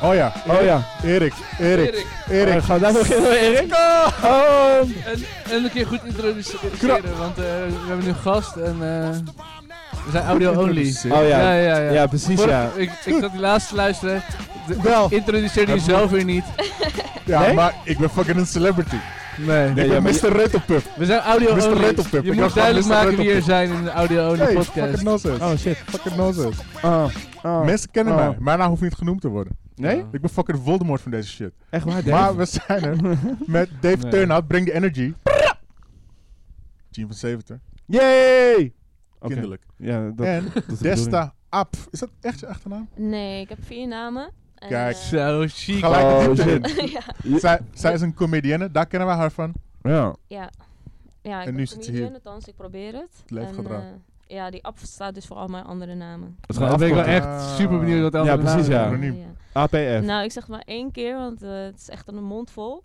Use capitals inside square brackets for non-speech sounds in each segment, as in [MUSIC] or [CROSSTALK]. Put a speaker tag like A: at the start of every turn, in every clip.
A: ja. Oh ja.
B: Erik, Erik,
C: Erik.
B: Erik.
A: Eh, gaan we daar nog in, Erik? Oh.
C: En, en een keer goed introduceren, want eh, we hebben nu een gast en eh, we zijn audio only.
A: Oh
C: ja,
A: ja.
C: ja, ja.
A: Ja, precies
C: Vorig-
A: ja.
C: Ik, ik zat die laatste te luisteren. De-
B: Wel.
C: Introduceerde jezelf weer niet.
B: Ja,
A: Nee?
B: maar ik ben fucking een celebrity.
C: Nee.
B: Ik
A: ja,
B: ben
A: maar
B: Mr. Ruttepup.
C: We zijn audio
B: Mr.
C: only.
B: Rettelpip.
C: Je
B: Ik
C: moet
B: dacht
C: duidelijk
B: al, Mr.
C: maken wie er
B: Rettelpip.
C: zijn in de audio only
B: Hey,
C: podcast.
B: fucking nonsense.
A: Oh shit.
B: Fucking nonsense.
A: Oh. Oh.
B: Mensen kennen
A: Oh.
B: mij. Mijn naam hoeft niet genoemd te worden.
A: Nee?
B: Ik ben fucking Voldemort van deze shit.
A: Echt waar, Dave?
B: Maar we zijn
A: [LAUGHS]
B: er met Dave
C: Nee.
B: Turnhout, Bring the Energy. Team van 70,
A: Yay! Oké.
B: kinderlijk.
A: Ja, dat,
B: en
A: dat is de bedoeling.
B: Desta Ap. Is dat echt je achternaam?
D: Nee, ik heb vier namen. En,
B: Kijk.
D: eh,
C: Zo chic.
B: Gelijk
A: Oh,
B: de [LAUGHS] diepte
A: shit.
B: in.
D: [LAUGHS] ja,
B: Zij, zij is een comedienne, daar kennen wij haar van.
A: Ja.
D: ja. ja ik
B: En
D: ben
B: nu zit ze
D: comedian,
B: hier.
D: Althans, ik probeer het.
B: Het leven
D: En,
B: gaat eraan.
D: eh, ja, die app staat dus voor al mijn andere namen.
A: Dat is
C: Dan ben ik wel
B: afkorting.
C: echt super benieuwd wat de
A: eh, Ja,
C: andere
A: precies, ja.
C: namen zijn.
B: Anoniem.
A: APF.
D: Nou, ik zeg het maar één keer, want eh, het is echt een mond vol.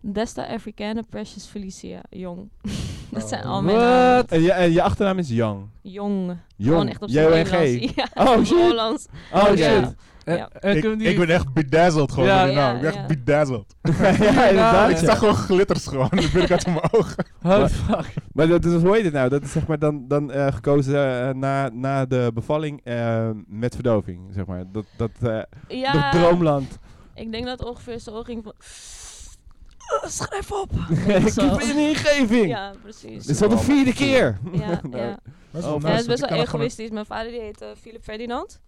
D: Desta Africana Precious Felicia Jong. [LAUGHS] dat zijn al mijn namen.
C: Wat?
A: En, je, en je achternaam is Young.
D: Jong. Gewoon
A: Jong.
D: echt op zijn
A: J-O-N-G.
D: Nederlands.
A: [LAUGHS]
D: Ja,
A: Oh,
D: op
A: shit.
D: Hollands.
A: Oh
D: Ja.
A: shit. [LAUGHS]
C: En-
D: Ja.
C: eh, en
B: Ik,
C: kunnen die-
B: ik ben echt bedazzled gewoon
C: Ja.
B: door die naam.
D: Ja,
B: ik ben echt
D: ja.
B: bedazzled. [LAUGHS]
A: [LAUGHS] ja, inderdaad.
B: Ik
C: Ja.
B: zag gewoon glitters gewoon. Dat ben ik uit [LAUGHS] mijn ogen.
C: Oh, fuck. [LAUGHS]
A: Maar dat, dat, hoe heet het nou? Dat is zeg maar dan, dan eh, gekozen eh, na, na de bevalling eh, met verdoving, zeg maar. Dat, dat, eh,
D: Ja,
A: dat droomland.
D: ik denk dat het ongeveer zo ging van... Schrijf op!
A: [LAUGHS] Ik
D: Zo.
A: ben in de ingeving.
D: Ja, precies.
A: Dit is al de vierde keer.
D: Ja, [LAUGHS]
A: [LAUGHS] Nou,
D: ja.
A: wel
D: Ja,
A: nice,
D: het is best wel egoïstisch. Mijn vader die heet eh, Philip Ferdinand.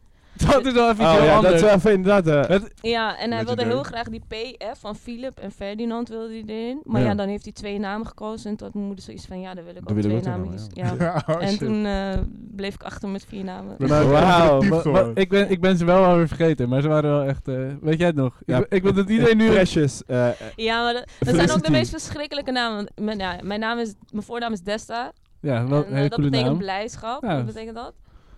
C: Dat is wel even
A: Oh
C: iets heel
A: ja, dat
C: anders.
A: is wel even inderdaad. eh,
D: Ja, en hij wilde
B: Legendary.
D: heel graag die PF van Philip en Ferdinand wilde hij erin. Maar
A: Ja.
D: ja, dan heeft hij twee namen gekozen. En toen had mijn moeder zoiets van, ja, dan wil ik
A: Dan
D: ook
A: wil ik
D: twee
A: ook twee
D: namen.
A: namen,
D: kiezen. ja.
B: [LAUGHS] Ja, oh,
D: En
B: shit.
D: toen eh, bleef ik achter met vier namen.
B: Ik ben uit-
A: Wauw,
B: diep
C: Maar- maar
B: geworden.
C: ik, ben, ik ben ze wel alweer vergeten, maar ze waren wel echt. eh, weet jij het nog?
A: Ja.
C: Ik, ik wil dat iedereen nu.
A: Precious. eh, eh,
D: Ja, maar dat, dat zijn ook de
A: Felicity.
D: meest verschrikkelijke namen. Want Mijn, ja, mijn, naam is, mijn voornaam is Desta.
C: Ja, wel
D: en,
C: een
D: eh,
C: hele
D: dat
C: coole
D: betekent
C: naam.
D: blijdschap.
C: Ja.
D: Wat betekent dat?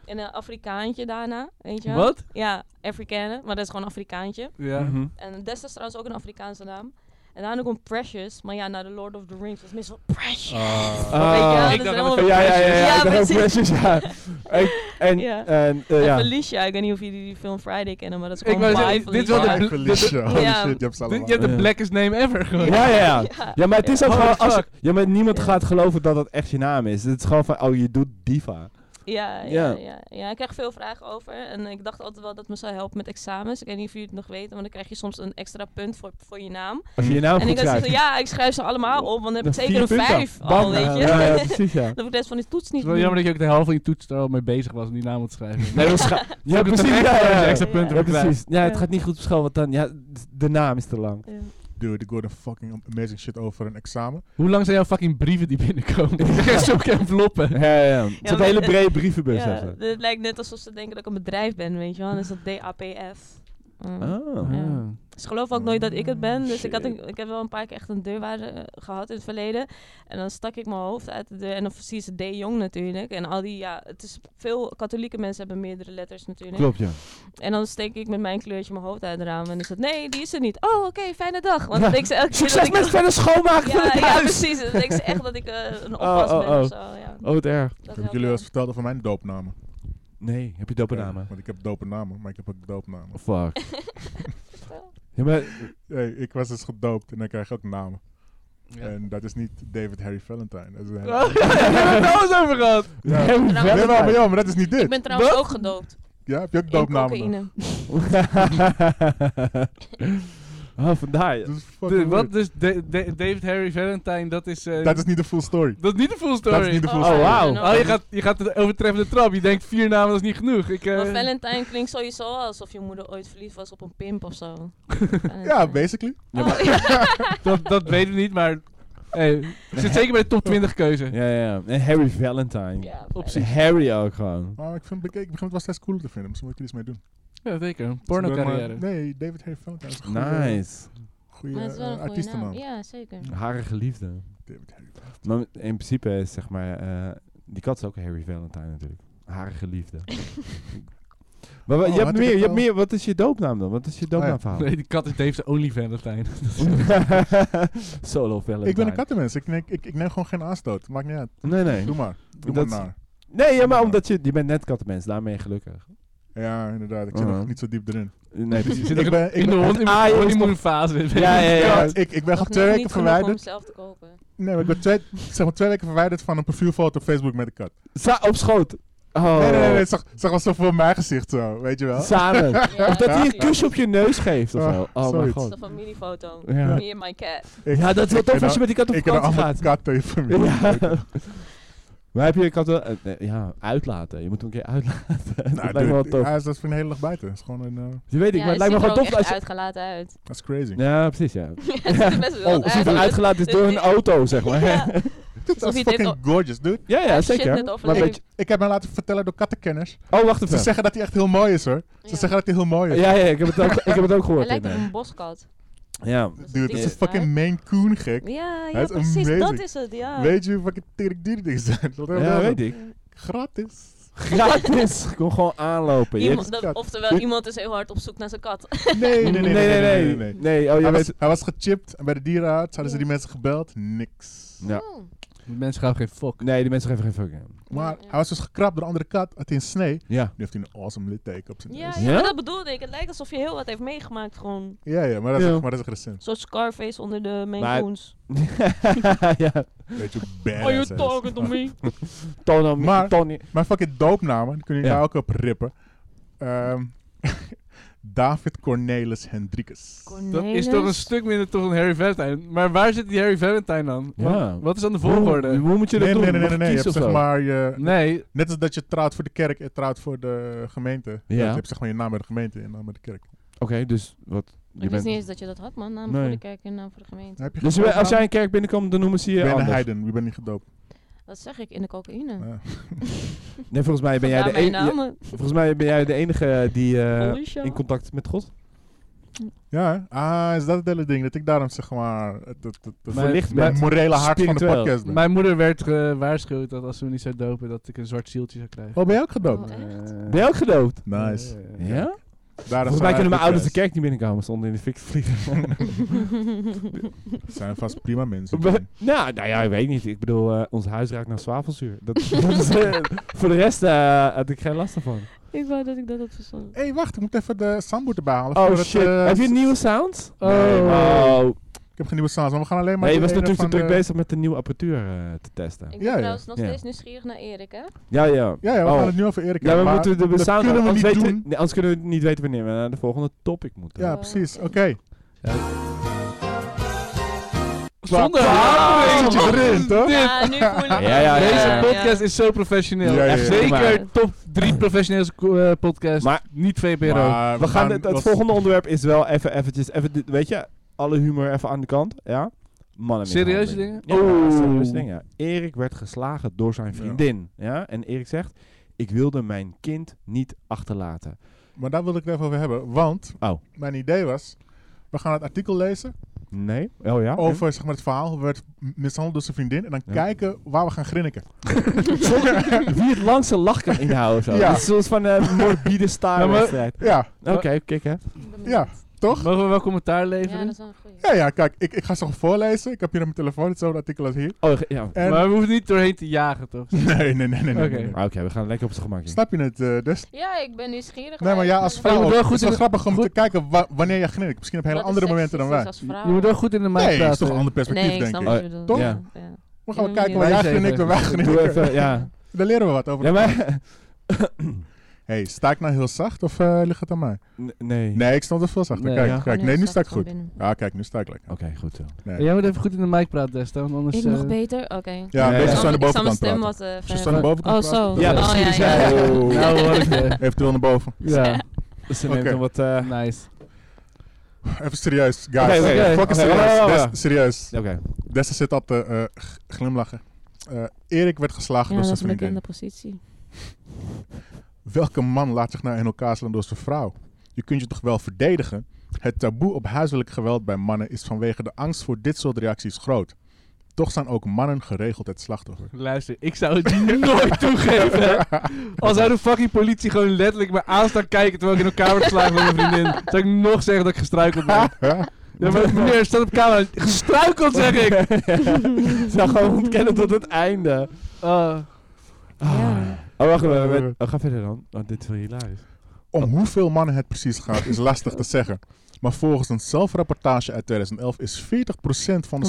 D: En een Afrikaantje daarna, weet je wel?
C: Wat?
D: Ja, Afrikanen. Maar dat is gewoon Afrikaantje.
C: Ja.
A: mhm.
D: En Desta is trouwens ook een Afrikaanse naam. En daarna komt Precious, maar ja, naar de Lord of the Rings was meestal Precious.
A: Ah.
D: Weet je
A: Ik
D: wel, dat is
C: dacht
D: helemaal-
C: dat het-
A: Ja, ja, ja, ja,
D: Ja,
A: ik ben ook
D: precies.
A: precious,
D: [LAUGHS]
A: ja. En, en,
D: Ja.
A: en, eh,
D: En
A: ja.
D: Felicia, ik weet niet of jullie die film Friday kennen, maar dat is
C: Ik
D: gewoon
C: wou
D: My
C: zeggen, dit is wel
D: Felicia.
C: de-
D: [LAUGHS]
B: Live Felicia. Holy
D: Ja.
B: shit, Ah, je hebt ze
C: Dit-
B: allemaal.
C: je hebt de
A: Ja.
C: blackest name ever gewoon.
A: Ja, ja, ja. Ja, maar het is ook
C: Holy
A: gewoon... Als,
C: fuck.
A: ja, maar niemand
D: Ja.
A: gaat geloven dat dat echt je naam is. Het is gewoon van, oh, je doet diva.
D: Ja, ja,
A: Ja.
D: ja, ja. Ik krijg veel vragen over en ik dacht altijd wel dat het me zou helpen met examens. Ik weet niet of jullie het nog weten, maar dan krijg je soms een extra punt voor, voor je naam.
A: Als je je naam
D: en ik
A: goed
D: dacht zo,
A: schrijft.
D: ja, ik schrijf ze allemaal op, want dan heb ik
A: Dan vier
D: zeker een
A: punten.
D: vijf al,
A: Bam.
D: weet je.
A: Ja,
D: [LAUGHS]
A: ja, precies, ja.
D: dat ik de rest van die toets
C: Het
D: niet
C: is wel
D: doe.
C: jammer dat je ook de helft van je toets er al mee bezig was om die naam op te schrijven.
A: Nee, dat scha- ja,
C: Ook het
A: precies. Ja,
C: terecht dat
A: ja,
C: je
A: ja.
C: extra punten
A: Ja,
C: voor krijgt.
A: precies. Ja, het
D: Ja.
A: gaat niet goed op school, want dan, ja, d- de naam is te lang.
D: Ja.
B: Dude, ik hoorde fucking amazing shit over een examen.
C: Hoe lang zijn jouw fucking brieven die binnenkomen? Ik krijg [LAUGHS] zo'n enveloppen.
A: [LAUGHS] Ja, ja, ja. Het is een
D: maar- [LAUGHS]
A: hele brede brievenbus.
D: Ja,
A: even.
D: het lijkt net alsof ze denken dat ik een bedrijf ben, weet je wel. Dan is dat DAPF. Mm.
A: Oh.
D: Ja.
C: Ah.
D: Ze geloven ook nooit dat ik het ben. Dus ik, had
A: Shit.
D: een- ik heb wel een paar keer echt een deurwaarde eh, gehad in het verleden. En dan stak ik mijn hoofd uit de deur. En dan zie je ze D jong natuurlijk. En al die, ja, het is veel katholieke mensen hebben meerdere letters natuurlijk.
A: Klopt, ja.
D: En dan steek ik met mijn kleurtje mijn hoofd uit het raam. En dan is het, nee, die is er niet. Oh, oké, fijne dag. Want dan denk ze elke keer dat
A: Succes
D: ik...
A: met verder schoonmaken van
D: ja,
A: het
D: ja,
A: huis!
D: precies. Dan denk ze echt dat ik eh, een oppas
A: oh,
D: ben
A: oh.
D: of zo. Ja,
A: Oh, wat erg.
D: dat
B: Heb ik
D: helpt
B: jullie
D: wel.
B: wel eens verteld over mijn doopnamen?
A: Nee, heb je dopenamen?
B: Ja, want ik heb doopnamen, maar ik heb ook doopnamen.
A: Oh,
D: [LAUGHS]
A: Fuck. Ja, maar...
B: Hey, ik was dus gedoopt en dan krijg je ook namen.
C: Ja.
B: En dat is niet David Harry Valentine. Dat is
D: [LAUGHS]
B: een hele-
C: Oh, [LAUGHS] ja, daar hebben we het trouwens over gehad.
B: Ja.
A: Harry
B: Nee, maar,
A: Valentine.
B: maar ja, maar dat is niet
D: Ik
B: dit.
D: ben trouwens
C: Wat?
D: ook gedoopt.
B: Ja, heb je ook
D: In
B: doopnamen? dan?
D: cocaïne.
A: [LAUGHS] oh, vandaar.
B: Dat is fucking
C: De-
B: weird.
C: Wat dus de- de- David Harry Valentine, dat is. eh,
B: Dat is niet de full story.
C: dat is niet de full story.
B: Dat is niet de full
A: Oh,
B: story.
A: wauw.
D: no.
C: Oh, je gaat, je gaat de overtreffende trap. Je denkt vier namen, dat is niet genoeg. Ik, eh,
D: Maar Valentijn klinkt sowieso alsof je moeder ooit verliefd was op een pimp of zo. Oh,
B: Ja,
D: weet
B: basically.
C: dat, dat weten we niet, maar... Hey, het zit zeker bij de top 20 keuze.
A: Ja, ja. En Harry Valentine.
D: Ja,
C: Op
D: fijn.
A: Harry ook gewoon.
B: Maar ik, vind, ik, ik begin het wel steeds cooler te vinden. Misschien moet ik er iets mee doen.
C: Ja, zeker. Een
B: Dus ik ben maar-
C: porno-carrière.
B: Nee, David Harry Valentine is een goede,
A: Nice.
B: goede
D: Maar het is wel
B: eh,
D: een goede
B: artiestennaam.
D: naam. Ja, zeker.
A: Hare geliefde.
B: David Harry Valentine.
A: Maar in principe is zeg maar... eh, die kat is ook Harry Valentine natuurlijk. Hare geliefde. maar wat-
B: Oh, had
A: je, hebt
B: ik
A: meer,
B: het
A: je hebt
B: wel? Oh,
A: meer... Wat is je doopnaam dan? Wat is je doopnaamverhaal?
C: [LAUGHS] Nee, die kat is Dave's only [LAUGHS] Valentine.
A: [LAUGHS] Solo Valentine.
B: Ik ben een kattenmens. Ik, neem- ik, ik neem gewoon geen aanstoot. Maakt niet uit.
A: Nee, nee.
B: Doe maar. Doe
A: Dat-
B: maar naar.
A: Nee, ja, maar
B: Ja.
A: omdat je... Je bent net kattenmens. Daarmee gelukkig.
B: Ja, inderdaad. Ik zit
A: Uh-huh.
B: nog niet zo diep erin.
A: Nee,
C: [LAUGHS]
A: precies. Zit
B: ik
A: er-
B: ben, ik
C: in de
B: ben,
C: hond, in
A: Ah,
C: de
A: je is
C: honeymoonfase.
A: Ja, ja,
C: [LAUGHS]
B: Ja,
A: ja.
B: ik, ik ben
D: Nog
B: gewoon twee
D: net
B: weken
D: niet genoeg om
B: verwijderd.
D: zelf te kopen.
B: Nee, maar ik ben twee, zeg maar twee weken verwijderd van een profielfoto op Facebook met een kat.
A: Sa- op schoot. Oh.
B: Nee, nee, nee. nee, Zag, zag wel zo voor mijn gezicht zo, weet je wel.
A: Samen.
D: Ja,
A: Of dat hij een
D: precies.
A: kusje op je neus geeft of
B: Ah,
A: zo. Oh mijn
B: zoiets.
D: Dat is
A: god.
D: een familiefoto.
A: Ja.
D: Me and my cat.
B: Ik-
A: Ja, dat is wel
B: ik ken
A: tof als je
B: al-
A: met die kat op
B: Ik heb een
A: vakantie
B: andere
A: gaat.
B: kat tegen me.
A: Ja. [LAUGHS] Maar heb je je kat wel... eh, nee, ja, uitlaten. Je moet hem een keer uitlaten. [LAUGHS]
B: Nou,
A: dat lijkt me wel tof.
B: Hij is dat voor een hele dag buiten. Dat is gewoon een... eh,
A: Dat weet ik,
D: ja,
A: maar het lijkt me
D: ziet
A: gewoon
D: er ook
A: tof
D: echt
A: als je...
D: uitgelaten
A: [LAUGHS]
D: uit. [LAUGHS]
B: Dat is crazy.
A: Ja, precies, ja. [LAUGHS]
D: het ziet er best wel
A: Oh, als
D: uit.
A: hij er uitgelaten is door
D: [LAUGHS]
A: een auto, zeg maar.
D: Ja.
A: Ja,
B: Dit
D: Alsof
B: is
D: je dit
B: fucking gorgeous, dude.
A: [LAUGHS] ja,
D: Hij heeft shit
A: zeker.
D: net
A: Maar
D: overleefd.
A: weet je...
B: Ik heb me laten vertellen door kattenkenners.
A: Oh, wacht
B: Ze
A: even.
B: zeggen dat hij echt heel mooi is, hoor. Ze
D: Ja.
B: zeggen dat hij heel mooi is.
A: Ja, ja, ik heb het ook, ik heb het ook
D: Hij [LAUGHS]
A: gehoord.
D: lijkt op
A: inderdaad.
D: een boskat.
A: Ja.
D: Dat
B: Dude, dat is
D: ding,
B: een fucking
D: maar-
B: Maine Coon gek.
D: Ja,
B: Hij
D: ja
B: is
D: precies, dat
B: amazing.
D: is het, ja.
B: Weet je hoe fucking terik dier dingen zijn? Dat is
A: Ja,
B: wel
A: weet ik. Oh,
B: Gratis.
A: Gratis. [LAUGHS] Kom gewoon aanlopen. Je hebt-
D: Iemand, dat-
B: kat.
D: oftewel, iemand is heel hard op zoek naar zijn kat.
B: Nee, nee, nee. Nee, nee, nee. nee, nee. Ah,
A: Nee, oh, je
B: Hij, was,
A: weet...
B: hij was gechipt en bij de dierenarts hadden ze die mensen gebeld. Niks.
A: Ja.
D: Oh.
C: Mensen gaan geen fuck.
A: Nee, die mensen geven geen fuck. aan.
B: Maar
D: Ja, ja.
B: hij was dus gekrapt door een andere kat. Had hij een snee. Nu [LAUGHS]
A: Ja. [LAUGHS]
B: heeft hij een awesome litteken op zijn
D: Ja,
B: neus.
D: ja,
A: Ja?
D: maar dat bedoelde ik. Het lijkt alsof je heel wat heeft meegemaakt. Gewoon een
B: Ja, ja, maar dat is,
A: Ja.
B: Maar dat is recent.
D: soort Scarface onder de
A: Maar-
D: Maine Coons.
A: ja.
B: Weet je,
D: Oh,
B: badass.
D: Are you
B: hij is.
D: talking to me?
A: Tono,
B: Maar-
A: Tony.
B: Mijn fucking doopnamen, die kun je
A: Ja.
B: daar ook op rippen. Ehm, [LAUGHS] David Cornelis Hendrikus.
C: [LAUGHS] Dat is toch een stuk minder toch dan Harry Valentine. Maar waar zit die Harry Valentine dan?
A: Ja.
C: Wat, wat is dan de
A: Hoe,
C: volgorde?
A: hoe moet je dat
B: Nee, nee,
A: doen?
B: nee, nee, nee,
A: Mag
B: nee, Je hebt
A: kiezen
B: zeg
A: of zo?
B: maar je,
C: Nee,
B: net als dat je trouwt voor de kerk en trouwt voor de gemeente. Ja.
A: Ja.
B: je hebt zeg maar je naam bij de gemeente en je naam bij de kerk.
A: Oké, dus wat... Je
D: Ik wist
A: bent...
D: niet eens dat je dat had, man. Naam
A: Nee.
D: voor de kerk en naam voor de gemeente.
B: Dan heb je
A: Dus
B: geen
A: we- als
B: doopnaam.
A: jij een kerk binnenkomt, dan noemen ze je
B: Ik ben een
A: anders.
B: heiden, ik ben niet gedoopt.
D: Dat zeg ik in de cocaïne.
B: Ja.
A: Nee, volgens mij ben jij
D: Ja,
A: de
D: mijn
A: enige...
D: naam.
A: Volgens mij ben jij de enige die eh,
D: Alicia.
A: in
D: [LAUGHS]
A: contact met God.
B: Ja, ah, is dat het hele ding? Dat ik daarom zeg maar het, het, het, het,
C: Maar-
A: Verlicht
B: mijn
A: bent.
B: morele hart van de
A: spiritueel.
B: podcast ben.
C: mijn moeder werd gewaarschuwd dat als we niet zou dopen, dat ik een zwart zieltje zou krijgen.
B: Oh, ben jij ook gedoopt?
D: Oh, echt?
A: Ben jij ook gedoopt?
B: Nice.
C: Eh,
A: Ja?
B: Daarom
A: Volgens mij kunnen mijn ouders de
B: kerk.
A: kerk niet binnenkomen. Stonden in de fik te
B: [LAUGHS]
A: vliegen. [LAUGHS]
B: zijn vast prima mensen.
A: We- nou, nou ja, ik weet niet. Ik bedoel, eh, ons huis ruikt naar zwavelzuur. Dat, [LAUGHS] dat is, eh, voor de rest eh had ik geen last van.
D: Ik wou dat ik dat had verzonnen.
B: Hé, hey, wacht, ik moet even de soundboard erbij halen.
A: Oh
B: voordat,
A: shit.
B: eh,
A: Heb je nieuwe sounds?
B: Nee,
A: oh.
B: maar- Ik
A: Nee,
B: heb geen nieuwe sounds, maar we gaan alleen maar...
A: je
B: die
A: was
B: ene
A: natuurlijk te
B: van
A: druk
B: de-
A: bezig met de nieuwe apparatuur eh, te testen.
D: Ik
B: Ja,
D: ben
B: ja.
D: trouwens nog
A: Ja.
D: steeds nieuwsgierig naar Erik, hè?
A: Ja, ja.
B: Ja, ja, we
A: Oh.
B: gaan het nu over Erik
A: Ja,
B: hebben,
A: we
B: maar
A: moeten de
B: dat
A: sound...
B: kunnen we
A: anders,
B: niet
A: weten,
B: doen.
A: nee, anders kunnen we niet weten wanneer we naar de volgende topic moeten.
B: Ja,
D: Oh,
B: precies. Oké.
D: oké.
C: Zonder
B: Ja,
C: haat!
B: eentje erin, toch?
D: Ja, nu voel ik
A: Ja, ja, ja,
C: Deze
A: ja.
C: podcast is zo professioneel.
B: Ja, ja, ja.
C: Zeker
D: Maar-
C: top 3 professionele podcast. podcasts.
A: Maar-
C: niet VPRO.
B: Maar
A: We gaan het, het
B: was-
A: volgende onderwerp is wel even eventjes... Even, dit- weet je, alle humor even aan de kant. Ja? Mannen
C: Serieuze
A: mishandeling.
C: dingen?
A: Ja,
C: Oeh.
A: serieuze dingen. Erik werd geslagen door zijn vriendin. Ja. En Erik zegt... Ik wilde mijn kind niet achterlaten.
B: Maar daar wilde ik het even over hebben, want
A: Oh.
B: mijn idee was... We gaan het artikel lezen
A: Nee? Oh ja?
B: over zeg maar, het verhaal. Hoe werd m- mishandeld door zijn vriendin. En dan
A: Ja.
B: kijken waar we gaan grinniken.
A: Wie het langste lach kan inhouden. Zo.
B: Ja.
A: Dat is zoals van een morbide staarwedstrijd.
B: Ja,
A: Oké, kijk hè.
B: ja, toch?
C: Mogen we wel commentaar
D: Ja,
C: leveren?
D: dat is wel een goeie.
B: Ja, ja, kijk. Ik, ik ga ze gewoon voorlezen. Ik heb hier op mijn telefoon hetzelfde artikel als hier.
A: Oh, ja.
B: En...
C: maar we hoeven niet doorheen te jagen,
D: [LAUGHS]
C: toch?
B: [LAUGHS] Nee, nee, nee, nee. nee, nee,
C: Oké.
B: nee.
A: Maar Ah, Oké, we gaan lekker op zijn gemak in.
B: Snap je het, eh Des?
D: Ja, ik ben nieuwsgierig.
B: Nee, maar ja, als vrouw
C: moet
B: ook.
C: wel
B: Het
C: goed
B: is wel
C: in de-
B: grappig om
C: goed-
B: te kijken wa- wanneer je grinnikt. Misschien op hele
D: Dat is
B: andere momenten dan
D: seksistisch
B: wij.
D: als vrouw.
C: Je moet wel goed in de mic
B: Nee, dat is
C: praten.
B: toch een ander perspectief,
D: Nee, ik
B: denk
D: snap
B: ik.
A: ik.
D: wat je bedoelt.
A: Toch?
D: Ja. ja.
B: We gaan wel
D: Ja,
B: kijken
D: ja,
B: waar
C: ja.
B: jij grinnikt en wij
A: Doe even,
B: grinniken.
A: ja.
B: Daar leren we wat over.
A: ja maar,
B: hey, sta ik nou heel zacht of eh, ligt het aan mij?
A: N- nee.
B: Nee, ik stond er veel zachter.
C: Nee,
B: kijk,
A: ja.
D: Oh,
B: kijk. Nee, nu sta ik goed.
D: Binnen.
B: Ja, kijk, nu sta ik lekker.
A: Oké, goed zo.
B: Nee.
C: Jij moet even goed in de mic praten, Desta, want anders...
D: Ik nog
C: eh,
D: beter? Oké.
B: Ja, deze
A: Nee. Ik
B: is aan de
D: Ik zal mijn
B: bovenkant
D: stem
B: praten.
D: wat eh,
B: Als je
D: verder-
B: aan de bovenkant
D: Oh, zo.
B: praten,
A: Ja,
B: dan-
D: Oh,
A: precies.
D: ja, ja, ja.
A: Oh.
C: [LAUGHS] Nou, hoor ik
D: [LAUGHS]
C: je.
B: Eventueel naar boven. [LAUGHS]
C: Ja,
A: Ze neemt
B: Oké.
A: hem wat... eh,
C: nice.
B: Even serieus, guys.
A: Oké, oké.
B: Fucking
A: Oké,
B: serieus.
A: wacht, wacht,
B: Des-
A: wacht.
B: serieus.
A: Oké.
B: Dessa zit al te eh, g- glimlachen. Eh, Erik werd geslagen
D: Ja,
B: door
D: dat
B: zijn
D: is mijn
B: vriendin.
D: kinderpositie.
B: Welke man laat zich nou in elkaar slaan door zijn vrouw? Je kunt je toch wel verdedigen? Het taboe op huiselijk geweld bij mannen is vanwege de angst voor dit soort reacties groot. Toch zijn ook mannen geregeld het slachtoffer.
C: Luister, ik zou [LAUGHS] het nooit toegeven. [LAUGHS] Als zou de fucking politie gewoon letterlijk me aan staan kijken terwijl ik in elkaar word geslagen door mijn vriendin, zou ik nog zeggen dat ik gestruikeld ben. Ja, [LAUGHS] maar meneer, staat op camera. Gestruikeld, zeg ik!
A: [LAUGHS] Ze gaan gewoon ontkennen tot het einde.
C: Oh.
D: Ja.
A: Ah, Oh, wacht even. we- we- oh, ga verder dan. Want dit is Oh, wel hilarisch.
B: Om hoeveel mannen het precies gaat is lastig te zeggen. Maar volgens een zelfrapportage uit 2011 is 40% van de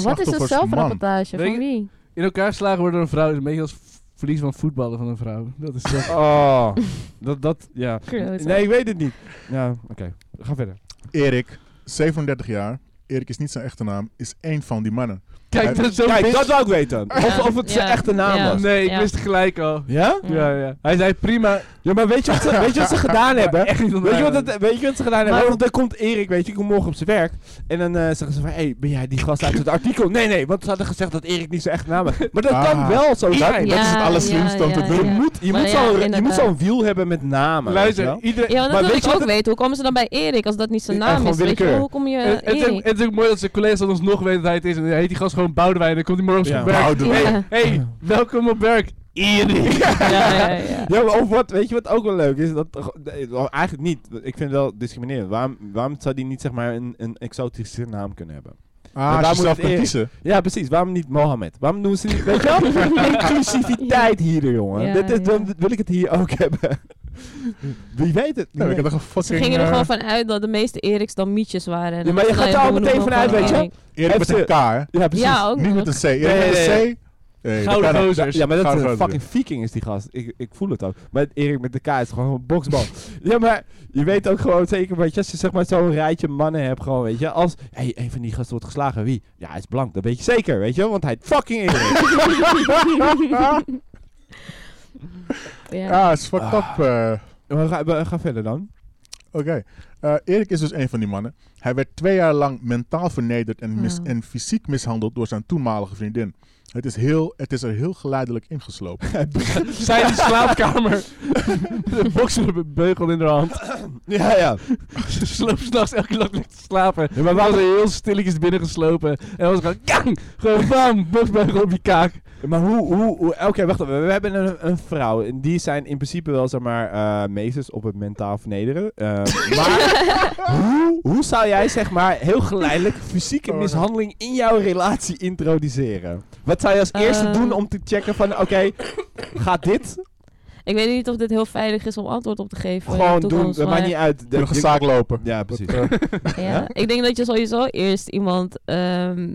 E: Wat is een
B: slachtoffers man.
E: zelfrapportage?
C: Weet
E: Van
C: je-
E: wie?
C: [LAUGHS] In elkaar slagen worden door een vrouw is een beetje als v- verlies van voetballen van een vrouw. Dat is [LAUGHS] toch...
A: Oh, [LAUGHS] dat, dat, ja.
D: Groot.
A: Nee, ik weet het niet. Ja, oké. Ga verder.
B: Erik, 37 jaar. Erik is niet zijn echte naam, is één van die mannen.
C: Kijk, dat is zo'n
A: Kijk,
C: bitch.
A: dat wou ik weten. Of,
D: Ja,
A: of het zijn
D: ja,
A: echte naam
D: ja.
A: was.
C: Oh, Nee, ik
D: Ja.
C: wist het gelijk al.
A: Ja?
C: Ja, ja. Hij zei prima.
A: Ja, maar weet je wat ze, weet
C: [LAUGHS]
A: je wat ze gedaan hebben?
C: Echt niet eh,
A: Weet je, wat
C: ontwijken.
A: het, weet je wat ze gedaan hebben?
D: Maar-
A: Want dan komt Erik, weet je, ik kom morgen op zijn werk. En dan eh, zeggen ze van, hé, hey, ben jij die gast uit het artikel? Nee, nee, want ze hadden gezegd dat Erik niet zijn echte
C: [LAUGHS]
A: naam had. Maar dat
B: Ah.
A: kan wel zo zijn.
B: dat is het allerslimste om te
A: Je
B: doen.
A: moet, je
D: Maar
A: moet
D: ja,
A: zo'n je moet
D: inderdaad.
A: zo'n wiel hebben met namen. weet
C: Luister,
A: je wel?
C: iedereen...
D: Ja, want
A: Maar
D: dat wil
A: weet
D: ik
A: je
D: ook
A: wat
D: weten. Hoe komen ze dan bij Erik als dat niet zijn
A: Ja,
D: naam
A: gewoon
D: is? Weet je, wel?
A: willekeur.
D: hoe kom je
C: En- en het, is ook,
D: Erik?
C: het is ook mooi dat zijn collega's van ons nog weten dat hij het is. En hij heet die gast gewoon Boudewijn. En dan komt hij morgen op zijn
A: Ja.
C: werk.
B: Boudewijn.
D: Ja.
C: hey, welkom op werk. Erik.
D: Ja, ja, ja.
A: [LAUGHS] Ja, maar of wat, weet je wat ook wel leuk is? Dat, toch- nee, wel, eigenlijk niet. Ik vind het wel discriminerend. Waarom, waarom zou die niet zeg maar een, een exotische naam kunnen hebben?
B: Ah,
A: daar
B: als je
A: moet
B: zelf
A: het
B: kunt
A: Erik.
B: kiezen.
A: Ja, precies. Waarom niet Mohammed? Waarom doen ze [LAUGHS] niet, weet je
D: [LAUGHS]
A: wel? Inclusiviteit hier, jongen.
D: Ja,
A: Dit is,
D: ja.
A: Dan wil ik het hier ook hebben. Wie weet het? Wie
B: Ja, Nou, ik had
A: weet het.
B: echt een
D: Ze
B: fucking...
D: gingen er
B: eh,
D: gewoon van uit dat de meeste Eriks dan mietjes waren.
A: Ja, maar je
D: Nou,
A: gaat er al
D: we
A: meteen
D: noemen
A: vanuit,
D: hem
A: weet je?
D: gewoon
B: Erik met een K, hè?
A: Ja,
D: Erik.
A: precies.
D: Ja, ook
B: Niet
D: nog.
B: met een C. Erik
A: Nee,
B: met
A: nee,
B: een C. Nee, dat
C: Gouden
B: kan niet.
C: gozers.
A: Ja, maar dat is
B: Gouden
A: een
B: gozer.
A: fucking viking is die gast. Ik, ik voel het ook. Maar Erik met de K is gewoon een boksbal. [LAUGHS] ja, maar je weet ook gewoon zeker, weet je, als je zeg maar zo'n rijtje mannen hebt gewoon, weet je, als, hé, hey, een van die gasten wordt geslagen, wie? Ja, hij is blank, dat weet je zeker, weet je, want hij heet fucking
D: [LAUGHS]
A: Erik.
D: Ja.
B: Ja, Ah, is fucked up.
A: Ah.
B: eh.
A: maar ga, we- ga verder dan.
B: Oké. Eh, Erik is dus een van die mannen. Hij werd twee jaar lang mentaal vernederd en, mis-
D: Oh.
B: en fysiek mishandeld door zijn toenmalige vriendin. Het is, heel, het is er heel geleidelijk ingeslopen.
C: Zijn slaapkamer. [LAUGHS] de bokser met een beugel in de hand.
A: Ja, ja.
C: Ze [LAUGHS] sloop s'nachts elke nacht lekker te slapen.
A: Ja, maar
C: Hij
A: waarom,
C: was er heel stilletjes binnengeslopen. En was gewoon... Kang! Gewoon bam! Boksbeugel op je kaak.
A: Maar hoe, hoe, hoe oké, wacht even. We hebben een, een vrouw. En die zijn in principe wel, zeg maar, eh, meesters op het mentaal vernederen. Eh,
D: [LAUGHS]
A: maar hoe, hoe zou jij, zeg maar, heel geleidelijk fysieke
C: Oh.
A: mishandeling in jouw relatie introduceren? Wat zou je als eerste
D: Eh.
A: doen om te checken van, oké, gaat dit
D: Ik weet niet of dit heel veilig is om antwoord op te geven. in de
A: gewoon doen?
D: toekomst,
A: Dat maakt
D: maar-
A: niet uit.
B: Kunnen gezaak lopen.
A: ja, precies.
D: Ja. Ik denk dat je sowieso eerst iemand ehm,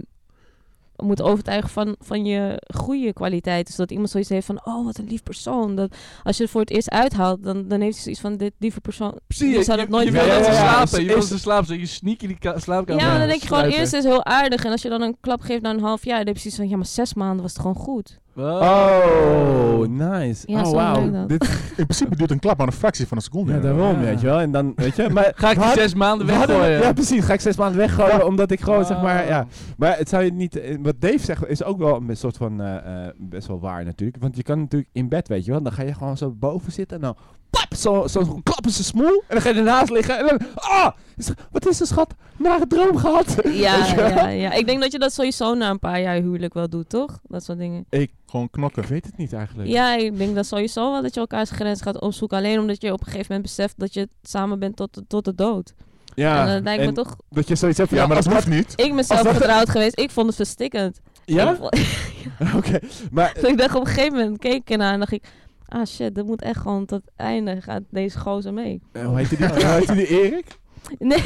D: moet overtuigen van, van je goede kwaliteiten. Zodat iemand zoiets heeft van, oh, wat een lief persoon. Dat, als je het voor het eerst uithaalt, dan, dan heeft hij zoiets van, dit lieve persoon...
C: Precies.
D: je zou dat nooit
C: je, je
A: willen.
C: wil dat ze
A: Ja, ja, ja.
C: slapen. Je
A: Is-
C: wil dat ze slapen. zodat Je sneak in die ka-
D: Ja,
C: slaapkamer.
D: maar dan denk je gewoon,
C: sluipen.
D: eerst is heel aardig. En als je dan een klap geeft na een half jaar, dan heb je zoiets van, ja, maar zes maanden was het gewoon goed.
C: Wow.
A: Oh, nice.
D: Ja,
A: oh,
D: zo
A: wauw.
D: werkt dat.
A: Dit-
B: In principe duurt een klap maar een fractie van een seconde.
A: Ja, daarom, weet je wel. En dan, weet
C: [LAUGHS]
A: je, maar...
C: Ga ik die
A: Wat?
C: zes maanden
A: We hadden-
C: weggooien?
A: Ja, precies. Ga ik zes maanden weggooien, omdat ik gewoon, zeg maar,
C: Ah.
A: ja. Maar het zou je niet, eh, wat Dave zegt, is ook wel een soort van, eh, eh, best wel waar natuurlijk. Want je kan natuurlijk in bed, weet je wel, dan ga je gewoon zo boven zitten en dan, pap, zo, zo, klappen ze smoel. En dan ga je ernaast liggen en dan, ah, Is- wat is er schat, nare droom gehad.
D: Ja,
A: Weet je wel?
D: ja, ja. Ik denk dat je dat sowieso na een paar jaar huwelijk wel doet, toch? Dat soort dingen.
B: Gewoon knokken.
A: Ik weet het niet eigenlijk.
D: Ja, ik denk dat sowieso wel dat je elkaars grens gaat opzoeken. Alleen omdat je op een gegeven moment beseft dat je samen bent tot de, tot de dood.
A: Ja,
D: en dat lijkt me
A: Ah, en
D: toch...
A: Dat je zoiets hebt van,
B: Ja, maar dat
A: als
B: hoeft niet.
D: Ik ben zelf
A: dat-
D: getrouwd geweest. Ik vond het verstikkend.
A: Ja?
D: Ik, vond-
A: [LAUGHS] Oké. Maar,
D: [LAUGHS] ik dacht op een gegeven moment, keek ik ernaar en dacht ik... Ah shit, dat moet echt gewoon tot het einde gaat deze gozer mee. [LAUGHS]
A: eh, hoe heette die, hoe heette die Erik?
D: Nee.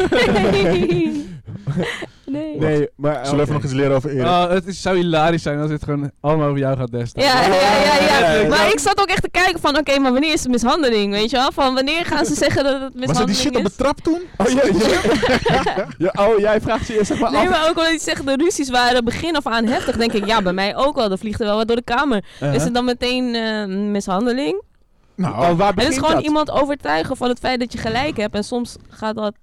D: nee.
A: Nee, maar... eh,
B: Zullen we even nog
A: oké.
B: iets leren over Erik?
C: Oh, het is, zou hilarisch zijn als dit gewoon allemaal over jou gaat destijds.
D: Ja, ja, ja, ja,
A: Ja, ja,
D: ja. Maar
A: ja.
D: ik zat ook echt te kijken van, oké, maar wanneer is het mishandeling, weet je wel? Van, wanneer gaan ze zeggen dat het
B: Was dat die
D: mishandeling
B: shit op de
D: is?
B: trap toen?
A: Oh, ja, ja. [LAUGHS] Ja, oh, jij vraagt ze eerst zeg maar
D: Nee,
A: af.
D: maar ook omdat die zeggen de ruzies waren begin af aan heftig, denk ik, ja, bij mij ook wel. Er vliegt er wel wat door de kamer. Is
A: Uh-huh.
D: het dan meteen eh, mishandeling?
B: Nou,
A: oh, waar
D: Het
A: begint
D: is gewoon
A: dat?
D: iemand overtuigen van het feit dat je gelijk hebt. En soms gaat dat...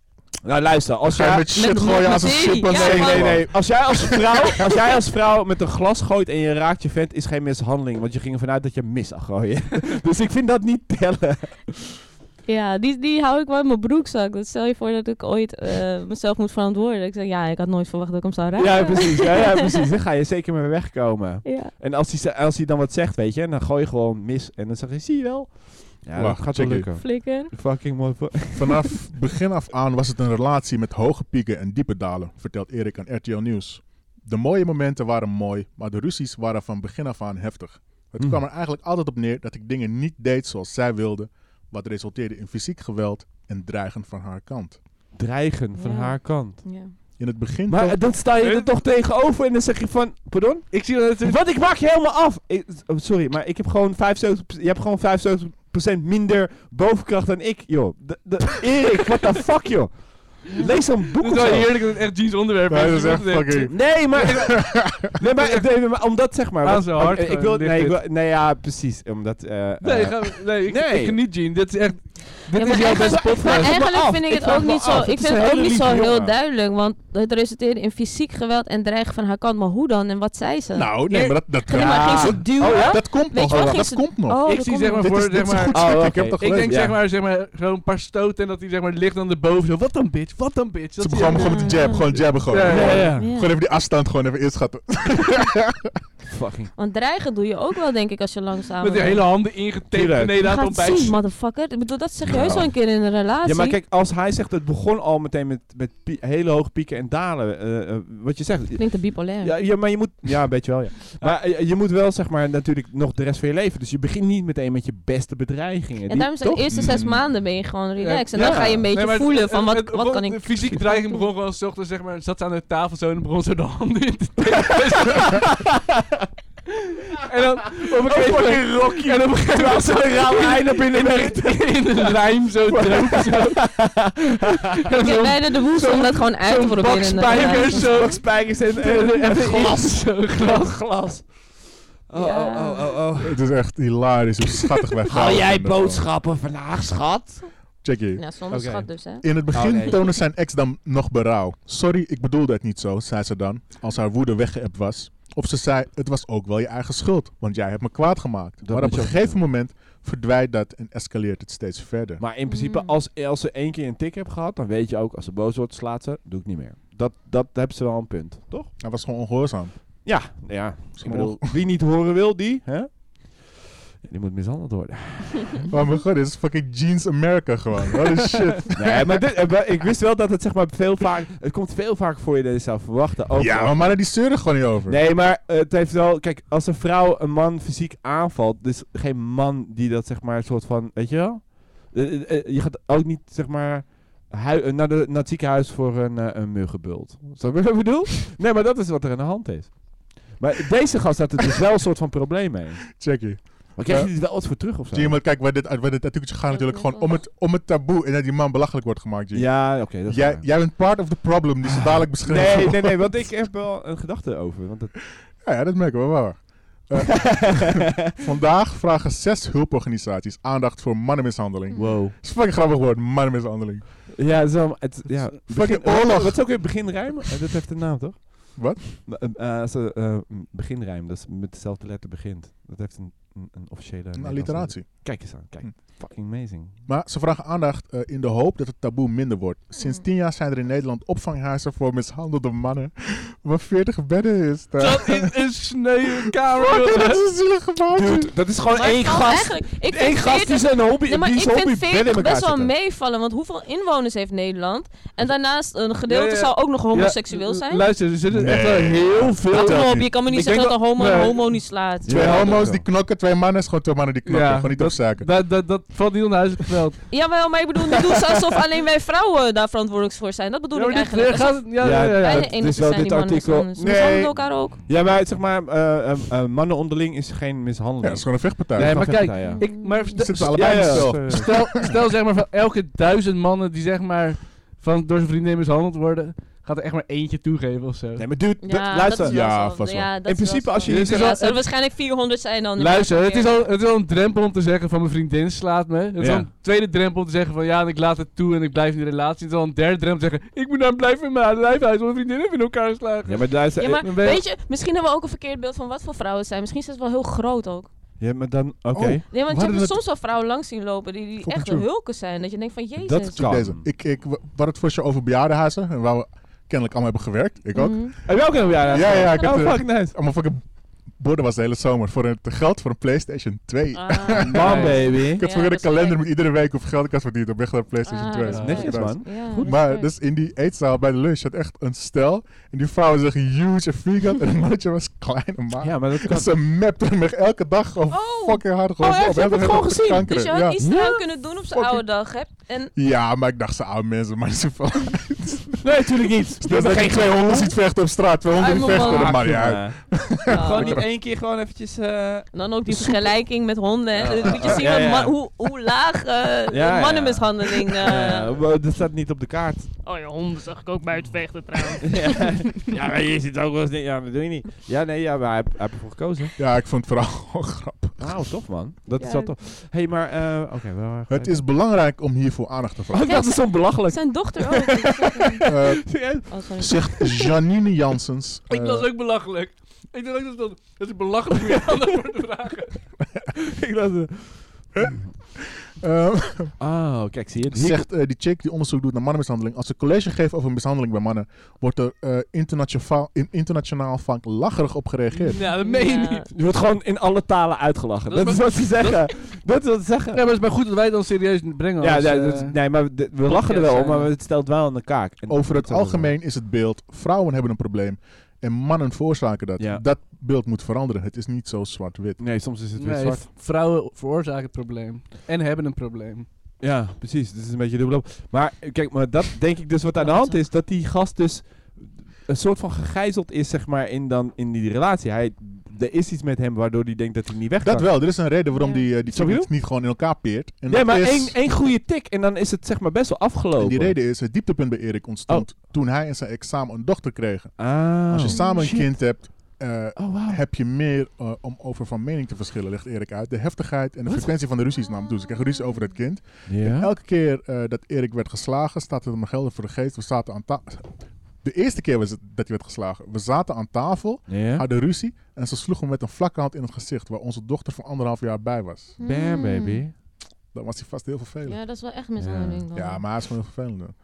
A: Nou luister, als
B: ga je
A: jij,
B: met shit
D: met-
B: gooien
D: met
B: als een
D: serie.
B: chimpansee.
D: Ja,
A: nee, nee,
B: gewoon.
A: nee. Als jij als vrouw, [LAUGHS] als jij als vrouw met een glas gooit en je raakt je vent, is geen mishandeling, want je ging ervan uit dat je mis zou gooien. [LAUGHS] dus ik vind dat niet tellen.
D: Ja, die, die hou ik wel in mijn broekzak. Dat stel je voor dat ik ooit eh, mezelf moet verantwoorden. Ik zeg, ja, ik had nooit verwacht dat ik hem zou raken.
A: Ja, precies. Ja, ja, precies. Dan ga je zeker mee wegkomen.
D: Ja.
A: En als hij, ze- als hij dan wat zegt, weet je, en dan gooi je gewoon mis en dan zeg je, zie je wel. Ja,
B: Wacht,
A: dat gaat wel
B: check
A: lukken.
D: Flikker.
A: Fucking mooi. [LAUGHS] vo-
B: Vanaf begin af aan was het een relatie met hoge pieken en diepe dalen, vertelt Erik aan RTL Nieuws. De mooie momenten waren mooi, maar de ruzies waren van begin af aan heftig. Het
A: Mm.
B: kwam er eigenlijk altijd op neer dat ik dingen niet deed zoals zij wilde, wat resulteerde in fysiek geweld en dreigen van haar kant.
A: Dreigen van
D: Ja.
A: haar kant.
D: Ja.
B: In het begin
A: Maar
B: toonde-
A: eh, dan sta je er
C: Huh?
A: toch tegenover en dan zeg je van... Pardon?
C: Ik zie dat het...
A: Wat, ik maak je helemaal af! Ik- oh, sorry, maar ik heb gewoon 75%, je hebt gewoon 75% minder bovenkracht dan ik, joh. De, de, Erik, what the fuck, joh. Lees een boek
C: Het is
A: of
C: wel
A: zo.
C: heerlijk dat het echt jeans onderwerp [LAUGHS]
B: Ja,
C: is.
B: dat is
C: Dus
B: echt
C: dat-
B: fucking...
A: Nee,
C: [LAUGHS]
A: maar... nee, maar, nee, maar omdat, zeg maar...
C: Aan
A: want-
C: zijn hart
A: oké, ik
C: gewoon,
A: wil,
C: ligt
A: nee, ik
C: dit.
A: wil- nee, ja, precies. Omdat... eh,
C: Nee,
A: eh,
C: ga- nee, ik,
A: Nee.
C: ik geniet Jean. Dit is echt... Dit
D: Ja,
C: is
D: maar
C: jouw
D: echt-
C: beste
D: Maar
A: vraag
C: podcast.
A: het me
D: eigenlijk
A: af.
D: vind ik
A: Ik
D: het
A: vraag
D: ook
A: me
D: niet zo,
A: af.
D: ik
A: Het is
D: vind
A: een
D: het ook
A: hele
D: niet zo
A: lieve
D: heel
A: jongen.
D: duidelijk, want het resulteerde in fysiek geweld en dreigen van haar kant. Maar hoe dan en wat zei ze?
B: Nou, nee,
A: Nee.
B: maar dat, dat,
D: Ja, maar ging ze duwen?
A: Oh, ja?
B: dat komt
D: Weet
B: nog.
D: je wel,
B: dat
D: ging ze-
B: komt nog.
D: Oh,
C: Ik
D: dat
C: zie
D: komt
C: zeg maar
D: nog.
B: Dit
C: voor,
B: is- dit
C: zeg
B: is een
C: maar...
B: goed
A: Oh,
B: stukje, ik
A: oké.
B: heb dat
A: Ik
C: [LAUGHS] Ik
B: gelezen.
C: denk zeg
A: Ja.
C: maar, zeg maar, gewoon een paar stoten en dat hij zeg maar ligt dan erboven. Zo, wat dan bitch, wat dan bitch. Dat eh,
B: Ze
C: is
B: begon
C: echt-
B: gewoon met de jab, gewoon jabben gewoon.
C: Ja, ja, ja.
A: eh,
D: Ja.
B: Gewoon even die afstand gewoon even inschatten.
A: Fucking.
D: Want dreigen doe je ook wel, denk ik, als je langzaam.
C: Met die hele handen ingetaped
A: Tuurlijk.
C: beneden aan
D: gaat
C: het
D: het zien,
C: ontbijt.
D: motherfucker. Ik bedoel, dat zeg je heus
A: Nou.
D: wel een keer in een relatie.
A: Ja, maar kijk, als hij zegt, het begon al meteen met, met pie- hele hoge pieken en dalen. eh, eh, wat je zegt,
D: Klinkt een bipolair.
A: Ja, ja, maar je moet... Ja, een beetje wel, ja. Maar eh, je, je moet wel, zeg maar, natuurlijk nog de rest van je leven. Dus je begint niet meteen met je beste bedreigingen.
D: en
A: Die-
D: daarom zijn de
A: toch?
D: eerste zes
B: Mm.
D: maanden ben je gewoon relaxed. En
A: Ja.
D: dan ga je een beetje
C: Nee, maar het-
D: voelen
C: het-
D: van wat,
C: het
D: wat
C: begon-
D: kan ik...
C: De
D: [LAUGHS]
C: fysieke dreiging begon gewoon s ochtends, zeg maar, zat ze aan de tafel zo en begon ze de handen in te tapen. en dan op een gegeven moment...
A: Oh, Rocky. En dan begint ze een rauwe ei naar binnen weg. [LAUGHS]
C: In een lijm zo droog. zo. En
D: Ik heb
C: zo'n-
D: bijna de woest om dat gewoon uit te
C: Zo'n bak
D: proberen. in de relatie.
C: spijkers zo.
A: Spijkers en, en, en [LAUGHS] glas. glas. glas. Oh,
D: Ja.
A: oh, oh, oh, oh.
B: Het is echt hilarisch hoe schattig wij
A: Haal
B: vrouwen
A: jij
B: vinden gewoon.
A: boodschappen vandaag, schat?
B: Check
C: eh,
B: hier.
D: Ja, zonder
A: Oké.
D: schat dus, hè.
B: In het begin
A: Oh, nee.
B: toonde zijn ex dan nog berouw. Sorry, ik bedoelde het niet zo, zei ze dan, als haar woede weggeëpt was. Of ze zei, het was ook wel je eigen schuld, want jij hebt me kwaad gemaakt.
A: Dat
B: maar
A: moet
B: op een
A: je ook
B: gegeven
A: doen.
B: moment verdwijnt dat en escaleert het steeds verder.
A: Maar in principe,
D: Mm.
A: als, als ze één keer een tik heb gehad, dan weet je ook, als ze boos wordt, slaat ze, doe ik niet meer. Dat, dat hebben ze wel een punt, toch?
B: Hij was gewoon ongehoorzaam.
A: Ja, ja. Ik
B: Sommige-
A: bedoel, wie niet horen wil, die, hè? Die moet mishandeld worden.
B: Oh mijn god, dit is fucking Jeans America gewoon. What
A: [LAUGHS]
B: is shit.
A: Nee, maar dit, eh, maar ik wist wel dat het zeg maar veel vaak, het komt veel vaker voor je dan je zou verwachten. Ook
B: ja, maar mannen die zeuren gewoon niet over.
A: Nee, maar eh, het heeft wel, kijk, als een vrouw een man fysiek aanvalt, dus geen man die dat zeg maar een soort van, weet je wel? Eh, eh, eh, je gaat ook niet zeg maar hui- eh, naar, de, naar het ziekenhuis voor een, eh, een muggenbult. Snap je wat ik [LAUGHS] bedoel? Nee, maar dat is wat er aan de hand is. Maar deze gast had er dus wel een soort van probleem mee.
B: Check hier.
A: Maar krijg je er wel wat voor terug of zo?
B: Zie je, maar kijk, waar dit, waar dit artikeltje gaat natuurlijk gewoon om het, om het taboe en dat die man belachelijk wordt gemaakt, Jean.
A: Ja, oké. dat is
B: Jij,
A: waar. Ah.
B: jij bent part of the problem die ze dadelijk beschrijven.
A: Nee, nee, nee, want ik heb wel een gedachte over. Want het- [LAUGHS]
B: Ja, ja, dat merken we wel. Eh, vandaag vragen zes hulporganisaties aandacht voor mannenmishandeling.
A: wow.
B: Dat is fucking grappig woord, mannenmishandeling.
A: Ja, zo, het, ja.
B: Fucking
A: Begin-
B: oorlog.
A: Wat is ook weer beginrijm? Eh, dat heeft een naam, toch?
B: Wat?
A: B- eh, eh, als, eh, eh, m, beginrijm, dat is met dezelfde letter begint. Dat heeft een, een, een officiële...
B: Een
A: Nederlandse-
B: Nou, alliteratie.
A: Kijk eens aan, kijk.
B: Hm.
A: Fucking amazing.
B: Maar ze vragen aandacht eh, in de hoop dat het taboe minder wordt. Sinds
D: Mm.
B: tien jaar zijn er in Nederland opvanghuizen voor mishandelde mannen. Waar 40 bedden is. daar.
C: [LAUGHS] Dat is een sneu kamer.
B: Fucking, [LAUGHS] dat is een zielig gebouwtje.
A: dat is gewoon
D: Maar het valt eigenlijk- ik
A: Eén
D: vind
A: gast die
D: 40
A: zijn hobby,
D: Nee, maar
A: die
D: ik
A: zijn hobby
D: vind
A: bed in
D: 40
A: elkaar
D: best wel
A: zetten.
D: meevallen, want hoeveel inwoners heeft Nederland? En daarnaast, een gedeelte
C: Ja, ja.
D: zou ook nog homoseksueel
C: Ja,
D: zijn.
C: Luister, er zitten echt wel
B: Nee.
C: heel
D: Kom
C: veel...
B: telt
D: op,
B: niet.
D: je kan me niet
C: Ik
D: zeggen
C: denk
D: dat een homo
C: Nee.
D: een homo niet slaat.
A: Ja.
B: Twee homo's
A: dat
B: die
A: wel.
B: knokken, twee mannen is gewoon twee mannen die knokken.
C: Ja,
B: gewoon niet
C: dat-
B: opzaken.
C: Dat, dat, dat valt niet onder huiselijk geweld.
D: Jawel, maar ik bedoel, nu doen ze alsof alleen wij vrouwen daar verantwoordelijk voor zijn. Dat bedoel
C: Ja, maar
D: ik
C: dit-
D: eigenlijk.
C: eh, gaat het- ja, ja, ja, ja.
D: Wij
A: dat
D: de
A: is
D: enige
A: wel
D: zijn die
A: dit
D: mannen
A: artikel.
D: mishandelen. Ze mishandelen
A: Nee.
D: elkaar ook.
A: Ja, maar zeg maar, eh, eh, eh, mannen onderling is geen
B: Ja, dat
A: mishandeling.
B: is gewoon een vechtpartij.
C: Nee, maar
A: Wacht even,
C: kijk,
A: ja.
C: ik, maar
B: Ze
C: stel,
B: zitten allebei
A: ja,
B: in
A: ja.
B: de cel.
A: Eh,
C: stel, stel zeg maar van elke duizend mannen die zeg maar van, door zijn vriendin mishandeld worden, gaat er echt maar eentje toegeven of zo.
A: Nee, maar dude,
D: Ja,
A: d-
D: dat
A: luister.
D: is wel
B: Ja,
D: zo.
B: vast wel.
D: Ja, dat
A: In
D: is wel
A: principe
D: zo.
A: als je
C: Dit
A: hier
C: is
A: zegt-
C: wel-
D: Ja, er zullen waarschijnlijk 400 zijn dan.
C: Luister, het is, al, het is al een drempel om te zeggen van mijn vriendin slaat me. Het is
A: Ja.
C: al een tweede drempel om te zeggen van ja, en ik laat het toe en ik blijf in die relatie. Het is al een derde drempel om te zeggen, ik moet nou blijven in mijn lijfhuis, want mijn vriendin heeft in elkaar geslagen.
A: Ja, maar luister.
D: Ja,
A: eh,
D: maar
C: Dan ben je-
D: weet je, misschien hebben we ook een verkeerd beeld van wat voor vrouwen het zijn. Misschien is het wel heel groot ook.
A: eh, Ja, maar dan, oké.
B: Oh,
D: Nee, want
B: We
D: je hebt
B: hadden
D: er
B: het-
D: soms wel vrouwen langs zien lopen die, die
B: Fucking
D: echt
B: true.
D: hulken zijn. Dat je denkt van, jezus.
A: Dat kan.
B: Deze. Ik, ik, we hadden het voor je over bejaardenhuizen. En waar we kennelijk allemaal hebben gewerkt. Ik ook.
A: [LAUGHS]
D: Mhm.
A: Heb jij ook een jaar?
B: Ja, ja, ik heb
A: Oh,
B: er-
A: fuck, nice.
B: Allemaal fucking borden was de hele zomer voor het geld voor een PlayStation 2.
D: Ah.
A: Bam, baby.
B: Ik had
D: Ja,
B: voor
D: dat
B: de
D: is
B: kalender
D: leuk.
B: met iedere week hoeveel geld ik had verdiend op weg naar de PlayStation
D: Ah,
B: 2.
D: dat
A: is
B: Ja,
A: netjes,
B: dat
A: man.
D: Ja,
A: Goed.
B: Maar dus in die eetzaal bij de lunch had echt een stel. En die vrouw was echt huge en vegan. en het mannetje was klein en maag.
A: Ja, maar dat
B: En
A: kan.
B: ze mepte hem echt elke dag gewoon
D: Oh.
B: fucking hard. Gewoon
A: Oh, echt?
B: op.
A: Je hebt het
B: Elke
A: gewoon
B: dag
A: gezien?
B: kankeren,
D: Dus je had
B: ja.
D: iets eraan kunnen doen op zijn
B: Fucking-
D: oude dag, hè? En
B: Ja, maar ik dacht ze oude mensen, maar ze van.
A: Nee, natuurlijk [LAUGHS] niet.
B: Dat is geen 200 ziet vechten op straat, 200
D: Uit mijn
B: vechten, dat
D: man.
B: maakt niet uit.
D: Ja.
E: Gewoon niet één keer gewoon eventjes... eh,
D: En dan ook die vergelijking met honden. hè.
E: Ja.
D: Moet je zien
A: Ja,
D: wat
A: ja.
D: man- hoe, hoe laag eh, de
A: ja.
D: mannenmishandeling... eh,
A: dat staat niet op de kaart.
D: Oh ja, honden zag ik ook bij het vechten trouwens.
A: [LAUGHS] ja, maar je zit ook wel eens... Ja, dat doe je niet. Ja, nee, ja, maar hij, hij heeft ervoor gekozen.
B: Ja, ik vond het vooral [LAUGHS] gewoon grappig.
A: Nou, tof man. Dat is
D: Ja.
A: wel tof. Hé, hey, maar... eh, Oké, wel erg
B: Het
A: leuk.
B: is belangrijk om hiervoor aandacht te
A: Oh,
B: vragen.
A: ik dacht, het is zo [LAUGHS] belachelijk.
D: Zijn dochter ook. Ik zag hem.
B: Eh,
D: Oh, sorry.
B: zegt Janine
E: [LAUGHS]
B: Janssens.
E: ik
B: eh,
E: was ook belachelijk. Ik dacht ook dat dat, dat is
A: [LAUGHS]
E: belachelijk om je aandacht voor te vragen.
A: ik dacht, eh,
B: eh,
A: oh, kijk, zie je het? [LAUGHS] Hier-
B: zegt eh, die chick die onderzoek doet naar mannenmishandeling. Als ze college geeft over mishandeling bij mannen, wordt er eh, internationaal, in- internationaal vaak lacherig op gereageerd.
E: Nou, dat meen je
D: Ja.
E: niet.
A: Je wordt gewoon in alle talen uitgelachen.
E: Dat is
A: Dat is wat ze zeggen. Dat is wat ze zeggen.
C: Ja, maar het is maar goed dat wij het dan serieus brengen.
A: Ja,
C: als,
A: nee,
C: eh,
A: dat is- nee, maar de- we lachen er wel om, maar het stelt wel aan de kaak. En
B: Over het
A: dat is wel-
B: algemeen is het beeld, vrouwen hebben een probleem en mannen veroorzaken dat.
A: Ja.
B: Dat beeld moet veranderen. Het is niet zo zwart-wit.
A: Nee, soms is het weer
C: nee,
A: zwart.
C: v- vrouwen veroorzaken het probleem. En hebben een probleem.
A: Ja, precies. Het is een beetje dubbelop. Maar eh, kijk, maar dat denk ik dus wat aan de hand is. Dat die gast dus een soort van gegijzeld is, zeg maar, in, dan, in die relatie. Hij, er is iets met hem waardoor hij denkt dat hij niet weg
B: Dat
A: kan.
B: wel, er is een reden waarom
D: Ja.
B: die, eh, die
A: Snap
B: chick
A: je?
B: het niet gewoon in elkaar peert. En
A: Nee,
B: dat
A: maar
B: is-
A: één, één goede tik en dan is het zeg maar best wel afgelopen.
B: En die reden is, het dieptepunt bij Erik ontstond
A: Oh.
B: toen hij en zijn ex samen een dochter kregen.
A: Ah.
B: Als je samen een
A: Shit.
B: kind hebt, eh,
A: Oh, wauw.
B: heb je meer eh, om over van mening te verschillen, legt Erik uit. De heftigheid en de
A: Wat?
B: frequentie van de ruzies nam toe. Ze kregen ruzie over het kind.
A: Ja.
B: Elke keer eh, dat Erik werd geslagen, staat het hem helder voor de geest. We zaten aan tafel. De eerste keer was het dat hij werd geslagen. We zaten aan tafel,
A: Ja.
B: hadden ruzie en ze sloeg hem met een vlakke hand in het gezicht waar onze dochter van anderhalf jaar bij was.
D: Mm.
A: Bam, baby.
B: Dan was hij vast heel vervelend. Ja,
D: Hmm. Ja, dat is wel echt mishandeling dan.
B: maar hij is gewoon heel vervelend. hoor.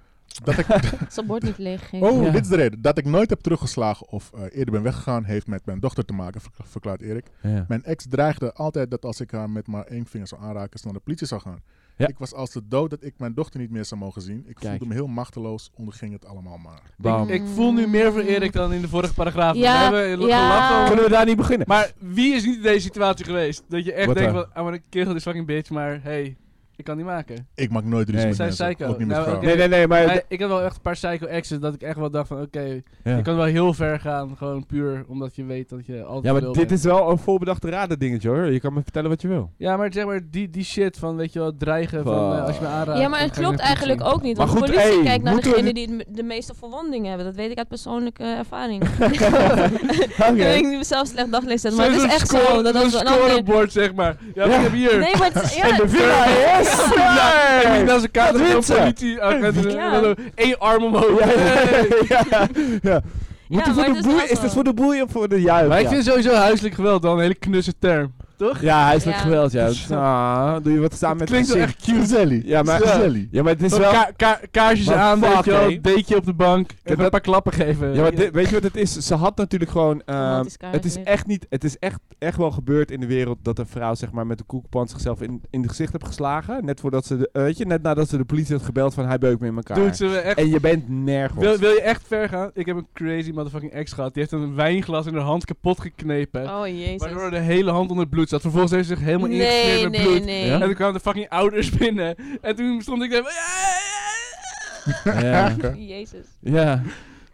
B: Dat
A: [LAUGHS]
B: ik,
D: Zijn bord niet leeg ging.
B: Oh,
A: Ja.
B: dit is de reden. Dat ik nooit heb teruggeslagen of eh, eerder ben weggegaan, heeft met mijn dochter te maken, verk- verklaart Erik.
A: Ja.
B: Mijn ex dreigde altijd dat als ik haar met maar één vinger zou aanraken, ze naar de politie zou gaan.
A: Ja.
B: Ik was als de dood dat ik mijn dochter niet meer zou mogen zien. Ik
A: Kijk.
B: voelde me heel machteloos, onderging het allemaal maar.
A: Bam.
C: Ik voel nu meer voor Erik dan in de vorige paragraaf.
D: Ja,
C: We hebben
D: ja.
C: gelachen.
A: Kunnen we daar niet beginnen?
C: Maar wie is niet in deze situatie geweest? Dat je echt
A: Wat
C: denkt
A: dan?
C: van, ah, maar een kerel is fucking bitch, maar hey, ik kan niet maken.
B: Ik maak nooit ruzie met
A: Nee.
C: Zij
B: mensen,
C: psycho.
B: ook niet met
C: Nou,
B: vrouwen.
A: nee, nee, nee, maar...
C: Maar ik had wel echt een paar psycho exes dat ik echt wel dacht van, oké,
A: Ja.
C: je kan wel heel ver gaan, gewoon puur omdat je weet dat je altijd
A: Ja, maar
C: lul
A: dit
C: bent.
A: is wel een voorbedachte raden dingetje hoor. Je kan me vertellen wat je wil.
C: Ja, maar zeg maar, die, die shit van, weet je wel, dreigen van,
A: Wow.
C: eh, als je me aanraakt.
D: Ja, maar
C: dan
D: het
C: ga ik naar
D: klopt
C: de
D: eigenlijk
C: politie.
D: ook niet.
A: Maar
D: Want de
A: goed,
D: politie
A: hey,
D: kijkt naar
A: moeten we
D: degene die het me- de meeste verwondingen hebben. Dat weet ik uit persoonlijke
A: [LAUGHS]
D: ervaring. [LAUGHS]
A: Oké.
D: Ik weet niet mezelf slecht daglicht zetten, maar
C: Zo'n
D: het is echt zo.
C: score-
D: Dat als
C: zo'n
D: een ander...
C: scorebord, zeg maar. Ja,
A: Ja.
C: ik heb hier.
D: Nee, maar het is...
A: [LAUGHS] En
D: Ja,
A: de winnaar is...
D: [LAUGHS]
C: En ik naast elkaar
A: Dat
C: dat
A: wint
C: de
A: ze.
C: politie. ah, en dan-
D: Ja.
C: en dan Eén arm omhoog.
A: Ja,
C: Hey.
A: ja, ja. Moet
D: maar
A: voor
D: het
A: de
D: is
A: boei,
D: wel
A: is
D: zo.
A: dat voor de boei of voor de juich?
C: Maar ik
A: ja.
C: vind sowieso huiselijk geweld wel een hele knusse term. Toch?
A: ja, hij is ja.
D: Ja.
A: geweld, ja. Ah, doe je wat samen met
C: Klinkt wel
A: gezin.
C: echt
B: Gezelli.
A: Ja, maar-
B: Gezelli.
A: Ja, maar het is
C: Zo
A: wel...
C: ka- ka- kaarsjes
A: Maar
C: aan,
A: fuck,
C: weet je
A: hé.
C: wel, deetje op de bank. Even
A: dat-
C: een paar klappen geven.
A: Ja, maar dit- weet je wat het is? Ze had natuurlijk gewoon... ehm,
D: Romantisch
A: het is
D: kaartje.
A: echt niet... Het is echt, echt wel gebeurd in de wereld dat een vrouw zeg maar met de koekenpan zichzelf in, in het gezicht heeft geslagen. Net voordat ze de... eh, weet je, net nadat ze de politie had gebeld van hij beukt me in elkaar.
C: Doet ze me echt...
A: En je bent nergens.
C: Wil, wil je echt ver gaan? Ik heb een crazy motherfucking ex gehad. Die heeft een wijnglas in haar hand kapot geknepen.
D: Oh, jezus.
C: Waardoor de hele hand onder het bloed zat. Vervolgens heeft ze zich helemaal
D: Nee,
C: ingesmeerd met bloed.
D: nee, nee.
A: Ja?
C: En
D: [LAUGHS]
C: toen kwamen de fucking ouders binnen. En toen stond ik daar van...
A: Ja.
D: Jezus.
A: ja.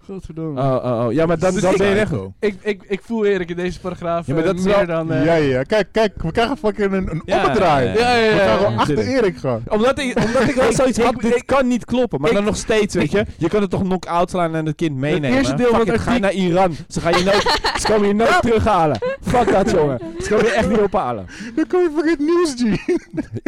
C: Godverdomme.
A: Oh, oh, oh. Ja, maar dan,
C: Dus
A: dan
C: ik-
A: ben je weg.
B: Psycho.
C: Ik, ik, ik voel Erik in deze paragraaf
A: Ja, maar
C: eh,
A: dat is
C: meer
A: wel-
C: dan... eh,
B: Ja, ja, ja. Kijk, kijk, we krijgen fucking een, een
A: Ja,
B: opdraai.
A: ja,
C: ja, ja,
B: We gaan
C: ja.
B: gewoon achter
A: Tuurlijk.
B: Erik gaan.
A: Omdat ik, omdat ik wel zoiets had, dit kan niet kloppen. Maar
C: ik-
A: dan nog steeds, weet
C: ik-
A: je. Je kan het toch knock-out slaan en het kind meenemen.
C: eerste deel van
A: Fuck
C: het
A: it, ga je naar Iran. Ze gaan je nooit, ze komen je nooit terughalen. Fuck [LAUGHS] dat, jongen. Ze komen je echt niet ophalen.
B: Dan kom je fucking het nieuws, G.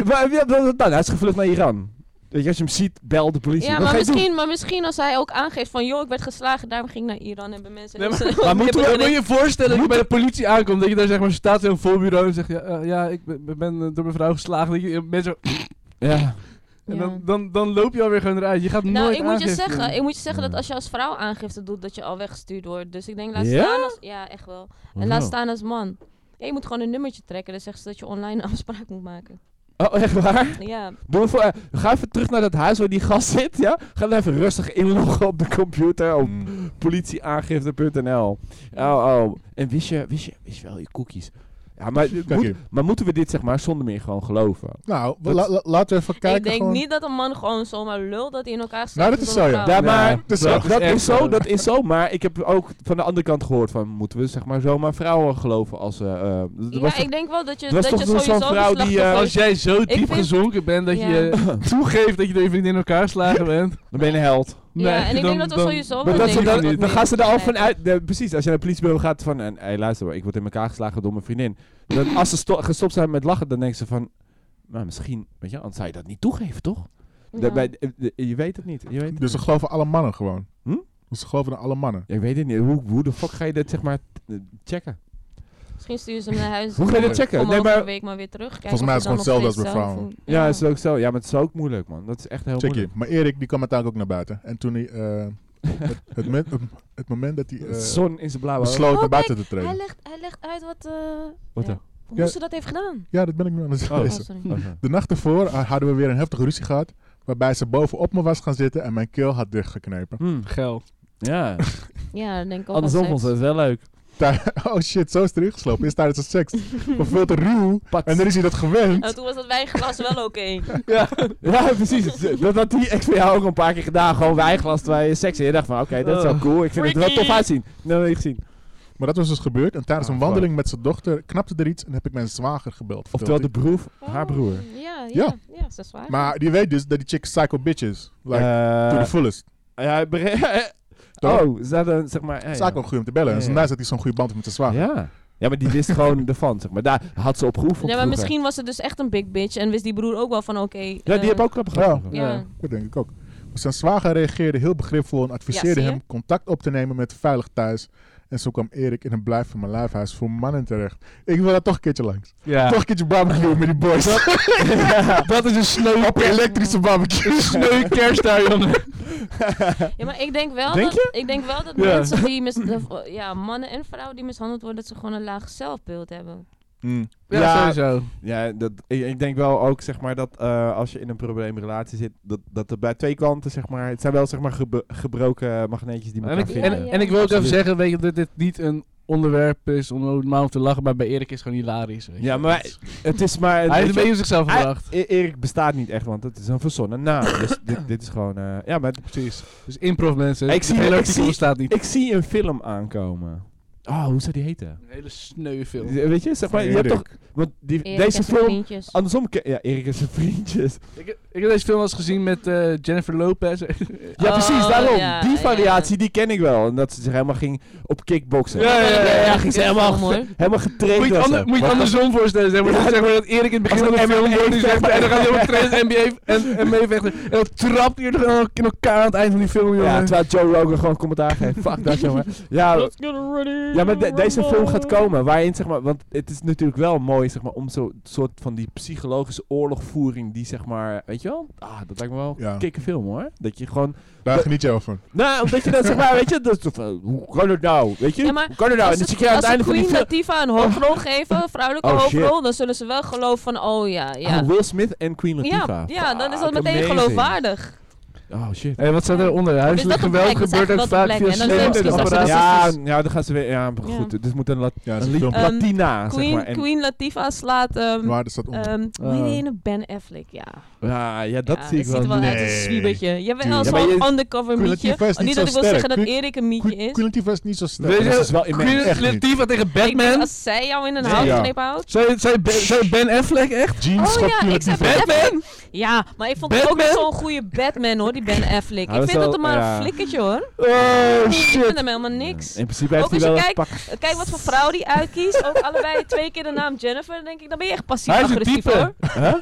A: Maar ja, wat dan? Hij is gevlucht naar Iran. Weet je, als je hem ziet, bel de politie.
D: Ja,
A: Wat
D: maar
A: ga je doen?
D: misschien, maar misschien als hij ook aangeeft van... joh, ik werd geslagen, daarom ging ik naar Iran en bij mensen...
C: Nee, maar-
D: Ik
A: Maar
D: heb
A: moeten we-
D: het
C: Dan moet je
D: gericht.
C: je voorstellen dat je bij de politie aankomt. Dat je daar zeg maar staat in een voorbureau en zegt... Ja, eh, ja ik ben, ben, eh, door mijn vrouw geslagen. Dat je mensen...
A: [LAUGHS] Ja. Nou,
C: En
D: Ja.
C: dan, dan, dan loop je alweer gewoon eruit. Je gaat
D: Nou,
C: nooit
D: ik moet, je
C: aangifte
D: zeggen,
C: doen.
D: ik moet je zeggen dat
A: Ja.
D: als je als vrouw aangifte doet, dat je al weggestuurd wordt. Dus ik denk, laat
A: Ja?
D: staan als... Ja, echt wel. En laat staan als man. Ja, je moet gewoon een nummertje trekken. Dan zeggen ze dat je online een [LAUGHS] afspraak moet maken.
A: Oh, echt waar?
D: Ja.
A: Doe voor, eh, ga even terug naar dat huis waar die gast zit, ja? Ga dan even rustig inloggen op de computer op
B: Mm.
A: politieaangifte.nl. Oh, oh. En wist je, wist je, wist je wel je cookies? Ja, maar,
B: Kijk
A: moet-
B: hier.
A: maar moeten we dit zeg maar zonder meer gewoon geloven?
B: Nou, we-
A: Dat-
B: la- la- laten we even kijken.
D: ik denk
B: gewoon.
D: niet dat een man gewoon zomaar lul dat hij in elkaar staat.
B: Nou, dat is zo, ja.
A: Oh, Ja,
C: Ja,
A: maar
C: dat is
A: dat, dat
C: echt
A: is zo,
C: zo.
A: dat is zo. Maar ik heb ook van de andere kant gehoord van... moeten we zeg maar zomaar vrouwen geloven als ze... eh, eh, dat
D: Ja,
A: was
D: ik denk wel dat je,
A: dat was toch
D: dat je
A: zo'n
D: sowieso
A: vrouw die,
D: slachtoffer
A: eh,
D: wordt.
C: Als jij zo diep
D: vind-
C: gezonken bent dat
D: Ja.
C: je [LAUGHS] toegeeft dat je door je vriendin in elkaar geslagen bent.
A: toch- dan ben je een held.
D: Ja, en ik
C: dan-
D: denk dat we
C: dan-
D: sowieso wel
A: Maar dat ze
D: denken
A: dan,
D: dat
A: dan
D: we-
A: gaan ze er al
D: Nee.
A: van uit... de- precies, als je naar het politiebureau gaat van... En, hey, luister hoor, ik word in elkaar geslagen door mijn vriendin. Dan, als ze sto- gestopt zijn met lachen, dan denken ze van... Nou, misschien, weet je, anders zou je dat niet toegeven, toch?
D: Ja.
A: Daarbij- eh, eh, je weet het niet. Je weet het
B: Dus ze
A: niet.
B: geloven alle mannen gewoon.
A: Hm?
B: Dus ze geloven aan alle mannen.
A: Ik weet het niet. Hoe, hoe de fuck ga je dit, zeg maar, eh, checken?
D: Misschien sturen ze hem naar huis.
A: Hoe ga je dat checken?
D: Kom
A: Nee,
D: over
A: maar-
D: een week maar weer terug. Kijken
B: Volgens mij
D: of
B: is het
D: dan
B: gewoon
D: nog
B: hetzelfde als
D: steeds
B: bij
D: zo
B: vrouwen.
D: voelt.
A: Ja, is het ook zo. Ja, maar het is ook moeilijk, man. Dat is echt heel
B: Check je.
A: moeilijk.
B: Maar Erik, die kwam uiteindelijk ook naar buiten. En toen hij... eh, het, het, men- het moment dat hij eh,
A: De zon in zijn blauwe
B: besloot
D: Oh,
B: naar buiten te
D: Hij
B: treden.
D: legt, hij legt uit wat, eh,
A: Wat
D: ja,
A: dan?
D: hoe
B: Ja.
D: ze dat heeft gedaan.
B: Ja, dat ben ik nu aan het
A: Oh.
D: Oh,
B: lezen.
D: sorry.
A: ogen.
B: De nacht ervoor eh, hadden we weer een heftige ruzie gehad. Waarbij ze bovenop me was gaan zitten en mijn keel had dichtgeknepen. [LAUGHS]
A: Hmm,
C: Geil.
A: Ja,
D: Ja, dan denk ik ook aan
A: andersom
D: seks.
A: vond ze het wel leuk.
B: Tij- oh shit, zo is het erin geslopen. Is tijdens de seks. Maar veel te ruw. En dan is hij dat gewend.
D: Nou, toen was dat wijnglas wel oké.
A: [LAUGHS] Ja, precies. Dat had die ex van jou ook een paar keer gedaan. Gewoon wijnglas terwijl je seks in. Je dacht van, oké, dat is wel
C: Oh.
A: cool. Ik vind het wel
D: Freaky.
A: tof uitzien. Dat heb ik gezien.
B: Maar dat was dus gebeurd. En tijdens
A: Ah,
B: een wandeling met zijn dochter knapte er iets en heb ik mijn zwager gebeld.
A: Oftewel
B: vertelt
A: de
B: hij.
A: broer, haar broer.
D: Oh, Ja,
B: Ja.
D: ja. Ja, dat is waar.
B: Maar die weet dus dat die chick psycho bitch is. Like, to the
A: Eh,
B: fullest.
A: ja, [LAUGHS] bre-
B: Toch?
A: oh, is dat een, zeg maar... ja, ja.
B: Psycho goed om te bellen.
A: Ja,
B: En zo
A: ja.
B: nice dat hij zo'n goede band heeft met zijn zwager.
A: Ja. Ja, maar die wist gewoon ervan, zeg maar. Daar had ze op geoefend
D: ja, maar
A: vroeger.
D: misschien was het dus echt een big bitch en wist die broer ook wel van oké.
A: Ja, die
D: eh,
A: hebben ook grappen gehad.
B: Ja.
A: [LAUGHS]
D: Ja.
B: Dat denk ik ook. Maar zijn zwager reageerde heel begripvol en
D: Ja,
B: adviseerde
D: zie je?
B: hem contact op te nemen met Veilig Thuis. En zo kwam Erik in een blijf van mijn lijfhuis voor mannen terecht. Ik wil daar toch een keertje langs.
C: Ja.
B: Toch een keertje barbecue met die boys.
A: [LAUGHS]
C: Dat is een sneu,
B: op een elektrische barbecue.
C: sneu kerst daar, jongen.
D: Ja, maar ik denk wel
A: Denk
D: dat, ik denk wel dat
C: Ja.
D: mensen die mis, de- ja, mannen en vrouwen die mishandeld worden, dat ze gewoon een laag zelfbeeld hebben.
A: Hm.
B: Mm.
C: Ja,
A: Ja.
C: sowieso.
A: Ja, dat, ik, ik denk wel ook zeg maar dat eh, als je in een probleemrelatie zit, dat, dat er bij twee kanten zeg maar, het zijn wel zeg maar gebe- gebroken magneetjes die
C: En
A: elkaar
C: ik,
A: vinden.
C: en, en ik wil ook even
A: Absoluut.
C: zeggen, weet je, dat dit niet een onderwerp is om over de maan om te lachen, maar bij Erik is het gewoon hilarisch. weet je.
A: ja, maar het is maar.
C: hij heeft een
A: weet
C: beetje
A: je,
C: op zichzelf
A: hij-
C: gebracht.
A: E- Erik bestaat niet echt, want het is een verzonnen
C: [COUGHS]
A: naam. dus dit, dit is gewoon. eh, ja, maar
C: Precies. Dus improv mensen.
A: Ik
C: Het
A: zie-
C: hele
A: ik
C: artikel
A: zie-
C: bestaat niet.
A: ik zie een film aankomen. Oh, hoe zou die heten?
C: Een hele sneu film.
A: Weet je, zeg maar, je hebt toch.
B: Erik.
A: Want die,
D: Erik
A: deze
D: en zijn
A: film. Oh,
D: vriendjes.
A: Andersom, ke- ja, Erik en zijn vriendjes.
C: Ik, ik heb deze film al eens gezien met eh, Jennifer [LAUGHS] Lopez.
A: Ja,
D: Oh,
A: precies, daarom.
D: ja,
A: die
D: ja.
A: variatie, die ken ik wel. En dat ze zich helemaal ging op kickboksen.
C: Ja, ja, ja, ja.
A: ging ze
D: Ja,
A: helemaal,
D: wel mooi.
A: ge- helemaal getraind
C: Moet je
A: was
C: het, ander-
A: ze.
C: moet je het
A: Maar-
C: andersom voorstellen? Zeg maar,
A: Ja.
C: dat, zeg maar dat Erik in het begin
A: Als
C: van
A: een
C: de film
A: MMA
C: wordt
A: [LAUGHS]
C: die zegt,
A: vechter.
C: en dan gaat hij over trainen NBA en, en meevechten. En dan trapt hij er gewoon in elkaar aan het eind van die film, jongen.
A: Ja, terwijl Joe Rogan gewoon commentaar [LAUGHS] geeft. Fuck dat, jongen. Ja, ja maar de- deze film gaat komen. Waarin, zeg maar, want het is natuurlijk wel mooi, zeg maar, om zo'n soort van die psychologische oorlogvoering, die zeg maar, weet je wel? Ah, dat lijkt me wel
B: Ja.
A: een kikke film hoor. Dat je gewoon,
B: Daar geniet jij wel van.
A: nou, omdat je dan zeg maar, weet je, dat is toch van, hoe kan het nou? Weet je,
D: Ja, maar
A: hoe kan het nou? En dan
D: Als, het,
A: zit je aan het
D: als
A: einde
D: de
A: van die
D: Queen
A: film.
D: Latifah een hoofdrol geven, een vrouwelijke
A: Oh, shit.
D: hoofdrol, dan zullen ze wel geloven van, oh ja, ja.
A: Ah, Will Smith en Queen
D: ja,
A: Latifah.
D: ja, dan is dat
A: Fuck,
D: meteen
A: amazing.
D: geloofwaardig.
A: Oh shit.
C: Hé, wat staat eronder?
D: dat
C: Huiselijk
D: een plek?
C: geweld
D: Dat is
C: gebeurt ook
D: eigenlijk
C: vaak
D: wel
C: via
D: een plek. En dan
A: Ja,
D: zijn ze
C: slimme
D: misschien zelfs
C: apparaten.
A: ja,
D: racistisch.
A: ja, dan gaan ze weer. Ja, maar goed. Dus het moet een, lat,
B: Ja,
A: een
B: zo'n
A: lied-
B: film.
D: Ehm,
A: Latina, zeg
D: Queen,
A: maar. En,
D: Queen Latifah slaat, ehm
B: Waar dat staat onder.
D: ehm, hoe heet die ene? Ben Affleck, ja.
A: ja, ja, dat
D: ja,
A: zie ik
D: ziet
A: wel.
D: er wel uit als
B: Nee.
D: een zwiebertje. Jawel,
B: Tuurlijk.
A: Ja, maar
D: zo'n
A: je-
D: undercover
B: Queen
D: mietje.
B: Latifah is
D: Oh,
B: niet
D: niet
B: zo
D: dat ik wil
B: sterk.
D: zeggen dat
B: Queen-
D: Erik een mietje
B: Queen
D: is.
B: Queen Latifah is niet zo snel.
C: Weet je-
A: Dat is wel
C: Queen
A: immens.
B: Echt niet.
C: Latifah tegen
D: Ik denk,
C: Batman.
D: als zij jou in een
B: Nee.
D: houtknip houdt.
C: Zij zij- zij Ben Affleck echt?
B: Jeans
D: Oh
B: schop
D: ja,
B: Queen
D: ik zei
B: Latifah.
D: Ben-
C: Batman?
D: Ja, maar ik vond het ook
C: Batman?
D: niet zo'n goede Batman hoor, die Ben Affleck.
A: Hij
D: ik
A: was
D: vind
A: Nou, wel-
D: dat hem maar
A: ja.
D: een flikkertje hoor.
A: Oh
D: Ik
A: shit.
D: vind hem helemaal niks.
A: In principe heeft
D: Ook
A: hij
D: als
A: wel
D: je
A: een pak.
D: Kijk wat voor vrouw die uitkiest. Ook allebei twee keer de naam Jennifer. Dan denk ik, dan ben je echt
C: Hij is een
D: passief-agressief
C: type.
D: hoor.
A: Huh?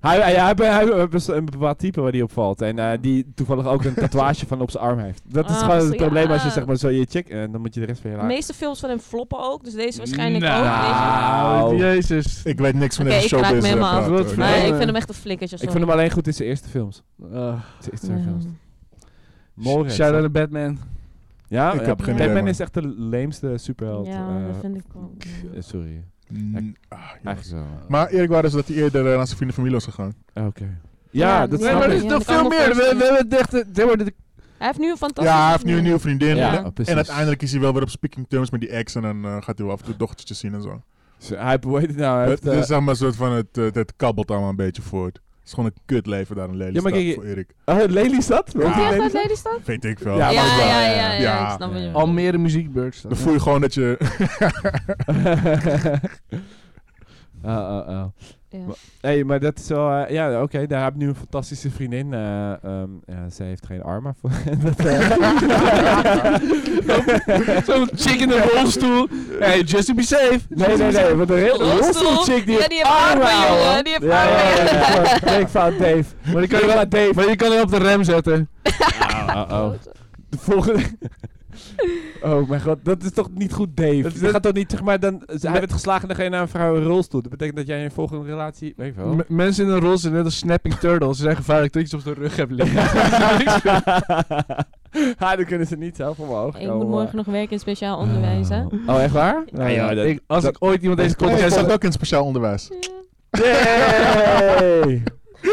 A: Hij, hij, hij, hij- hij heeft een bepaald type waar die op valt. En eh, die toevallig ook
D: [LAUGHS]
A: een tatoeage van op zijn arm heeft. Dat is
D: Ah,
A: gewoon het
D: zo,
A: probleem
D: ja.
A: als je zeg maar zo je chick... en dan moet je de rest van je
D: De
A: laten.
D: meeste films van hem floppen ook, dus deze waarschijnlijk
C: Nou.
D: ook. Deze...
A: Wauw.
C: Oh, Jezus.
B: Ik weet niks van
D: Oké,
B: deze
D: ik raak
B: showbiz.
D: me
B: eh,
D: helemaal af.
B: praten,
C: Wat
B: hoor.
C: voor-
D: Maar
C: Nee,
D: ik
C: eh,
D: vind hem echt een flikkertje.
A: Ik vind hem alleen goed in zijn eerste films.
C: Ah,
A: Zijn eerste
D: Ja.
A: films. Moorhead.
C: Shout out to Batman.
A: Ja,
B: Ik
A: ja,
B: heb
D: geen idee,
A: Batman
B: man.
A: is echt de leemste superheld.
D: Ja,
A: eh,
D: dat vind ik ook. ja.
A: eh, sorry.
B: Mm, ah, ja.
A: Eigenlijk zo.
B: Maar Erik waren ze dat hij eerder eh, naar zijn vrienden en familie was gegaan.
A: Oké.
D: Ja,
A: Ja, dat
D: nee,
A: snap
C: Nee, maar
D: ik.
C: er
A: ik.
C: is
D: Ja,
C: nog
D: dat
C: veel
D: kan me
C: meer. We, we
D: voorstellen.
C: hebben echt... eh, zeg maar, dit-
D: Hij heeft nu een fantastische...
B: Ja, hij heeft nu een nieuwe vriendin.
A: Ja,
B: hè?
A: precies.
B: En uiteindelijk is hij wel weer op speaking terms met die ex. En dan eh, gaat hij wel af en toe dochtertjes zien en zo.
A: Zo, Hij heeft, hoe heet het nou? Hij
B: Het
A: heeft, eh,
B: is zeg maar een soort van, het, eh, het kabbelt allemaal een beetje voort. Het is gewoon een kut leven daar in Lelystad
A: maar kijk,
B: voor Erik.
A: oh, Lelystad? Woont
B: Ja.
A: hij in
D: Komt hij echt uit
A: Lelystad?
D: Lelystad?
B: Weet ik veel.
A: Ja,
D: Ja,
A: maar
D: ja,
A: ook wel,
D: ja,
A: ja,
D: ja,
B: ja.
D: ik snap wat je
A: Ja.
D: bedoelt.
C: Almere muziekbeurs.
B: Dan voel je gewoon dat je...
A: oh, [LAUGHS] oh, oh.
D: Ja.
A: Hey, maar dat is wel... eh, ja, oké. daar heb ik nu een fantastische vriendin. eh ehm, ja, zij heeft geen armen. Voor, [LAUGHS] dat, eh.
C: [LAUGHS] Zo'n chick in de rolstoel. Hey, just to be safe.
A: Nee, nee, nee. Want een heel
D: Rolstoel?
A: rolstoel chick die
D: Ja,
A: heeft
D: die heeft armen,
A: hoor.
D: jongen, die heeft
A: ja, ja, ja,
D: armen.
A: ja,
D: [LAUGHS]
A: ja. Nee, ik fout, Dave.
C: Maar je kan hem wel- maar je kan hem op de rem zetten.
A: Oh, oh. De volgende... oh mijn god, dat is toch niet goed, Dave? Dat, gaat toch niet, zeg maar, dan... Hij werd geslagen en dan ga je naar een vrouw in een rolstoel. Dat betekent dat jij in je volgende relatie... Weet ik wel.
C: M- mensen in een rol zijn net als snapping turtles. Ze zijn gevaarlijk dat je ze op de rug hebt
B: [LAUGHS]
A: [LAUGHS]
C: liggen.
A: ha, dan kunnen ze niet zelf omhoog
D: Ik moet morgen nog werken in speciaal onderwijs, hè?
A: Oh, echt waar?
D: Ja,
A: ja, dat-
C: Ik- als
A: dat-
C: ik ooit
B: [LAUGHS]
C: iemand deze
B: Kom, jij
C: podcast...
B: zat ook in speciaal onderwijs.
A: Yay!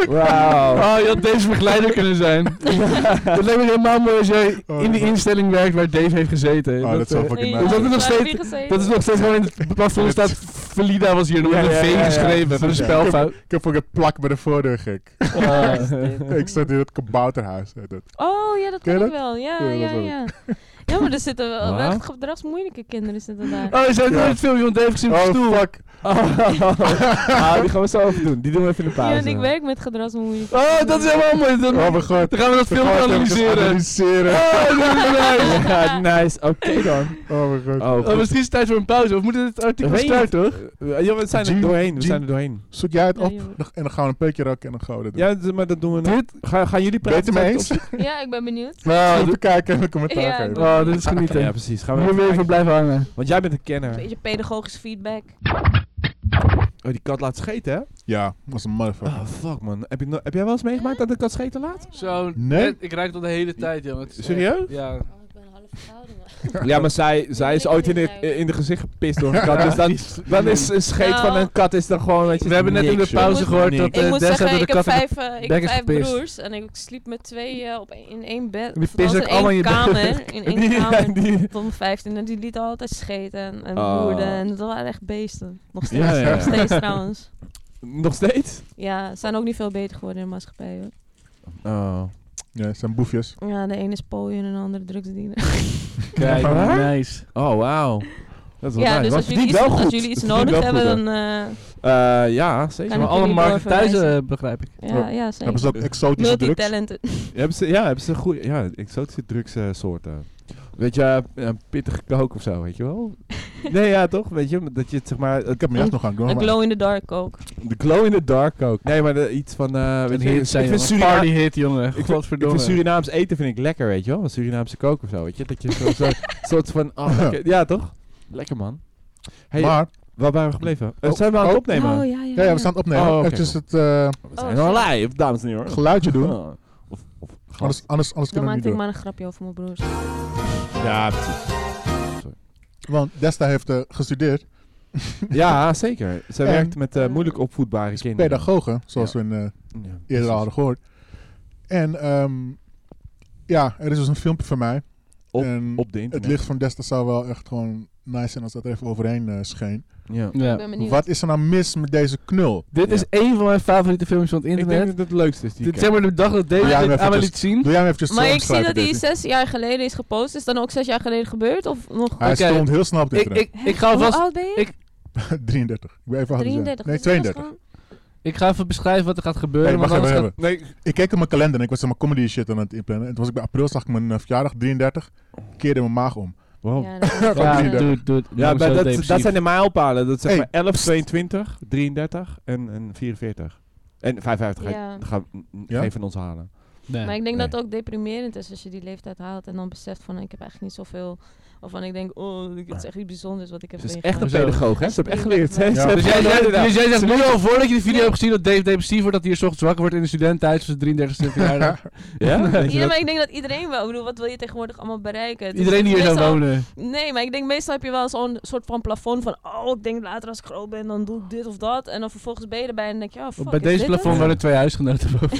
A: Wauw.
C: Oh, je had deze begeleider kunnen
A: [LAUGHS]
C: zijn. Het lijkt me helemaal mooi als jij
B: Oh,
C: in die
B: ja.
C: instelling werkt waar Dave heeft gezeten.
B: Oh, dat
C: eh,
B: zou fucking
D: Nee,
B: nice
C: dat is nog
D: daar heb
C: steeds-
D: je gezeten.
C: dat is nog steeds gewoon in het plafond staat. Valida was hier nog
A: Ja,
C: met een
A: ja,
C: V
A: ja, ja.
C: geschreven. Voor een
B: Ja.
C: spelfout.
B: Ik heb ook een plak bij de voordeur, gek.
D: Ja, is [LAUGHS] dit.
B: [LAUGHS] ik zat in het kabouterhuis. heet het.
D: Oh, ja, dat
B: Ken je
D: kan ik
B: dat?
D: wel. Ja,
B: Ja, dat
D: ja,
B: ook.
D: ja. Ja, maar er zitten wel
A: Wat?
D: echt gedragsmoeilijke kinderen zitten daar.
C: Oh, je zei
B: Ja.
C: nooit het filmpje van Dave gezien
A: Oh,
C: op de stoel.
B: fuck.
A: Ah, die gaan we zo over doen. Die doen we even in de
D: Ja,
A: pauze.
D: en ik werk met gedragsmoeilijke
C: Oh, dat is helemaal mooi. Dan,
B: Oh mijn god.
C: dan gaan we dat
B: We
C: filmpje
B: gaan het even
C: analyseren.
B: analyseren.
A: Ah.
C: Oh, dat is
D: [LAUGHS]
C: nice.
A: Ja, nice. Oké [LAUGHS] dan.
B: Oh mijn god.
A: Oh,
C: Oh,
A: goed.
C: misschien is het tijd voor een pauze. Of moeten we het artikel
A: Weet je-
C: sluiten, toch?
A: Eh, ja, we zijn er
B: Jean-
A: doorheen. We
B: Jean-
A: zijn er doorheen.
B: Zoek jij het
D: Ja,
B: op
D: joh.
B: nog- en dan gaan we een peukje roken en dan gaan we dat doen.
A: Ja, d- maar dat doen we nog. Ga, gaan jullie praten?
B: Weet je me
A: met- [LAUGHS]
B: eens?
A: op-
D: Ja, ik ben benieuwd.
B: Nou, even kijken en een commentaar
D: Ja,
B: geven.
C: Oh, dit is
A: Ja, ja,
C: genieten.
A: precies. Gaan
C: Hier
A: we
C: weer even blijven hangen.
A: Want jij bent een
D: Een
A: kenner.
D: beetje pedagogisch feedback.
A: Oh, die kat laat scheten, hè?
B: Ja, was een motherfucker.
A: Oh, fuck, man. Heb, je no- heb jij wel eens meegemaakt dat een kat scheten laat?
E: Zo,
B: Nee?
E: net- ik ruik dat de hele tijd, jongen. Het is
A: Serieus?
E: echt- Ja.
D: Oh,
F: ik ben half verhouden.
A: Ja, maar zij, zij is ooit in de, in de gezicht gepist door een kat. Dus
C: [LAUGHS]
A: dan, dan is een scheet
D: Nou.
A: van een kat is dan gewoon... Weet je,
C: We hebben net in de
A: niks, joh.
C: pauze
D: Ik
C: gehoord
A: moet-
C: dat
D: ik
C: eh,
D: moet
C: Des
D: zeggen,
C: door de
D: ik heb
C: kat... in de-
D: vijf, eh, ik
C: bek is
D: heb vijf
C: gepist.
D: broers en ik sliep met twee eh, op één- in één bed.
C: Die
D: Of althans
C: pissen ook
D: in
C: allemaal
D: één
C: in je [LAUGHS]
D: kamer. In één
A: Die-
D: kamer.
A: [LAUGHS] die-
D: Tot mijn vijftiende. Die lieten altijd scheten en, en
A: Ah.
D: roerden. En dat waren echt beesten. Nog steeds.
A: Ja, ja, ja.
D: Nog steeds trouwens.
A: Nog steeds?
D: Ja, ze zijn ook niet veel beter geworden in de maatschappij hoor.
A: Oh.
B: Ja, het zijn boefjes.
D: Ja, de ene is pooien en de andere drugsdealer.
C: Kijk,
A: Waar?
C: nice.
A: Oh, wauw. Dat is wel
D: [LAUGHS] Ja,
A: nice.
D: dus
A: Maar
D: als jullie,
A: verdient
D: iets,
A: wel
D: als
A: goed.
D: jullie iets
A: Dat verdient
D: nodig
A: wel goed,
D: hebben,
A: hè.
D: dan... eh,
A: Eh, ja, zeker.
D: Kan
C: Maar
D: ik
C: alle
D: jullie
C: markten thuis
D: doorverwijzen?
C: eh, begrijp ik.
D: ja, ja,
B: Hebben ze
D: zeker.
B: ook exotische drugs?
D: Multitalented.
A: Hebben ze, ja, hebben ze goede, ja, exotische drugssoorten. Weet je, eh, pittige kook of zo, weet je
D: [LAUGHS]
A: wel? nee, ja, toch? Weet je, dat je het zeg maar...
B: Ik heb mijn jas nog aan. ik doe
D: Een
B: nog maar.
D: [LAUGHS] glow in the dark ook.
A: De glow in the dark ook. Nee, maar de- iets van... eh, weet je, ik vind Surina-
C: party hit, jongen.
A: Ik vind, ik vind Surinaams eten vind ik lekker, weet je wel. Surinaamse kook of zo, weet je. Dat je zo'n zo, soort van... ah, lekker- ja, toch? Lekker, man. Hey,
B: Maar,
A: waar waren we gebleven? Eh, zijn we aan
B: Oh,
A: het
B: oh.
A: opnemen?
D: Oh, ja, ja.
B: ja, ja, we staan het opnemen.
A: Oh, oké,
B: Eventjes het eh,
A: We zijn al live, dames en heren.
B: geluidje doen.
A: Ah, Of, of glas.
B: Anders, anders, anders
D: Dan
B: kunnen we het
D: maakte ik
B: niet doen.
D: maar een grapje over mijn broers.
A: Ja, precies.
B: Want Desta heeft eh, gestudeerd.
A: Ja, zeker. Zij
B: En-
A: werkt met eh, moeilijk opvoedbare kinderen.
B: Pedagogen, zoals
A: Ja.
B: we in, eh,
A: Ja,
B: eerder al
A: precies.
B: hadden gehoord. En ehm, ja, er is dus een filmpje van mij.
A: Op-
B: en
A: Op de
B: het
A: internet.
B: licht van Desta zou wel echt gewoon nice zijn als dat er even overheen eh, scheen.
A: Ja.
D: Ik ben benieuwd.
B: Wat is er nou mis met deze knul?
C: Dit is één van mijn favoriete films van het
A: Ik denk
C: internet.
A: dat het leukste is die
C: Dit
A: ik
C: zeg maar de dag dat Dave
B: Ja,
C: dit
B: maar even
C: aan me
B: dus-
C: liet zien.
B: Doe jij hem eventjes
D: Maar ik zie
B: omschrijven,
D: dat die
B: Davy?
D: zes jaar geleden is gepost. Is dan ook zes jaar geleden gebeurd? Of nog...
B: Hij
C: Oké.
B: stond heel snel op dit
C: Ik,
B: internet.
C: ik, ik, ga
D: Hoe
C: alvast,
D: oud ben je?
C: ik-
B: [LAUGHS] 33. Ik ben even hard aan het zeggen. Nee,
D: 33. Dus dat is
B: 32.
D: gewoon-
C: ik ga even beschrijven wat er gaat gebeuren.
B: Hey, wacht
C: want
B: even,
C: anders
B: even. Ik keek op mijn kalender en ik was aan mijn comedy shit aan het inplannen. En toen was ik bij april, zag ik mijn eh, verjaardag 33. Keerde mijn maag om.
A: Wow.
B: [LAUGHS]
D: Ja, dat is-
B: Van
C: gaat-
B: drie
C: Ja,
D: ja.
B: dertig.
C: doe het, doe het.
A: Ja,
C: Noem
A: maar
C: zo
A: dat,
C: depressief.
A: dat zijn de mijlpalen. Dat is zeg
B: Hey,
A: maar 11,
B: pst.
A: 22, 33 en, en 44. En 55 ga ik-
D: Ja.
A: gaan we n-
B: Ja?
A: geen van ons halen.
C: Nee.
D: Maar ik denk
A: Nee.
D: dat het ook deprimerend is als je die leeftijd haalt en dan beseft van ik heb eigenlijk niet zoveel. Of van ik denk, oh, het is echt iets bijzonders wat ik heb
A: Ze is echt
D: meegemaakt.
A: een pedagoog, hè? Ze heeft echt geleerd. hè?
D: Ja.
A: Ze
B: Dus
A: heeft
C: Dus jij,
A: echt
C: jij-
A: geleerd.
C: dus jij zegt nu al voordat je de video hebt gezien dat Dave depressief wordt, dat hij hier 's ochtends wakker wordt in de studententijd van zijn 33ste verjaardag.
A: Ja? Denk je
D: Ja,
A: dat-
D: maar ik denk dat iedereen wel. Ik bedoel, wat wil je tegenwoordig allemaal bereiken? Het is
C: Iedereen die hier zou
D: meestal-
C: wonen.
D: Nee, maar ik denk meestal heb je wel zo'n soort van plafond van... Oh, ik denk later als ik groot ben, dan doe ik dit of dat. En dan vervolgens ben je erbij en denk je... Oh, fuck,
C: Bij
D: is
C: deze
D: dit
C: plafond
D: het?
C: waren twee huisgenoten boven.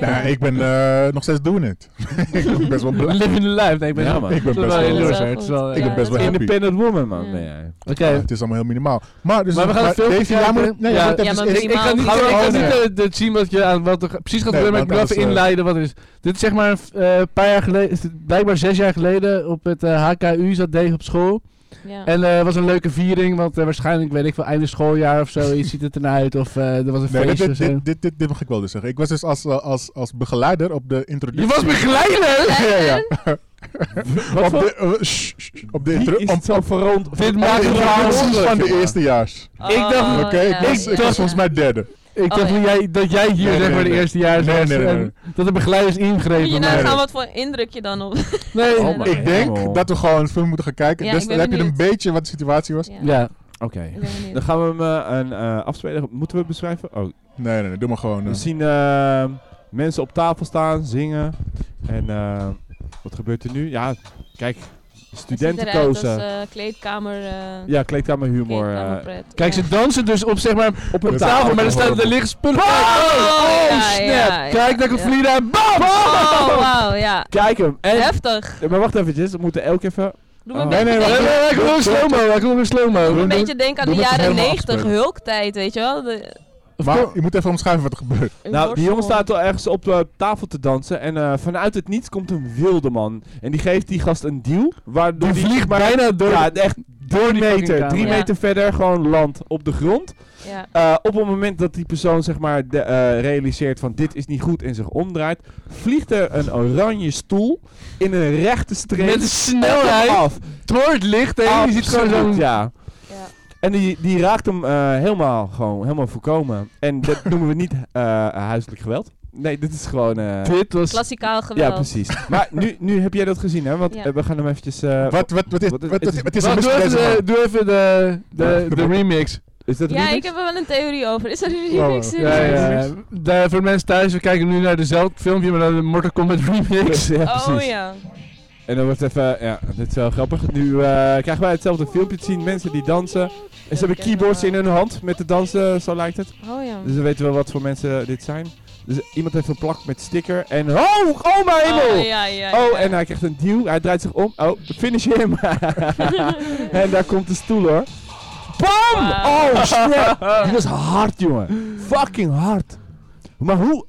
B: Ja, ik ben eh, nog steeds doen het. [LAUGHS] ik ben best wel blij.
C: Living the life. Nee, ik ben
A: Ja, man.
B: Ik ben
C: Dat is
B: best
C: wel
B: wel
C: heel
D: Dat
C: erg,
D: is
C: hè.
D: wel
C: Het is wel, eh,
D: goed.
B: Ik ben best wel
D: Ja,
B: happy.
A: Independent woman, man.
D: Ja.
A: ben jij.
C: Oké.
B: Ja, het is allemaal heel minimaal. Maar, dus
C: Maar we gaan het filmpje
B: Dave, jij
C: kijken.
B: moet, nee,
C: Ja.
B: jij moet
D: Ja,
B: even-
D: maar
B: ik- ik
D: minimaal.
B: kan
C: Ik
B: niet
C: ga
D: Gaan we
B: zeggen-
D: ook
C: ik kan
B: oh,
C: niet
B: nee.
C: eh, het zien wat je aan wat er precies gaat
B: Nee,
C: gebeuren, maar ik
B: want
C: wil even
B: anders, eh,
C: inleiden wat er is. Dit is zeg maar een eh, paar jaar geleden, blijkbaar zes jaar geleden, op het eh, HKU zat Dave op school.
D: Ja.
C: En eh, was een leuke viering, want eh, waarschijnlijk, weet ik wel, einde schooljaar of zo, iets ziet het ernaar uit. Of eh, er was een
B: Nee, dit,
C: feestje
B: dit,
C: of zo.
B: dit, dit, dit mag ik wel dus zeggen. Ik was dus als, eh, als, als begeleider op de
C: Je
B: introductie.
C: was begeleider!
B: Ja, ja.
A: Wat
B: op
A: voor-
B: de, eh, shh, shh, op de, intro,
A: Wie is
B: op,
A: het zo verroond?
C: Dit
B: op
C: maakt
B: de
C: het verhaal
B: introducties
C: ongelooflijk,
B: van de
A: jongen.
B: eerstejaars.
C: ik dacht-
B: Oké, ik
D: Oh, ja,
B: was,
D: ja,
B: ik was
D: ja.
B: volgens mij derde.
C: Ik
D: Oh,
C: dacht
D: ja.
C: dat jij, dat jij hier
B: Nee,
C: zeg maar
B: nee,
C: de
B: nee.
C: eerste jaar
B: Nee,
C: was
B: nee, nee,
C: en
B: nee.
C: dat de begeleiders ingrepen.
D: Moet
C: maar-
D: je
B: Nee,
D: nagaan
B: nee.
D: wat voor indruk je dan op...
C: nee.
A: Oh, maar-
B: Ik
A: Hemel.
B: denk dat we gewoon een film moeten gaan kijken.
D: Ja,
B: dus
D: ik
B: dan
D: ben
B: heb je een
D: benieuwd.
B: beetje wat de situatie was.
D: Ja.
C: Ja.
A: Oké.
D: Ik ben benieuwd.
A: Dan gaan we hem eh, een, eh, afspelen. Moeten we het beschrijven? Oh,
B: Nee, nee, nee. Doe maar gewoon. eh.
A: We zien eh, mensen op tafel staan, zingen. En eh, wat gebeurt er nu? Ja, kijk,
D: Het ziet
A: studenten
D: eruit als,
A: kozen.
D: eh, kleedkamer... eh,
A: ja, kleedkamer humor. eh,
D: kleedkamerpret.
C: Kijk,
D: Ja.
C: ze dansen dus op zeg maar
A: op
B: Ja.
A: een
C: tafel,
A: tafel,
C: maar er, staat, er liggen spullen. Oh, oh,
D: ja,
C: snap!
D: ja, ja.
C: Kijk, daar komt
D: Ja.
C: Frida. Bam!
D: Oh, wauw, ja.
A: Kijk hem. En,
D: Heftig.
A: maar wacht eventjes, we moeten elk even...
D: Doe me
A: Oh.
D: een
B: Nee,
D: beetje
B: nee, wacht.
C: Nee, nee, nee, ik wil een slow-mo. Ik wil een
D: Doe me
C: slow-mo.
D: een
B: Doe-
D: beetje denken aan
B: doe
D: de
B: het
D: jaren
B: helemaal
D: 90,
B: afspelen.
D: hulktijd, weet je wel? De,
B: Maar je moet even omschrijven wat er gebeurt.
A: Nou, die jongen
D: worstel.
A: staat al ergens op de tafel te dansen. En eh, vanuit het niets komt een wilde man. En die geeft die gast een deal. Waardoor
C: Die
A: die,
C: vliegt bijna door.
A: ja, echt drie
C: die fucking
A: meter,
C: kamer.
A: drie
D: Ja.
A: meter verder gewoon land op de grond.
D: Ja.
A: Eh, op het moment dat die persoon zeg maar de, eh, realiseert van dit is niet goed en zich omdraait, vliegt er een oranje stoel in een rechte streep
C: Met een snelheid. Ah,
A: af.
C: Door het licht heen. Je ziet gewoon
A: Absoluut,
C: zo'n...
A: ja.
D: Ja.
A: En die, die raakt hem eh, helemaal, gewoon, helemaal voorkomen. En dat [LAUGHS] noemen we niet eh, huiselijk geweld. Nee, dit is gewoon... eh,
C: Dit was...
D: Klassikaal geweld.
A: ja, precies. Maar nu, nu heb jij dat gezien, hè? Want
D: Ja.
A: eh, we gaan hem eventjes... eh,
B: Wat, wat, wat is,
A: Wat
B: wat,
A: is-
B: wat,
A: het is-
B: wat is er
C: Wacht,
B: mis
C: doe
B: met deze
C: even,
B: man?
C: de, doe even de, de,
B: Ja.
C: de remix.
A: is dat
D: Ja,
A: remix? [LAUGHS]
D: ik heb er wel een theorie over. Is dat een
B: Oh,
D: remix?
B: ja,
C: Ja, ja, ja.
A: remix.
C: De- voor de mensen thuis, we kijken nu naar dezelfde filmpje, maar naar de Mortal Kombat remix.
A: Ja,
D: Oh
A: precies.
D: ja.
A: En dan wordt het even, ja, dit is wel grappig. Nu eh, krijgen wij hetzelfde filmpje te zien, mensen die dansen. En ze hebben keyboards in hun hand met de dansen, zo lijkt het.
D: Oh eh, ja.
A: Dus we weten wel wat voor mensen dit zijn. Dus iemand heeft een plak met sticker en oh, oh mijn hemel!
D: Oh, ja, ja, ja.
A: Oh, en hij krijgt een duw, hij draait zich om. Oh, finish him! en daar komt de stoel hoor. BAM!
D: Wauw.
A: Oh, snap! Dat is hard, jongen. Fucking hard. Maar hoe,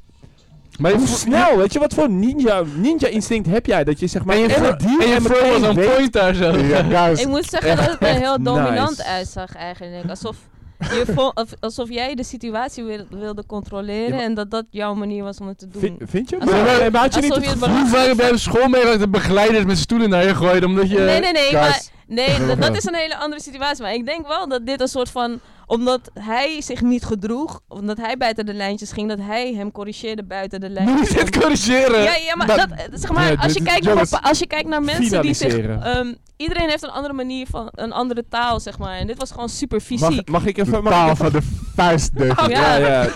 C: Maar je
A: hoe
C: vo-
A: snel, weet je, wat voor ninja, ninja instinct heb jij? Dat je zeg maar...
C: En je
A: en
C: vro-
A: het dier
C: en je
A: en
C: vrouw was
A: meteen
C: aan
A: weet-
C: point daar zo.
B: Ja, guys.
D: Ik moet zeggen dat het er heel
A: echt
D: dominant
A: [LAUGHS] nice.
D: uitzag eigenlijk. Alsof, je vo- of- alsof jij de situatie wil- wilde controleren
A: Ja, maar-
D: en dat dat jouw manier was om het te doen.
A: Vind, vind je?
D: Alsof-
A: Maar, maar, maar had je niet
D: alsof
A: het
D: je het
A: gevoel-
D: maar-
C: Hoe vaak heb je op school meegemaakt dat begeleiders met stoelen naar je gooiden omdat je...
D: Nee, nee, nee.
B: Guys.
D: Maar, nee,
A: [LAUGHS]
D: dat- dat is een hele andere situatie. Maar ik denk wel dat dit een soort van... Omdat hij zich niet gedroeg, omdat hij buiten de lijntjes ging, dat hij hem corrigeerde buiten
A: [LAUGHS]
D: de lijntjes.
C: Moet je het corrigeren?
D: Ja, ja maar,
B: Maar-
D: dat, eh, zeg maar
A: Nee,
D: als, je
A: dit-
D: kijkt naar,
A: jongens,
D: bepa- als je kijkt naar mensen die zich...
A: finaliseren.
D: ehm, iedereen heeft een andere manier van... Een andere taal, zeg maar. En dit was gewoon super fysiek.
A: Mag, mag ik
B: De
A: even... Mag ik
B: taal
A: even-
B: van de vuist,
D: Oh,
B: Dave.
A: ja, ja.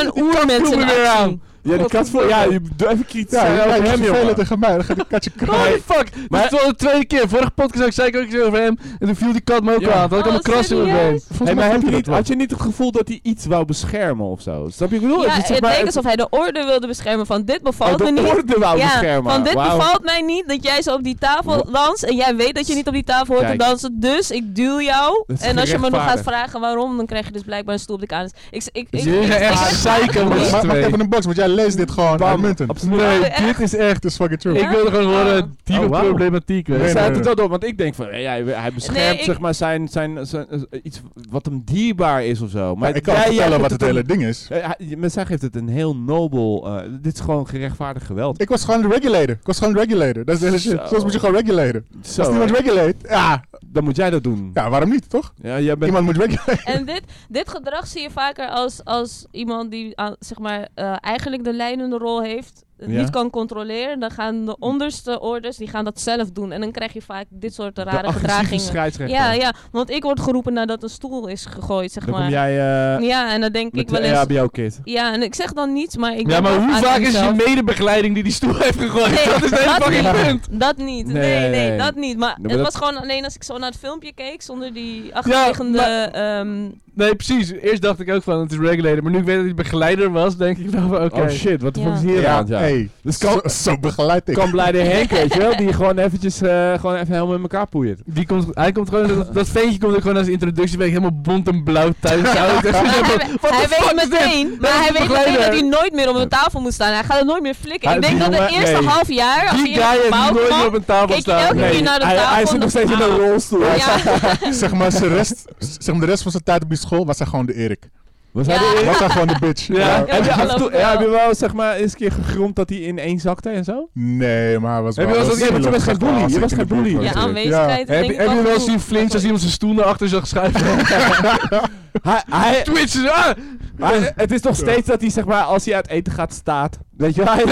A: [LAUGHS]
D: een oermens in
C: weer
D: actie.
C: aan.
A: Ja, die kat voor... Ja, je doe even kritisch
B: Ja,
A: zijn
B: ja,
A: over
B: ja,
A: hem,
B: ja,
A: jongen.
B: tegen mij. Dan gaat die katje
C: Holy
B: kraaien.
C: fuck!
A: Maar-
C: Maar, dit is wel de tweede keer. Vorige podcast zei ik ook iets over hem. En toen viel die kat me ook
A: Ja.
C: aan. Toen had ik
D: Oh,
C: allemaal kras in mijn been.
D: serieus?
A: Hey,
B: Volgens
A: maar
B: mij
A: heb je
B: doet
A: niet,
B: dat wel.
A: had je niet het gevoel dat hij iets wou beschermen of zo? Snap je? Ik bedoel,
D: Ja,
A: het is zeg
D: het
A: maar...
D: leek alsof hij de orde wilde beschermen van dit
A: oh,
D: bevalt me
A: de
D: niet.
A: orde wou
D: ja,
A: beschermen.
D: van dit
A: Wauw.
D: bevalt mij niet dat jij zo op die tafel danst en jij weet dat je niet op die tafel hoort
A: Kijk.
D: te dansen, dus ik duw jou.
A: Dat is
D: En als je me nog gaat
A: gerechtvaardigd.
D: vragen waarom, dan krijg je dus blijkbaar een stoel op de kanus. Ik, ik, ik,
C: Jullie
D: ik-
C: zijn
D: ik-
C: echt
D: ik-
C: zeiken
B: Maar-
C: met
B: maar-
C: z'n
B: Wacht
C: tweeën.
B: even een box, want jij leest dit gewoon
A: Bam.
B: aan munten.
A: Absoluut.
C: Nee,
D: echt?
C: dit is echt...
B: Het is fucking true.
C: Ik wilde gewoon horen, die
A: Oh, wauw.
C: problematiek.
A: Ik
C: weet je.
B: Nee,
A: zei
B: nee,
A: het
B: nee.
A: wel door, want ik denk van, ja, hij, hij beschermt
D: Nee, ik-
A: zeg maar zijn, zijn, zijn, eh, iets wat hem dierbaar is of zo. Maar
B: Maar ik kan
A: jij- jij
B: vertellen
A: hebt
B: wat het
A: een-
B: hele ding is.
A: Eh, hij- Maar zij geeft het een heel nobel... eh, dit is gewoon gerechtvaardigd geweld.
B: Ik was gewoon de regulator. Ik was gewoon de regulator. Dat is de hele shit.
A: Zo.
B: Soms moet je gewoon regulator.
A: Zo,
B: Als niemand
A: hè.
B: regulate, ja,
A: dan moet jij dat doen.
B: Ja, waarom niet, toch?
A: Ja, jij bent...
B: Iemand moet weg.
D: [LAUGHS] En dit, dit gedrag zie je vaker als, als iemand die aan, zeg maar, eh, eigenlijk de leidende rol heeft, het
A: Ja.
D: niet kan controleren. Dan gaan de onderste orders die gaan dat zelf doen. En dan krijg je vaak dit soort
A: de
D: rare
A: agressieve
D: gedragingen.
A: scheidsrechter.
D: Ja, ja, want ik word geroepen nadat een stoel is gegooid, zeg
A: Dan kom
D: maar.
A: jij eh,
D: ja, en dan denk ik
A: met
D: wel
A: de
D: eens.
A: EHBO-kit.
D: Ja, en ik zeg dan niets, maar ik.
C: Ja,
D: denk
C: maar
D: wel
C: hoe
D: aan
C: vaak is je [LAUGHS]
D: mezelf.
C: medebegeleiding die die stoel heeft gegooid?
D: Nee,
C: dat is de hele fucking
D: niet.
C: punt.
D: Dat niet. Nee,
A: Nee,
D: nee,
A: nee, nee.
D: dat niet. Maar
A: maar
D: het
A: dat-
D: was gewoon alleen als ik zo naar het filmpje keek, zonder die achterliggende...
C: maar-
D: ehm,
C: Nee, precies. Eerst dacht ik ook van, het is regulator. Maar nu ik weet dat hij begeleider was, denk ik nou van, oké.
A: Oh shit, wat de
D: Ja.
A: fuck is hier aan? het, Ja.
B: hey,
A: Dus
B: zo,
A: kan,
B: zo begeleid ik.
A: kan blij de Henk, weet je wel? Die gewoon eventjes eh, gewoon even helemaal in elkaar poeiert.
C: Die komt, hij komt gewoon, dat, dat ventje komt ook gewoon als introductie, ben ik helemaal bont en blauw thuis.
D: [LAUGHS]
C: Hij [LAUGHS]
D: maar hij, hij weet meteen, maar
C: is
D: hij
C: een
D: weet meteen
C: begeleider.
D: dat hij nooit meer op een tafel moet staan. Hij gaat het nooit meer flikken.
A: Hij-
D: ik denk
A: die
D: dat het
A: jongen-
D: eerste
A: nee.
D: half jaar, als
C: Die
D: je
C: guy
D: iemand
C: heeft nooit meer
D: kwam,
C: op een tafel
D: keek je
C: staan.
D: elke keer naar de
A: hij,
D: tafel.
A: hij zit
D: en
A: nog
D: dan-
A: steeds in
D: Ah.
A: een rolstoel. Hij
D: Ja,
A: staat-
B: [LAUGHS] Zeg maar, zijn rest, zeg maar, de rest van zijn tijd op die school was hij gewoon de Erik.
A: Was hij
D: Ja.
A: de
B: Was hij gewoon de bitch.
A: [LAUGHS] Ja,
D: Ja,
A: heb, je
D: ik
A: af en toe,
D: geloof
A: ja,
D: wel.
A: heb je wel zeg maar eens een keer gegrond dat hij in één zakte en zo?
B: Nee, maar hij was
A: Heb je
B: wel...
A: wel eens- ja, want je
B: was
A: bent geen bully, je was geen bully.
D: Ja,
C: Heb,
D: aanwezigheid. denk ik
C: heb je wel eens zien
D: genoeg.
C: flinch als iemand zijn stoel naar achter zag
D: [LAUGHS]
C: schuiven?
A: Hij, hij,
C: Twitchen, ah!
A: hij- [LAUGHS] het is nog steeds dat hij zeg maar als hij uit eten gaat staat. Weet je wel? [LAUGHS] Hij,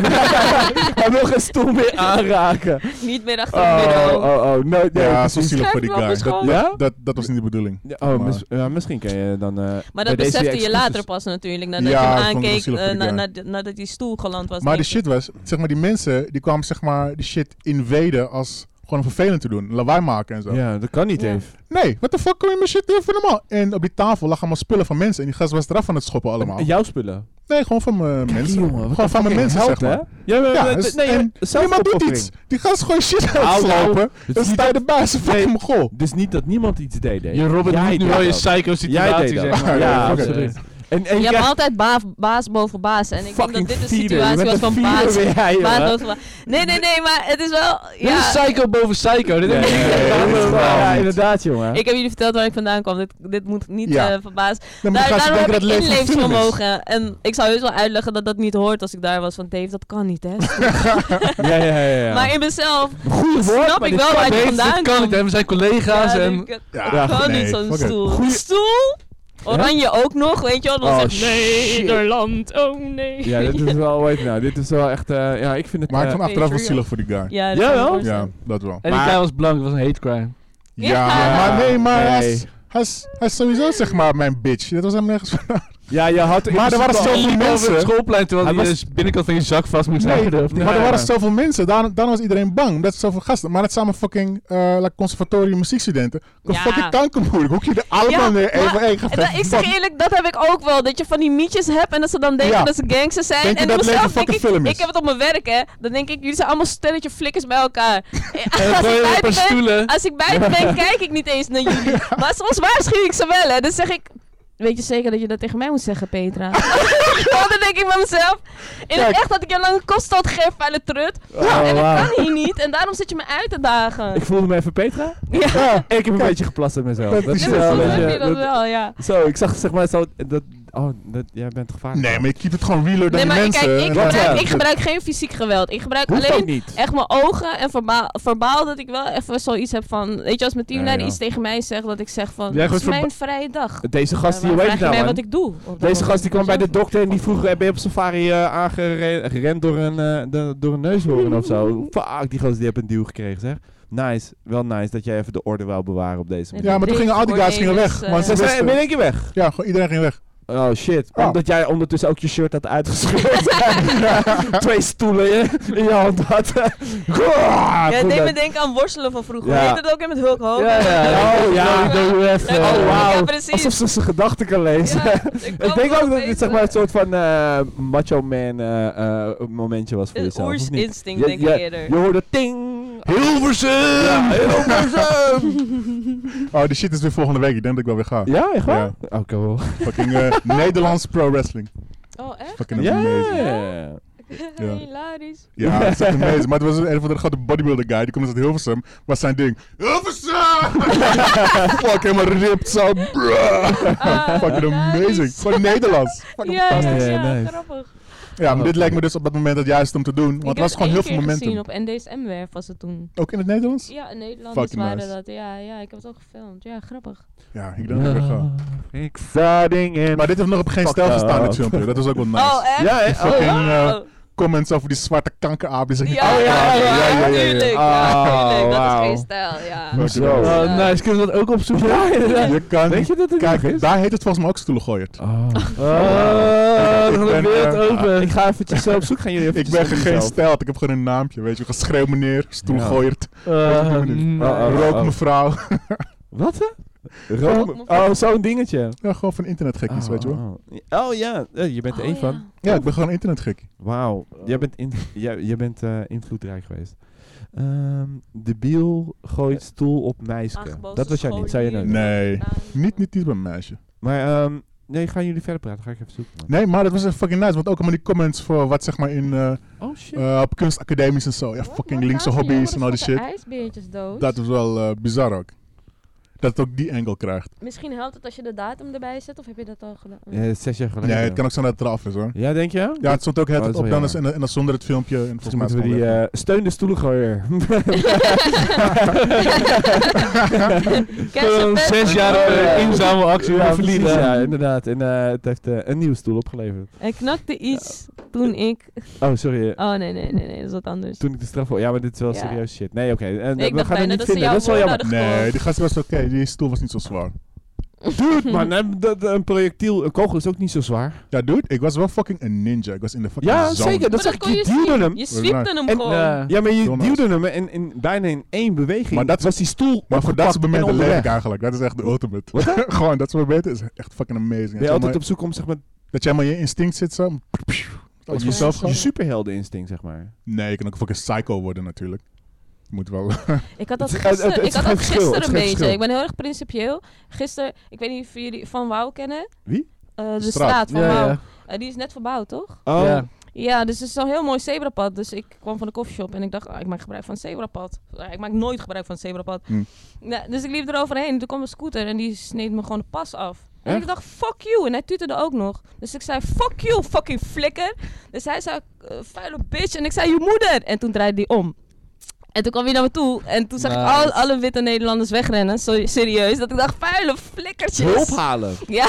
A: hij wil geen stoel meer aanraken.
D: Niet meer achter
A: Oh,
D: het bureau.
A: oh, oh. No, nee,
B: Ja,
A: precies.
B: zo zielig voor die
D: Schuif hem op
B: guy.
D: de
B: Dat,
D: school.
A: Ja?
B: dat, dat was niet de bedoeling.
A: Ja, Oh, mis- ja, misschien kan je dan... eh,
D: Maar
A: bij
D: dat
A: deze
D: besefte je
A: excuses-
D: later pas natuurlijk, nadat
B: Ja,
D: je
B: ik vond
D: hem
B: het wel
D: aankeek,
B: zielig
D: eh,
B: voor die
D: na-
B: guy.
D: na- nadat die stoel geland was.
B: Maar de
D: denk
B: shit
D: ik.
B: was, zeg maar, die mensen die kwamen zeg maar die shit inveden als gewoon vervelend te doen. Lawaai maken en zo.
A: Ja, dat kan niet
D: Ja.
A: even.
B: Nee, wat de fuck kom je met shit doen voor normaal? En op die tafel lag allemaal spullen van mensen en die gast was eraf aan het schoppen allemaal.
A: Jouw spullen.
B: Nee, gewoon van mijn mensen. gewoon van mijn mensen, zeg maar.
A: Ja, maar,
B: Ja,
A: maar-
B: dus-
A: nee,
B: en
A: maar zelf
B: niemand doet
A: opoffering.
B: iets. Die gast gewoon shit aan
A: Au,
B: het slopen.
A: Het
B: Dan
A: is niet
B: sta je erbij, ze fucking mogol.
A: Dus niet dat niemand iets deed. hè?
C: Je Robert
A: Jij
C: moet nu
A: deed
C: wel je
A: dat.
C: psycho
A: Jij
C: situatie,
A: deed
C: zeg
A: dat.
C: maar.
A: Ja,
B: Ja, oké.
A: absoluut. En, en
D: Je
A: je
D: hebt
A: krijgt
D: altijd baas, baas boven baas. En ik denk dat
A: fucking
D: dit de
A: vieren. Je
D: situatie
A: bent
D: was
A: een
D: van
A: vierer
D: baas.
A: weer, jij,
D: baas
A: jongen.
D: boven baas. Nee, nee, nee, maar het is wel...
C: Dit
D: ja.
C: is psycho boven psycho. Dit
A: Nee,
C: heb ik niet
A: nee,
C: gedaan.
A: nee,
B: dit is
A: nee,
B: waar.
A: Ja, inderdaad, jongen.
D: Ik heb jullie verteld waar ik vandaan kwam. Dit, dit moet niet
B: Ja.
D: eh, verbazen.
B: Dan
D: Daar,
B: gaan ze
D: daarom heb
B: denken
D: ik
B: dat het leven een film is.
D: inleefvermogen. En ik zou heus wel uitleggen dat dat niet hoort als ik daar was. Want Dave, dat kan niet, hè.
A: Ja, ja, ja. ja.
D: Maar in mezelf
A: Goeie woord,
D: snap
A: maar
D: ik
A: dit
D: wel
A: kan
D: waar je
A: niet.
C: Dit
D: vandaan
C: kan niet,
D: komt.
C: hè. We zijn collega's
D: Ja,
C: en...
D: ik- ik
B: Ja,
D: kan niet
B: nee,
D: zo'n
B: fuck it.
D: stoel.
A: Goeie-
D: Stoel? Oranje ook nog, weet je wel. Dan
A: Oh,
D: zegt
A: shit.
D: Nederland, oh nee.
A: Ja, dit is wel, weet je nou, dit is wel echt, eh, ja, ik vind het...
B: Maar ik
A: eh,
B: vond achteraf wel
D: Patriot.
B: zielig voor die guy.
D: Ja, dat kan ik
A: Jawel?
B: Ja,
D: voorstellen.
B: dat wel.
C: En die
A: Maar-
C: guy was blank, het was een hate crime.
B: Ja,
D: Ja.
B: maar nee, maar
A: Nee.
B: Hij, is, hij, is, hij is sowieso zeg maar mijn bitch. Dat was hem nergens van.
A: ja, je had... in
B: Maar er waren
A: principe
B: zoveel
A: al-
B: mensen.
C: Over het schoolplein, terwijl
A: Hij
C: hij
A: was-
C: de binnenkant van je zak vast moest
B: Nee,
C: houden. of niet?
B: maar er
C: [LAUGHS]
B: waren
A: Ja.
B: zoveel mensen. Daar, daarom was iedereen bang. Dat zoveel gasten. Maar dat samen fucking eh, like conservatorium muziekstudenten.
D: Ja.
B: Fucking kankermoeilijk. Hoe kun je er allemaal
D: Ja,
B: mee
D: maar-
B: even één
D: En dat- ik zeg eerlijk, dat heb ik ook wel. Dat je van die mietjes hebt en dat ze dan denken
B: Ja.
D: dat ze gangsters zijn.
B: Denk je
D: en
B: dat
D: dan
B: leven
D: zelf denk
B: fucking
D: ik,
B: film is?
D: ik heb het op mijn werk hè. Dan denk ik, jullie zijn allemaal stelletje flikkers bij elkaar. Eh,
C: En dan
D: als,
C: gooi je
D: ik
C: een paar
D: buiten ben,
C: stoelen.
D: als ik buiten ben, kijk ik niet eens naar jullie. Maar soms waarschuw ik ze wel hè. Dan zeg ik, weet je zeker dat je dat tegen mij moet zeggen Petra? Want dan denk ik bij mezelf, in het
B: Kijk.
D: echt dat ik je lang een koststand geef aan de trut.
A: Oh,
D: en
A: wauw.
D: dat kan hier niet. En daarom zit je me uit te dagen.
A: Ik voelde me even Petra.
D: Ja,
A: Ik heb een
B: Ah, Kijk.
A: beetje geplast met mezelf.
B: Dat
A: Dat
B: is
A: is
D: dus
B: wel
A: wel
D: soms
A: een
B: weet
D: heb je
A: beetje...
D: dat
A: dat-
D: wel, ja.
A: Zo, ik zag zeg maar zo... Dat, oh, dat, jij bent gevaarlijk.
B: Nee, maar je keep het gewoon realer dan
D: Nee,
B: die
D: maar kijk,
B: mensen.
D: ik
B: En dan-
D: gebruik, ik gebruik geen fysiek geweld. Ik gebruik
A: Hoeft
D: alleen
A: ook niet.
D: echt mijn ogen en verbaal, verbaal dat ik wel even zoiets heb van... Weet je, als mijn teamleider
A: Ja, ja.
D: iets tegen mij zegt, dat ik zeg van...
A: Jij
D: Het is
A: gooit verba-
D: mijn vrije dag.
A: Deze gast,
D: Ja,
A: die
D: waarom
A: weet
D: vraag
A: het
D: je
A: nou,
D: mij
A: man.
D: wat ik doe. op dat
A: Deze
D: moment?
A: gast die kwam bij de
D: Weet je
A: dokter en die vroeg, eh, ben je op safari eh, aangerend door een, eh, de- door een neushoorn of zo? Fuck, die gast die heeft een duw gekregen, zeg. Nice, wel nice dat jij even de orde wou bewaren op deze manier.
B: Ja, maar toen gingen al die guys gingen weg.
D: Cornelis,
B: want ze
A: Ze zijn
B: wisten-
A: in één keer weg.
B: Ja, gewoon iedereen ging weg.
A: Oh shit,
B: Oh.
A: omdat jij ondertussen ook je shirt had [LAUGHS] uitgescheurd. Twee stoelen in, in je hand had. [LAUGHS]
D: wel.
A: ja,
D: Ja, het deed me denken aan worstelen van vroeger.
A: Ja.
D: Heet dat ook in met Hulk Hogan?
A: ja,
D: [LAUGHS]
A: ja. Oh ja.
D: Ja,
A: Oh
D: Ja,
A: wauw,
D: precies.
A: alsof ze zijn gedachten kan lezen.
D: Ja,
A: [LAUGHS] [LAUGHS] Ik denk ook dat dit zeg maar, een
D: het
A: soort van eh, macho man eh, eh, momentje was voor
D: Een
A: jezelf. of niet?
D: oersinstinct,
A: Ja,
D: denk
A: ja,
D: ik eerder.
A: Je hoorde ting.
C: Hilversum!
A: Ja,
B: [LAUGHS]
A: Hilversum!
B: Oh, die shit is weer volgende week. Ik denk dat ik wel weer ga.
A: ja, echt waar?
B: Ja.
A: Oh, cool.
B: Fucking
D: [LAUGHS]
B: eh, Nederlands pro wrestling.
D: Oh, echt? [LAUGHS]
B: Fucking
A: Ja.
B: amazing. Ja.
D: Hilarisch.
B: Ja, dat is echt amazing. Maar het was een van de grote bodybuilder guy. Die komt dus uit Hilversum. Was zijn ding.
D: [LAUGHS]
B: Hilversum! Fuck, helemaal ripped zo. bruh.
D: Ah,
B: Fucking
D: hilarisch.
B: amazing. Gewoon Nederlands.
D: Ja, ja,
A: fantastisch.
D: ja,
A: Ja, nice.
D: grappig.
B: Ja, maar dit lijkt me dus op dat moment het juiste om te doen. Want
D: Oh, Ik
B: het was
D: heb
B: gewoon
D: één
B: heel veel
D: keer
B: momentum.
D: gezien op NDSM-werf was het toen.
B: Ook in het Nederlands?
D: Ja, in Nederlanders
B: Fucking
D: waren
B: nice.
D: dat. Ja, ja, ik heb het ook gefilmd. Ja, grappig.
B: Ja, ik denk dat ik er ga.
A: Exciting en...
B: Maar dit heeft nog op geen
A: Fuck
B: stijl gestaan,
A: up.
B: dit filmpje. Dat is ook wel nice.
D: Oh, echt?
A: Ja, hè?
B: Fucking,
D: Oh,
B: eh,
D: wow.
B: comments over die zwarte kankeraap. Die zeggen,
D: Ja,
B: "Oh,
A: ja,
D: ja,
A: ja, ja, ja,
D: ja,
A: ja.
D: tuurlijk.
B: Ah,
A: Oh,
D: Ja, tuurlijk. Dat
A: wauw.
D: is geen stijl, ja.
B: Fuck
A: Zo.
B: it, man."
D: Ja.
C: Oh, nice, kunnen we dat ook opzoeken?
A: Ja, inderdaad.
B: Je kan
A: Weet
B: niet...
A: je dat [LAUGHS] het nog
B: Kijk,
A: is?
B: daar heet het volgens mij ook stoelengooierd.
C: Oh,
B: Ik
C: we
B: ben,
C: gaan de wereld
B: eh,
C: open.
A: Ik ga eventjes zo op zoek. Gaan jullie
B: Ik
A: eventjes
B: ben
A: zoeken
B: geen
A: zelf?
B: stijl, ik heb gewoon een naampje, weet je. Geschreeuw meneer, stoelengooierd,
C: Eh,
B: doen we dit?
C: nee.
A: Oh, oh.
B: rook mevrouw.
A: [LAUGHS]
B: [LAUGHS]
A: Wat, hè? Rook- Oh, zo'n dingetje.
B: Ja, gewoon van internetgekkies, weet je wel.
A: Oh, oh. Oh, ja, Eh, je bent er
D: Oh,
A: één van.
B: Ja, ik ben gewoon internetgekkie.
A: Wauw,
B: Oh.
A: jij bent, in, jij, jij bent eh, invloedrijk geweest. Ehm de biel gooit stoel op meisje.
D: Aangeboden
A: Dat was jij niet, zei je
D: scholier.
A: net.
B: Nee,
D: Ah,
B: niet, niet, niet bij een meisje.
A: Maar ehm, nee, gaan jullie verder praten? Ga ik even zoeken. man.
B: Nee, maar dat was echt fucking nice, want ook allemaal die comments voor wat zeg maar in, eh,
A: Oh shit.
B: eh, op kunstacademies en zo. Ja,
D: Wat? nou?
B: fucking
D: Wat
B: linkse
D: laat je
B: hobby's
D: jongens
B: en al die
D: met de
B: shit.
D: ijsbeertjesdoos?
B: Dat is wel eh, bizar ook. Dat het ook die angle krijgt.
D: Misschien helpt het als je de datum erbij zet, of heb je dat al gedaan?
A: Ja, zes jaar geleden.
B: Eh, Nee, het kan ook zijn dat het eraf is hoor.
A: Ja, denk je?
B: Ja, het stond ook
A: Oh,
B: het
A: dat is
B: op
A: wel
B: dan is
A: jammer.
B: en, en dan zonder het filmpje. En volgens
A: Volgens
B: mij is
A: moeten we
B: het
A: die
B: wel
A: eh, steun de
D: [LAUGHS]
A: stoelengooier.
D: Cancel
C: Gewoon
D: pet.
C: zes jaar eh, inzamelactie
A: Oh, ja,
C: ja,
A: precies,
C: verliezen.
A: ja, inderdaad. En eh, het heeft eh, een nieuwe stoel opgeleverd.
D: Hij knakte iets toen ik...
A: Oh, sorry. eh,
D: Oh, nee, nee, nee, nee, dat is wat anders.
A: Toen ik de straf... Ja, maar dit is wel
D: Ja.
A: serieus shit. Nee, oké. en eh,
D: Nee, ik
A: we
D: dacht
A: gaan het
D: bijna
A: niet
D: dat ze
A: vinden.
D: jou
A: dat is wel
D: woorden
B: lekker.
A: jammer.
D: hadden
B: Nee,
D: gekocht.
B: die gast was oké. Die stoel was niet zo zwaar.
D: Nou,
A: Dude, man. hè, dat- eh, Een projectiel, een kogel is ook niet zo zwaar.
B: Ja, dude, ik was wel fucking een ninja. Ik was in de fucking
A: Ja,
B: zone.
A: zeker. Dat zeg
D: Maar dat
A: ik.
D: kon
A: Je
D: je zien.
A: duwde hem.
D: Je swipte
A: En,
D: hem gewoon.
C: eh,
A: Ja, maar je
B: Donuts.
A: duwde hem in, in, bijna in één beweging.
B: Maar dat-
A: was die stoel.
B: Maar voor dat soort
A: opgepakt en
B: momenten leef
A: onderweg.
B: ik eigenlijk. Dat is echt de ultimate.
A: Wat dan?
B: [LAUGHS] Gewoon, dat soort momenten is echt fucking amazing.
A: Ben
B: Dat
A: je
B: je
A: altijd
B: maar-
A: op zoek om zeg maar,
B: Dat jij maar in je instinct zit zo. Alles
A: je,
B: vanzelf
A: je
B: gaat.
A: superheldeninstinct, zeg maar.
B: Nee, je kan ook fucking psycho worden natuurlijk. Je moet
A: [LAUGHS]
B: wel...
D: Ik had dat
A: Het is- het- het-
D: gisteren,
A: het
D: ik
A: is
D: had
A: geen
D: dat
A: verschil, het
D: gisteren
A: is
D: een
A: geen
D: beetje.
A: verschil.
D: Ik ben heel erg principieel. Gisteren, ik weet niet of jullie Van Wouw kennen.
A: Wie?
D: Eh, de
B: Straat.
D: straat, van Wouw. Eh, die is net verbouwd, toch?
A: Oh,
C: Ja.
D: Ja, dus het is zo'n heel mooi zebrapad. Dus ik kwam van de koffieshop en ik dacht, ah, ik maak gebruik van het zebrapad. Ah, ik maak nooit gebruik van het zebrapad.
B: Hmm.
D: Nou, dus ik liep eroverheen. Toen kwam een scooter en die sneed me gewoon de pas af. En
A: Echt?
D: ik dacht, fuck you. En hij tuterde ook nog. Dus ik zei, fuck you, fucking flikker. Dus hij zei, eh, vuile bitch. En ik zei, je moeder. En toen draaide hij om. En toen kwam hij naar me toe. En toen zag ik
C: Nice.
D: al, alle witte Nederlanders wegrennen. Sorry, serieus. Dat ik dacht, vuile flikkertjes.
A: Hulp halen.
D: Ja.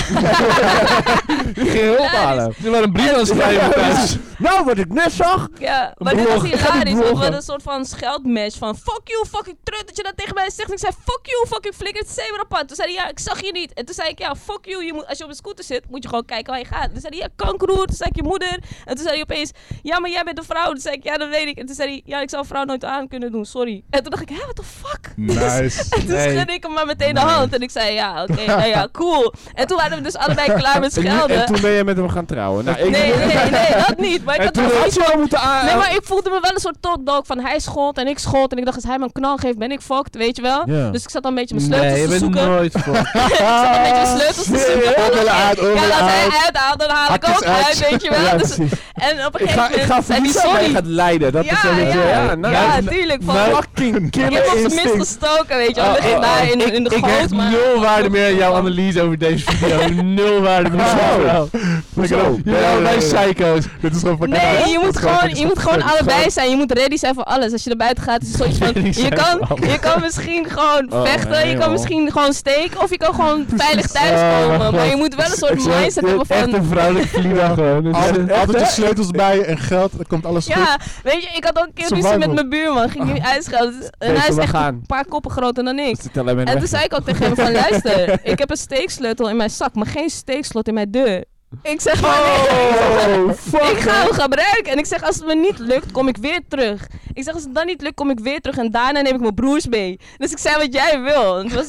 A: Die ging hulp halen.
C: Ze waren een brief aan het schrijven thuis.
A: Nou, wat ik net zag.
D: Ja, maar dit
A: blog.
D: was
A: Ik ga dit
D: hilarisch. Want we
A: bloggen.
D: hadden een soort van scheldmatch van... Fuck you, fucking trut dat je dat tegen mij zegt. En ik zei, fuck you, fucking flikker het zebrapad. Toen zei hij, ja, ik zag je niet. En toen zei ik, ja, fuck you. Je moet, als je op een scooter zit, moet je gewoon kijken waar je gaat. Toen zei hij, ja, kankeroer. Toen zei ik, je moeder. En toen zei hij opeens, ja, maar jij bent een vrouw. Toen zei ik, ja, dat weet ik. En toen zei hij, ja, ik zou een vrouw nooit aan kunnen doen, sorry. En toen dacht ik, hè, what the fuck? [LAUGHS]
B: nice.
D: En toen
C: Nee.
D: schudde ik hem maar meteen de hand. En ik zei, ja,
A: [LAUGHS]
D: oké, nou ja, cool. En toen waren we dus allebei klaar met
A: En,
D: schelden.
A: toen ben je met hem gaan trouwen. Nou, ik
D: Nee, nee,
A: [LAUGHS]
D: nee, dat niet. Maar ik
A: En
D: had
A: toen
D: wel
A: had je al moeten aan.
D: Nee, maar ik voelde me wel een soort topdog van hij schold en ik schold. En ik dacht, als hij me een knal geeft, ben ik fucked, weet je wel?
A: Ja.
D: Dus ik zat dan een beetje mijn sleutels
C: je
D: te
C: bent
D: zoeken.
C: nooit voor.
D: ik zat
A: Ah,
D: dan een beetje mijn sleutels te zoeken.
B: Oordelen uit,
D: Ja,
B: oordelen
D: als hij
B: uit.
D: uithaalt, dan haal ik
B: Hakjes
D: ook
B: uit.
D: uit, weet je wel?
A: Ja,
D: dus,
A: precies.
D: en op een
A: Ik
D: gegeven
A: ga, ik
D: moment
A: ga
D: zei hij
A: verliezen, maar je
D: sorry.
A: gaat leiden. Dat is
D: Ja,
A: een beetje...
D: ja.
A: Ja, nou,
D: Ja, tuurlijk. Van, [LAUGHS]
A: Fucking
D: ik heb
A: killer
D: op zijn minst
A: instinct.
D: gestoken, weet je wel?
A: Oh,
D: Ik lig
A: oh, oh.
D: daar in, in de
C: Ik
D: goot,
C: krijg
D: maar...
C: nul waarde meer aan jouw analyse over deze
D: [LAUGHS]
C: video. nul waarde meer.
A: Hoezo?
B: Hoezo?
C: Jullie zijn
B: Nee,
C: allebei
B: nee, nee.
C: psycho's.
B: eh, Dit is gewoon fucking
D: Nee,
B: nice.
D: je
B: Dit
D: moet
B: is
D: gewoon,
B: fucking
D: je moet gewoon
B: fucking
D: allebei zijn. Je moet ready zijn voor alles. Als je naar buiten gaat, is het soort van...
C: Ready
D: Je
C: zijn voor
D: kan,
C: alles.
D: je kan misschien gewoon
A: Oh,
D: vechten,
A: nee,
D: je kan
A: joh.
D: misschien gewoon steken... of je kan gewoon veilig
C: Oh,
D: thuiskomen.
C: mijn
D: Maar je
C: God.
D: moet wel een soort
C: zou-
D: mindset hebben
C: Echt
D: van...
C: een vrouwelijke vlieger gewoon. Dus,
B: Altijd-
C: eh,
B: Altijd je sleutels bij je en geld, dan komt alles goed.
D: Ja, weet je, ik had ook een keer ruzie
B: Survival.
D: met mijn buurman. Ging hij uitschelden. En Dus, eh, hij is echt een
A: gaan.
D: paar koppen groter dan ik.
A: Ze tellen hem in de weg.
D: En
A: [LAUGHS]
D: toen zei ik ook tegen hem van... luister, ik heb een steeksleutel in mijn zak... maar geen steekslot in mijn deur. Ik zeg maar...
A: Oh, fuck.
D: Ik ga hem gebruiken. En ik zeg, als het me niet lukt, kom ik weer terug. Ik zeg, als het dan niet lukt, kom ik weer terug. En daarna neem ik mijn broers mee. Dus ik zei wat jij wil. En toen was,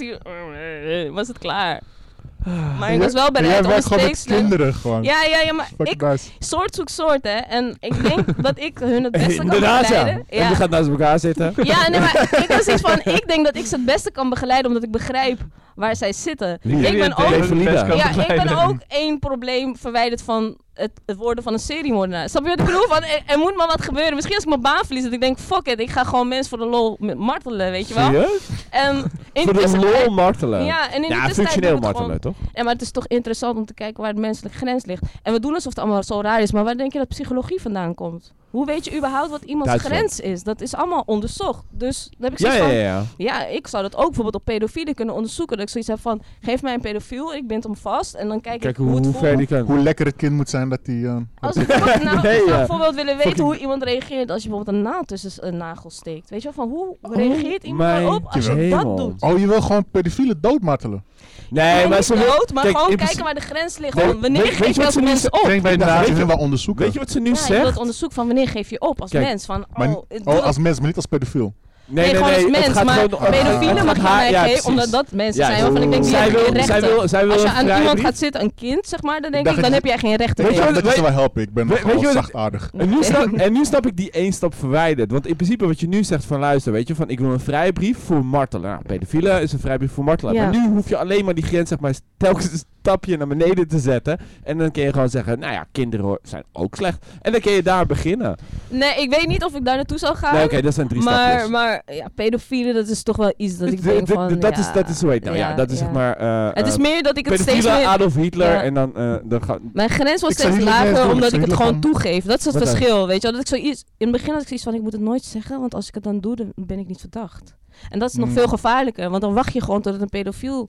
D: hij, was het klaar. Maar ik was wel
B: Jij
D: bereid om een
B: werkt gewoon met
D: steeksleutel...
B: kinderen gewoon.
D: Ja, ja, ja, maar
B: Fucking
D: ik...
B: nice.
D: Soort zoekt soort, hè. En ik denk dat ik hun het beste kan
A: Inderdaad, ja.
D: begeleiden.
A: En je gaat naast elkaar zitten.
D: Ja, nee, maar ik was iets van, ik denk dat ik ze het beste kan begeleiden omdat ik begrijp waar zij zitten.
A: Lief.
D: Ik ben ook
A: Evelina.
D: ja, ik ben ook één probleem verwijderd van het, het worden van een seriemoordenaar. Snap je wat ik bedoel? Van, er, er moet maar wat gebeuren. Misschien als ik mijn baan verlies, dat ik denk, fuck it, ik ga gewoon mensen voor de lol met- martelen, weet je wel?
A: Serieus?
D: En in
A: Voor
D: de
A: de
D: tussentijd-
A: lol martelen.
D: Ja, en in de
A: Ja,
D: tussentijd
A: functioneel
D: doen we het gewoon-
A: martelen, toch?
D: En maar het is toch interessant om te kijken waar de menselijke grens ligt. En we doen alsof het allemaal zo raar is, maar waar denk je dat psychologie vandaan komt? Hoe weet je überhaupt wat iemands
A: Duitsland.
D: grens is? Dat is allemaal onderzocht. Dus dan heb ik
A: Ja,
D: zoiets
A: ja,
D: van,
A: ja.
D: ja, ik zou dat ook bijvoorbeeld op pedofielen kunnen onderzoeken. Dat ik zoiets heb van, geef mij een pedofiel, ik bind hem vast en dan kijk,
A: Kijk
D: ik hoe,
A: hoe,
D: het
A: hoe
D: voelt.
A: ver die kan.
B: Hoe lekker het kind moet zijn dat hij... eh,
D: Als we bijvoorbeeld- nou,
A: [LAUGHS] Nee,
D: ik zou
A: ja.
D: bijvoorbeeld willen weten
A: Fucking-
D: hoe iemand reageert als je bijvoorbeeld een naald tussen een nagel steekt. Weet je wel, van hoe reageert iemand
A: Oh mijn
D: daarop als je
A: hemel.
D: dat doet?
B: oh, je wil gewoon pedofielen doodmartelen.
A: Nee,
D: En
A: maar
D: niet
A: ze wil-
D: dood, maar
A: kijk,
D: gewoon
A: in
D: kijken
A: principe-
D: waar de grens ligt.
A: Nee,
D: Gewoon,
A: weet-
D: wanneer
A: weet je
D: geef je
A: wat
D: als
A: ze nu
D: mens
A: ze-
D: op?
B: Denk bij
A: de
B: na,
A: nazi-
B: ze willen wel onderzoeken.
A: Weet je wat ze nu
D: Ja, ik wil
A: zegt?
D: het onderzoek van wanneer geef je op als
A: Kijk,
D: mens. Van, oh,
B: maar-
D: het doet-
B: Oh, als mens, maar niet als pedofiel.
D: nee, gewoon als
A: het
D: mens,
A: gaat
D: maar
A: gewoon om- het
D: pedofielen mag
A: gaat
D: je
A: haar-
D: mij
A: ja,
D: geven,
A: precies.
D: omdat dat mensen
A: Ja,
D: zijn waarvan ik denk, die
A: zij
D: hebben geen
A: wil, zij
D: rechten.
A: wil, zij wil
D: Als je
A: een
D: aan iemand
A: vrijbrief.
D: gaat zitten, een kind, zeg maar, dan denk
B: dacht
D: ik,
B: dat
D: dan
B: je-
D: heb jij geen rechten
A: Weet
B: Ik
A: je
D: meer.
B: dacht dat
A: wat-
B: je
A: weet-
B: ze wel helpen. Ik ben
A: weet-
B: nogal
A: weet je wat-
B: zachtaardig.
A: En nu,
D: [LAUGHS]
A: snap, en nu snap ik die één stap verwijderd. Want in principe wat je nu zegt van luister, weet je, van ik wil een vrijbrief voor martelen. Nou, pedofielen is een vrijbrief voor martelen.
D: Ja.
A: Maar nu hoef je alleen maar die grens zeg maar telkens een stapje naar beneden te zetten. En dan kun je gewoon zeggen, nou ja, kinderen hoor- zijn ook slecht. En dan kun je daar beginnen.
D: Nee, ik weet niet of ik daar naartoe zou gaan.
A: Nee, oké, dat zijn drie
D: Ah, maar,
A: stapjes.
D: maar ja, pedofielen, dat is toch wel iets dat ik
A: D-
D: denk
A: d- d-
D: van...
A: [LAUGHS] dat, is,
D: ja,
A: dat is hoe heet het nou, ja. dat is zeg maar... eh,
D: Het is
A: eh,
D: meer dat ik het steeds
A: pedofielen,
D: meer...
A: Adolf Hitler
D: Ja.
A: en dan... eh, dan ga,
D: Mijn grens was
B: Ik zou
D: steeds
B: hier nog eens
D: lager
B: doen,
D: omdat
B: ik zou
D: ik het
B: hier nog
D: gewoon toegeef. Dat is het
A: Wat dan?
D: verschil, weet je wel. Dat ik zoiets, in het begin had ik zoiets van, ik moet het nooit zeggen, want als ik het dan doe, dan ben ik niet verdacht. En dat is
A: Hmm.
D: nog
B: Mm.
D: veel gevaarlijker, want dan wacht je gewoon tot het een pedofiel...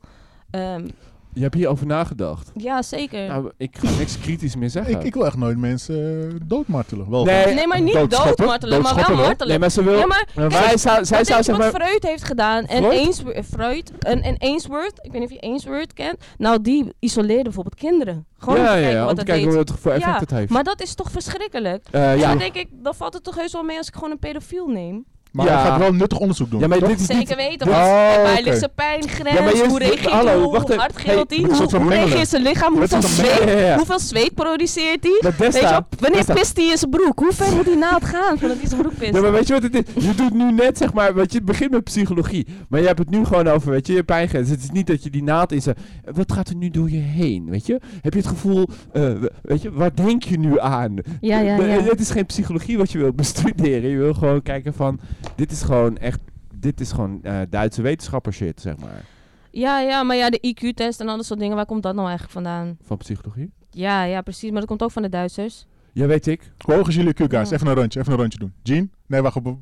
D: ehm,
A: je hebt hierover nagedacht.
D: ja, zeker.
A: Nou, ik ga niks kritisch meer zeggen.
B: Ik, ik wil echt nooit mensen eh, doodmartelen. Wel,
A: Nee,
D: nee, maar niet
A: doodschoppen,
D: doodmartelen, maar wel
A: doodschoppen
D: martelen.
A: Nee, maar ze wil...
D: ja, maar
A: Maar
D: Kijk,
A: wij zou, zij zou
D: Wat denk je
A: zeg
D: wat
A: maar...
D: Freud heeft gedaan? En
A: Freud?
D: Ainsworth, eh, Freud, en, en Ainsworth, ik weet niet of je Ainsworth kent. Nou, die isoleerde bijvoorbeeld kinderen. Gewoon om te
A: ja, ja,
D: kijken
A: ja,
D: wat
A: om te
D: dat
A: kijken
D: deed.
A: hoe het voor effect
D: Ja,
A: het heeft.
D: Maar dat is toch verschrikkelijk?
A: Eh,
D: Dus
A: ja.
D: dan denk ik, dan valt het toch heus wel mee als ik gewoon een pedofiel neem?
B: maar
A: Ja.
B: hij gaat wel nuttig onderzoek doen.
A: ja, maar
B: toch?
A: [LAUGHS] dit is niet...
D: Zeker weten,
A: dit-
D: want
B: Oh,
D: waar
B: oké.
D: ligt zijn pijngrens?
A: Ja, maar je-
D: hoe reageert hij?
A: hallo, wacht
D: Hoe
A: even.
D: hard gilt
A: Hey,
D: hij?
B: dit is een
D: Hoe,
B: soort
D: hoe
B: van
D: reageert zijn lichaam?
B: Dit
D: Hoeveel
B: is een
D: zweet,
A: mengelen, ja.
D: hoeveel zweet produceert hij?
A: Dat
D: Weet je, wel,
A: Desta...
D: wanneer
A: Testa.
D: pist hij in zijn broek? Hoe ver moet hij naad gaan voordat hij zijn broek pist?
A: Ja, maar weet je wat het is? Je doet nu net, zeg maar, want je begint met psychologie. Maar je hebt het nu gewoon over, weet je, je pijngrens. Het is niet dat je die naald in zijn... Wat gaat er nu door je heen, weet je? Heb je het gevoel, eh, w- weet je, waar denk je nu aan?
D: Ja, ja,
A: De-
D: ja.
A: Het is geen psychologie wat je wilt bestuderen. Je wil gewoon kijken van, dit is gewoon echt... Dit is gewoon eh, Duitse wetenschapper shit, zeg maar.
D: Ja, ja, maar ja, de IQ-test en al dat soort dingen, waar komt dat nou eigenlijk vandaan?
A: Van psychologie.
D: Ja, ja, precies, maar dat komt ook van de Duitsers.
A: Ja, weet
D: [LAUGHS]
A: ik.
B: Hoe hoog is jullie Q, guys?
D: Ja.
B: Even een rondje, even een rondje doen. Jean? Nee, wacht. be-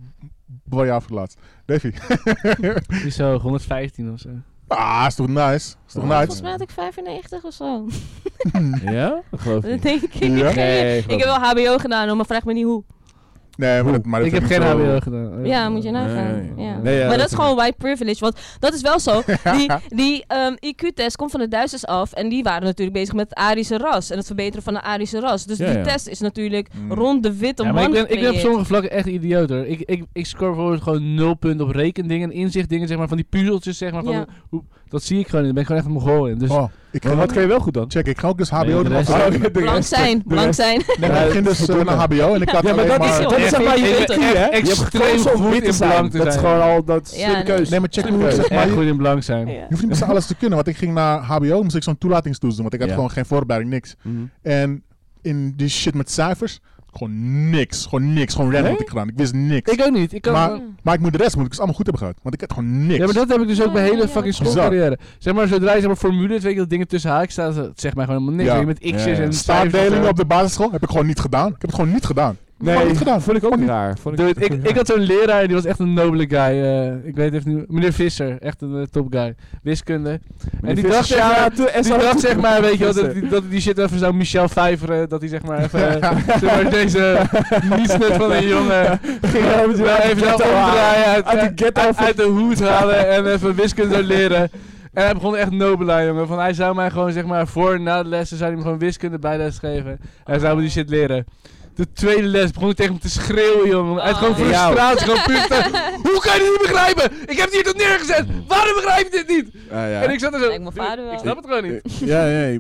B: Bewaar je af voor het laatst. Davy?
C: Niet zo, 115 of zo.
B: Ah, is toch nice? Is toch
A: Oh,
B: nice?
D: Volgens mij had ik 95 of zo.
A: Ja? Dat geloof ik
D: Dat
A: niet.
D: denk ik.
B: Ja?
D: [LAUGHS] Ik,
A: Nee,
D: ik heb wel HBO gedaan, hoor, maar vraag me niet hoe.
B: Nee, maar, dat, maar dat
C: ik heb
B: niet
C: geen
B: zo-
C: HBO gedaan. Oh,
D: Ja, moet je nou nagaan.
A: Nee, nee.
D: Ja.
A: Nee, ja,
D: maar
A: dat
D: dat is gewoon white privilege, want dat is wel zo. Die, die ehm, IQ-test komt van de Duitsers af en die waren natuurlijk bezig met het Arische ras en het verbeteren van het Arische ras. Dus
A: Ja,
D: die
A: ja.
D: test is natuurlijk
B: Mm.
D: rond de witte
C: Ja, maar
D: man
C: ik ben, ik ben op
D: gecreëerd.
C: sommige vlakken echt een idioot hoor. Ik, ik, ik score bijvoorbeeld gewoon nul punten op rekendingen en inzichtdingen, zeg maar, van die puzzeltjes, zeg maar. Van,
D: Ja.
C: hoe, dat zie ik gewoon, daar ben ik gewoon echt een mogol in. Dus
B: Oh, ik
A: Maar
B: ga,
A: wat kan je wel goed dan?
B: check, ik ga ook dus HBO
C: Nee, de
B: doen.
C: rest-
B: als
A: Oh,
B: ik-
A: de
D: [LAUGHS] Blank
A: rest- [LAUGHS]
D: zijn,
A: de
D: blank
A: rest-
D: zijn.
B: Nee, maar
A: Ja,
B: ik ging dus eh, naar HBO en ik had
A: Ja, maar
B: alleen
A: dat is,
B: maar...
D: heel-
A: dat is zeg maar je
C: Ik
A: weet
C: ben
A: hè? Je hebt
C: extreem
A: gekozen om
C: goed
A: wit
C: in blank te
A: Dat is
C: zijn.
A: gewoon al dat
D: Ja,
A: slimme
D: nee.
A: keuze.
B: Nee, maar check hoe ik zeg maar...
C: echt
B: Je
C: goed in blank zijn.
D: Ja.
B: je hoeft niet best alles te kunnen, want ik ging naar HBO, moest ik zo'n toelatingstoets doen, want ik had
A: Ja.
B: gewoon geen voorbereiding, niks.
C: Mhm.
B: En in die shit met cijfers, gewoon niks. Gewoon niks. Gewoon random
C: Nee?
B: had ik gedaan. Ik wist niks.
C: Ik ook niet. Ik kan
B: Maar- maar ik moet de rest moet ik dus allemaal goed hebben gehad. Want ik had gewoon niks.
C: Ja, maar dat heb ik dus ook
D: Ja,
C: mijn
D: ja,
C: hele
D: ja.
C: fucking
B: Bizar.
C: schoolcarrière. Zeg maar, zodra je zeg maar formules, weet je dat dingen tussen haakjes staan, dat zegt mij gewoon helemaal niks.
B: Ja.
C: Weet je, Met x's
A: Ja, ja.
C: en
B: Staardelingen op de basisschool heb ik gewoon niet gedaan. Ik heb het gewoon niet gedaan.
A: Nee,
B: Gewoon niet gedaan.
A: vond ik ook raar. Vond
C: Dude, ik, ik
A: raar.
C: had zo'n leraar en die was echt een nobele guy. eh, ik weet even niet. Meneer Visser, echt een eh, top guy. Wiskunde.
A: Meneer
C: en die
A: Visser,
C: dacht, zeg
A: ja,
C: maar-
A: toen- en
C: Die
A: zo-
C: dacht zeg
B: [LAUGHS]
C: maar, weet je wel, dat,
A: Visser.
C: die- dat die shit even zou Michel Vijveren, dat hij zeg maar
B: [LAUGHS]
C: even eh, zeg maar, [LAUGHS] deze nietsnut van een jongen
A: Ging
C: eh,
A: even
C: wel even
A: de
C: nou
A: ghetto
C: omdraaien,
A: Uit
C: uit,
A: de
C: uit,
A: ghetto
C: uit,
A: van-
C: de hoed halen en even wiskunde zou leren. En hij begon echt nobel aan, jongen. Van, hij zou mij gewoon zeg maar voor en na de lessen zou hij me gewoon wiskunde bijles geven. En hij zou me die shit leren. De tweede les begon ik tegen hem te schreeuwen, jongen. Uit gewoon
D: Oh.
C: frustratie, gewoon puur te- [LAUGHS] Hoe kan je dit niet begrijpen? Ik heb het hier tot neergezet. Waarom begrijp je dit niet?
A: Ja, Mm. ja.
C: En ik zat er zo...
D: Lijkt mijn vader wel.
C: Ik snap het gewoon niet.
A: Ja, ja. ja.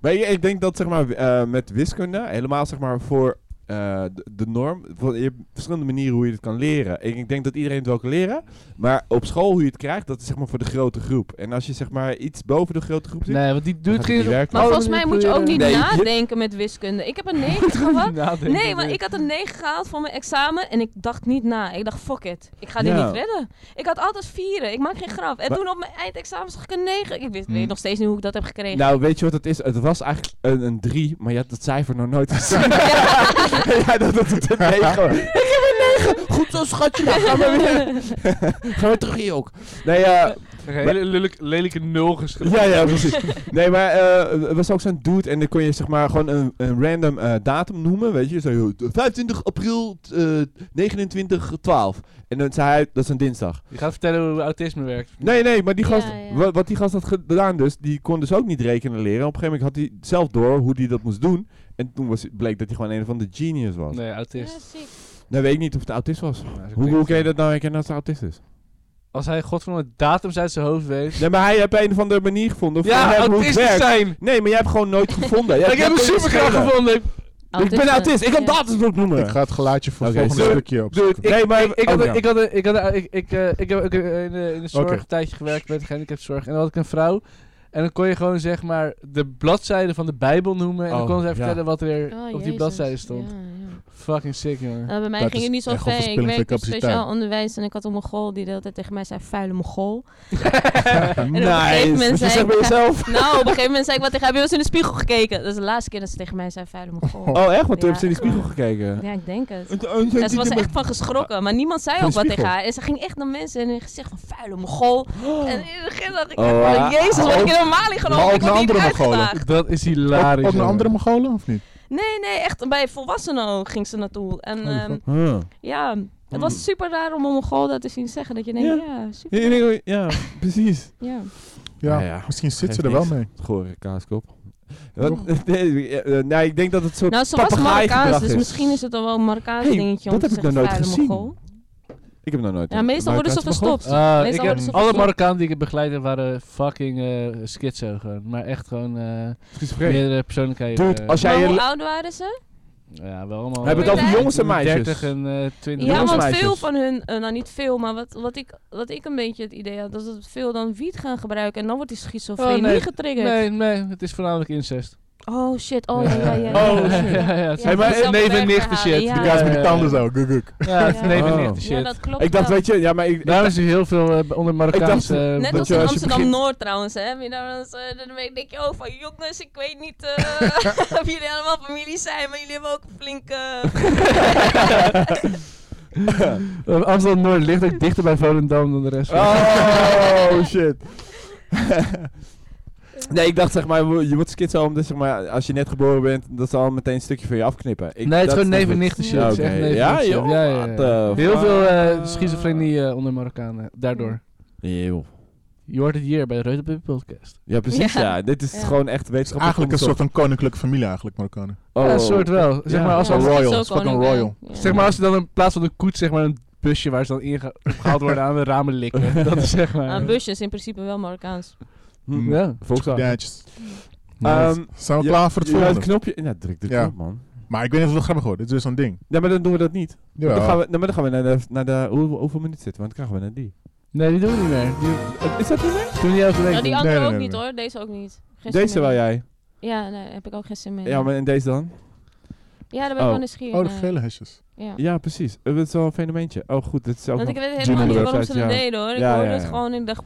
A: Maar ik, ik denk dat zeg maar eh, met wiskunde, eh, helemaal zeg maar voor eh, de, de norm. Voor- Je hebt verschillende manieren hoe je het kan leren. Ik, ik denk dat iedereen het wel kan leren. Maar op school hoe je het krijgt, dat is zeg maar voor de grote groep. En als je zeg maar iets boven de grote groep zit...
C: Nee, want die duurt
A: gaat het niet
C: geen...
A: werken.
D: Maar
C: Oh,
D: volgens
C: dan
D: mij
C: moet
D: moet je
C: je-
D: ook niet
A: Nee, je-
D: nadenken met wiskunde. Ik heb een 9 gehad.
C: Nadenken
D: Nee, maar
C: weer.
D: ik had een 9 gehaald voor mijn examen en ik dacht niet na. Ik dacht, fuck it, ik ga dit
A: Ja.
D: niet redden. Ik had altijd vieren, ik maak geen grap. En
A: Wa-
D: toen op mijn eindexamen zag ik een 9. Ik weet,
C: Hmm.
D: weet nog steeds niet hoe ik dat heb gekregen.
A: Nou, weet je wat het is? Het was eigenlijk een, een 3, maar je had dat cijfer nog nooit gezien. [LAUGHS] ja, dat dat het een 9 was. Ik heb een 9! Goed zo, schatje. Nou, gaan we [LAUGHS] weer. gaan we terug hier ook. Nee, eh,
C: Een hele lelijk- lelijke nul geschreven.
A: ja, ja, precies.
C: [LAUGHS]
A: Nee, maar eh, er was ook zo'n dude en dan kon je zeg maar gewoon een, een random eh, datum noemen, weet je. Zo, joh, 25 april eh 29, 12. En dan zei hij, dat is een dinsdag.
C: Je gaat vertellen hoe autisme werkt.
A: Nee, nee, maar die
D: Ja,
A: gast,
D: ja.
A: wa- Wat, die gast had gedaan dus, die kon dus ook niet rekenen leren. Op een gegeven moment had hij zelf door hoe hij dat moest doen. En toen was, bleek dat hij gewoon een van de genius was.
C: Nee,
D: Ja,
C: autist.
D: ziek.
A: Nou weet ik niet of het autist was.
C: Nou, zo
A: Hoe,
C: klinkt
A: hoe kun je
C: het.
A: dat nou herkennen als hij autist is?
C: Als hij godverdomme datums uit zijn hoofd weet.
A: Nee, maar hij heeft een of andere manier gevonden voor
C: Ja,
A: hem hoe het
C: autistisch
A: werkt.
C: zijn!
A: Nee, maar jij hebt gewoon nooit
C: [LAUGHS]
A: gevonden. Ja,
C: ik heb
A: dat kan
C: hem
A: je
C: super graag
A: schelen.
C: gevonden!
A: Ik ben autist, ik kan
D: Ja.
A: datums ook
B: Ik
A: noemen.
B: ga het geluidje voor het
A: Oké,
B: volgende
A: sorry.
B: stukje op.
A: Dude, ik-
C: Nee, maar
A: ik-
C: ik,
A: oh,
C: had,
A: ja.
C: een- ik had, een- ik had, een- ik, ik, eh, ik heb ook eh, in de, in de zorg
B: Oké.
C: een tijdje gewerkt met gehandicaptenzorg. En dan had ik een vrouw. En dan kon je gewoon zeg maar de bladzijden van de Bijbel noemen. En dan
A: Oh,
C: kon zij
A: ja.
C: vertellen wat er
D: Oh,
C: op die
D: Jezus.
C: bladzijden stond.
D: Ja, ja.
C: Fucking sick, jongen.
D: Nou, bij mij
B: Dat
D: ging
B: is
D: het niet zo
B: echt wel
D: ver. Ik
B: verspilling van
D: werkte op
B: capaciteit.
D: speciaal onderwijs en ik had een Mongool die de hele tijd tegen mij zei: vuile Mongool.
A: Nice.
D: gegeven moment
A: Dus je
D: zei
A: zegt
D: ik-
A: bij jezelf.
D: [LAUGHS] Nou, op een gegeven moment zei ik wat tegen haar, heb je wel eens in de spiegel gekeken? Dat is de laatste keer dat ze tegen mij zei, vuile Mongool.
A: Oh echt? Want toen heb ze in de
D: Ja.
A: spiegel gekeken.
D: Ja, ik denk het.
A: En
D: En ze was er echt van geschrokken, maar niemand zei
A: Van
D: ook
A: de
D: wat tegen
A: spiegel.
D: haar. En ze ging echt naar mensen in hun gezicht van vuile Mongool. En in het begin dacht ik,
A: Oh,
D: echt
A: ja.
D: van, jezus, word ik
A: Ook-
D: in een maling genomen?
B: maar ook
D: ik word
B: naar
D: hier
B: andere
D: niet
B: Mongolen.
D: uitgedaagd.
C: [LAUGHS] Dat is
B: Ook,
C: hilarisch.
B: ook naar
C: jongen.
B: andere Mongolen of niet?
D: Nee, nee, echt bij volwassenen ook ging ze naartoe.
A: Oh,
D: En
B: Holy
D: ehm,
B: fuck.
A: Huh.
D: ja, het was super raar om een Mongool dat te zien zeggen. Dat je denkt,
A: Hmm. Ja.
D: ja, super.
A: Ja, ik denk- Ja, precies.
D: Ja.
B: Ja,
A: Nou ja,
B: misschien zit ze
A: geeft
B: er wel
A: niks.
B: mee.
A: Gore kaaskop. Wat- nee, eh, eh, nou, ik denk dat het soort
D: Nou, ze was
A: papegaaiengedrag
D: Marokkaans, dus
A: is.
D: misschien is het dan wel een Marokkaans
A: Hey,
D: dingetje om
A: dat
D: te
A: heb ik
D: zeggen,
A: nog nooit
D: vuile
A: gezien.
D: Mongool.
A: Ik heb nog nooit.
D: Ja, meestal worden ze
A: Marokkaanse
D: verstopt.
C: Ah,
D: Meestal
C: ik heb-
D: worden ze
C: alle
D: verstopt.
C: Marokkanen die ik heb begeleid waren fucking eh schizo gewoon. Maar echt gewoon eh
A: Schizofreen.
C: meerdere persoonlijkheden.
A: Dude,
C: eh,
A: als jij
D: Maar
A: je...
D: hoe oud waren ze?
C: ja, wel allemaal.
A: We hebben
D: het over
C: eh,
A: jongens en meisjes.
C: 30 en eh 20.
D: Ja,
A: Jongens,
D: want
A: meisjes.
D: veel van hun, eh, nou niet veel, maar wat, wat, ik, wat ik een beetje het idee had, dat ze veel dan wiet gaan gebruiken en dan wordt die schizofrenie
C: Oh, nee.
D: getriggerd.
C: Nee, nee, het is voornamelijk incest.
D: Oh shit, oh ja, ja, ja. ja.
A: Oh,
C: ja,
A: shit.
C: ja, ja, het is-
D: Ja,
A: maar
D: zelfde
C: neef en nicht en shit.
D: werkverhalen,
C: Die
B: De
D: Ja,
B: kaas met die
C: ja,
B: tanden
C: ja.
B: zo. guk, guk.
C: Ja, het is
D: Ja.
C: neef en
A: Oh.
C: nicht en
D: Ja,
C: [LAUGHS] shit.
D: dat klopt
A: Ik dacht,
D: wel.
A: weet je, ja, maar ik, ik
C: Daarom
A: dacht,
C: is er heel veel eh, onder Marokkaanse...
A: dacht-
C: eh,
D: Net
A: dat
D: als
A: je
D: in
A: als je begint-
D: Amsterdam-Noord trouwens, hè. Heb je daar wel eens, eh, dan denk ik, oh, van jongens, ik weet niet eh, [LAUGHS] of jullie allemaal familie zijn, maar jullie hebben ook een flinke...
C: eh, Amsterdam-Noord ligt ook dichter bij Volendam dan de rest van
A: [LAUGHS] Oh shit. nee, ik dacht zeg maar, je wordt schizo omdat zeg maar, als je net geboren bent, dat ze al meteen een stukje van je afknippen. Ik,
C: Nee, het is
A: dat
C: gewoon neef en
A: het.
C: nicht en shit.
A: Ja,
C: Het is echt
A: oké.
C: neef en
A: Ja,
C: nicht,
A: joh,
C: ja, ja, ja.
A: what the
C: Heel
A: fuck?
C: veel eh, schizofrenie eh, onder Marokkanen, daardoor.
A: Eeuw.
C: Je hoort het hier bij de Reuter Pup Podcast.
A: Ja, precies. Ja,
D: Ja.
A: dit is
D: Ja.
A: gewoon echt wetenschappelijk
B: Eigenlijk een soort
A: onderzocht.
B: van koninklijke familie eigenlijk, Marokkanen.
C: Ja, een
A: Oh.
C: soort wel. Zeg,
A: Ja.
C: maar als,
D: Ja,
C: als-
D: dat is
B: royal,
D: ook
B: dat is fucking
D: gewoon een-
B: royal.
D: ja.
C: zeg maar als ze dan in plaats van een koets, zeg maar een busje waar ze dan in gehaald worden aan de ramen
A: [LAUGHS]
C: likken. Dat is zeg maar...
D: Ah, busjes in principe wel Marokkaans.
A: Hm.
C: Ja.
A: Volkswagen.
B: Daadjes.
A: Ehm,
B: Zijn we
A: Ja,
B: klaar voor het
A: je laat het
B: volgende?
A: knopje. Ja, druk de
B: Ja.
A: knop, man.
B: Maar ik weet niet of het wel grappig wordt. Dit is weer zo'n ding.
A: Ja, maar dan doen we dat niet.
B: Ja.
A: Dan gaan we, dan, maar dan gaan we naar de... Naar de hoe, hoeveel minuten zitten we? Want dan krijgen we naar die.
C: Nee, die doen we niet meer. Die
A: Eh, Is dat er weer?
C: doen we niet elke week.
D: Nou, die
C: meer.
D: andere
B: nee,
D: ook
B: nee,
D: niet
B: nee.
D: hoor, deze ook niet. Geen zin
A: Deze
D: meer.
A: wel jij.
D: Ja, nee, daar heb ik ook geen zin meer.
A: Ja, maar en deze dan?
D: Ja, daar ben ik
A: Oh.
D: wel nieuwsgierig
B: Oh, de
D: naar.
B: gele hesjes.
D: Ja.
A: Ja, precies. Het is wel een fenomeentje. Oh goed, dit is ook
D: Want
A: nog-
D: ik weet
B: Jim
D: helemaal
B: on
D: niet
B: the
D: waarom ze
A: website,
D: dat
A: ja.
D: deden hoor. Ik
A: Ja,
D: hoorde
A: ja,
D: het
A: ja.
D: gewoon en ik dacht,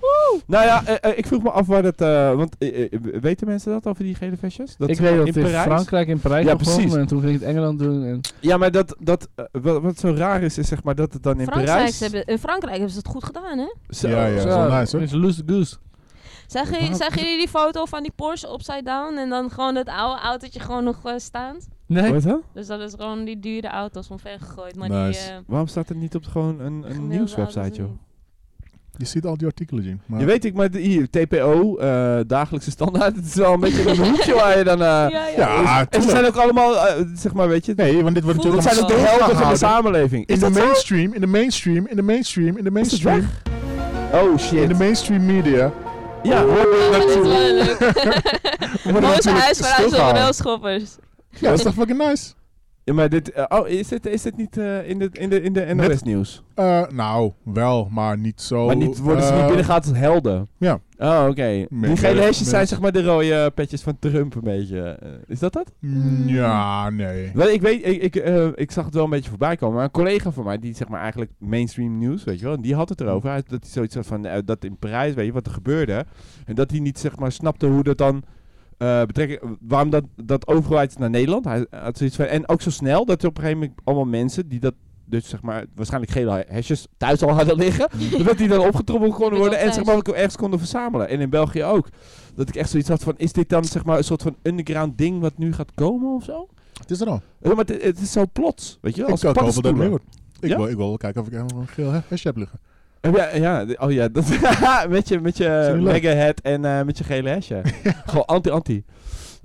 A: Nou ja, eh, eh, ik vroeg me af waar dat... eh, want eh, eh, weten mensen dat over die gele vestjes? Dat
C: ik
A: ze
C: weet
A: in
C: dat in
A: Parijs-
C: Frankrijk in Parijs
A: Ja,
C: begonnen
A: precies.
C: en toen ging ik het Engeland doen. En
A: Ja, maar dat, dat, eh, wat, wat zo raar is, is zeg maar dat het dan in
D: Frankrijk,
A: Parijs...
D: ze hebben, in Frankrijk hebben ze het goed gedaan hè.
A: Zo.
B: Ja, ja.
A: Zo.
B: wel nice, hoor.
C: Het is loose goose.
D: Zagen,
A: Wat?
D: jullie- zagen jullie die foto van die Porsche upside down en dan gewoon dat oude autootje gewoon nog eh, staand?
C: Nee,
A: Wat, hè?
D: Dus dat is gewoon die dure auto's omver gegooid. Maar
B: Nice.
D: die, eh,
A: Waarom staat het niet op gewoon een, een
D: gemiddelde
A: nieuwswebsite,
D: auto's
A: joh?
D: niet.
B: Je ziet al die artikelen, Jim. Maar
A: Je weet ik, maar de, hier, TPO, eh, dagelijkse standaard, het is wel een beetje een hoekje waar je dan... eh,
D: Ja, ja.
B: ja,
A: en ze
B: tuurlijk.
A: zijn ook allemaal, eh, zeg maar, weet je...
B: Nee, want dit wordt
D: Voel
A: dat
B: natuurlijk
A: zijn ook de
D: Allemaal
A: helden van de
B: gehouden.
A: samenleving.
B: In
A: Is
B: de
A: dat zo?
B: mainstream, in de mainstream, in de mainstream, in de
A: Is het
B: mainstream.
A: Oh,
B: In de
A: shit.
B: mainstream media.
A: Ja,
D: Oh, dat is wel
B: Natuurlijk.
A: [LAUGHS]
D: leuk.
B: wordt
D: Mooiste
B: natuurlijk
D: huis van huis op
B: stilgehouden.
D: railschoppers.
B: Ja, dat is toch fucking nice?
A: Ja, maar dit... eh, oh, is dit, is dit niet eh, in, de, in, de, in de NOS nieuws?
B: Eh, nou, wel, maar niet zo.
A: maar niet, worden ze
B: eh,
A: niet binnengehaald als helden?
B: ja.
A: Oh, oké. Die
B: Met-
A: gele hesjes zijn
B: met-
A: zeg maar de rode petjes van Trump een beetje. eh, is dat dat?
B: mm, Ja, nee.
A: Wel, ik, weet, ik, ik, eh, ik zag het wel een beetje voorbij komen. Maar een collega van mij, die zeg maar eigenlijk mainstream nieuws, weet je wel, die had het erover. Hij- Dat hij zoiets had van, eh, dat in Parijs, weet je, wat er gebeurde. En dat hij niet zeg maar snapte hoe dat dan eh betrekking, waarom dat, dat overheid naar Nederland. Hij had zoiets van, en ook zo snel dat er op een gegeven moment allemaal mensen die dat dus zeg maar waarschijnlijk gele hesjes thuis al hadden liggen. dat die dan opgetrommeld konden worden en zeg maar ook ergens konden verzamelen. En in België ook. Dat ik echt zoiets had van, is dit dan zeg maar een soort van underground ding wat nu gaat komen of zo?
B: Het is er al.
A: Ja, maar het, het is zo plots, weet je wel?
B: Ik
A: Als
B: kan hopen dat het mee
A: paddenstoelen.
B: wordt. Ik,
A: Ja?
B: wil, ik wil wel kijken of ik helemaal een geel he- hesje heb liggen.
A: Eh, Ja, ja, d- oh ja, dat, [LAUGHS] met je, met je
B: Zo leuk.
A: mega head en eh, met je gele hesje. Gewoon anti-anti.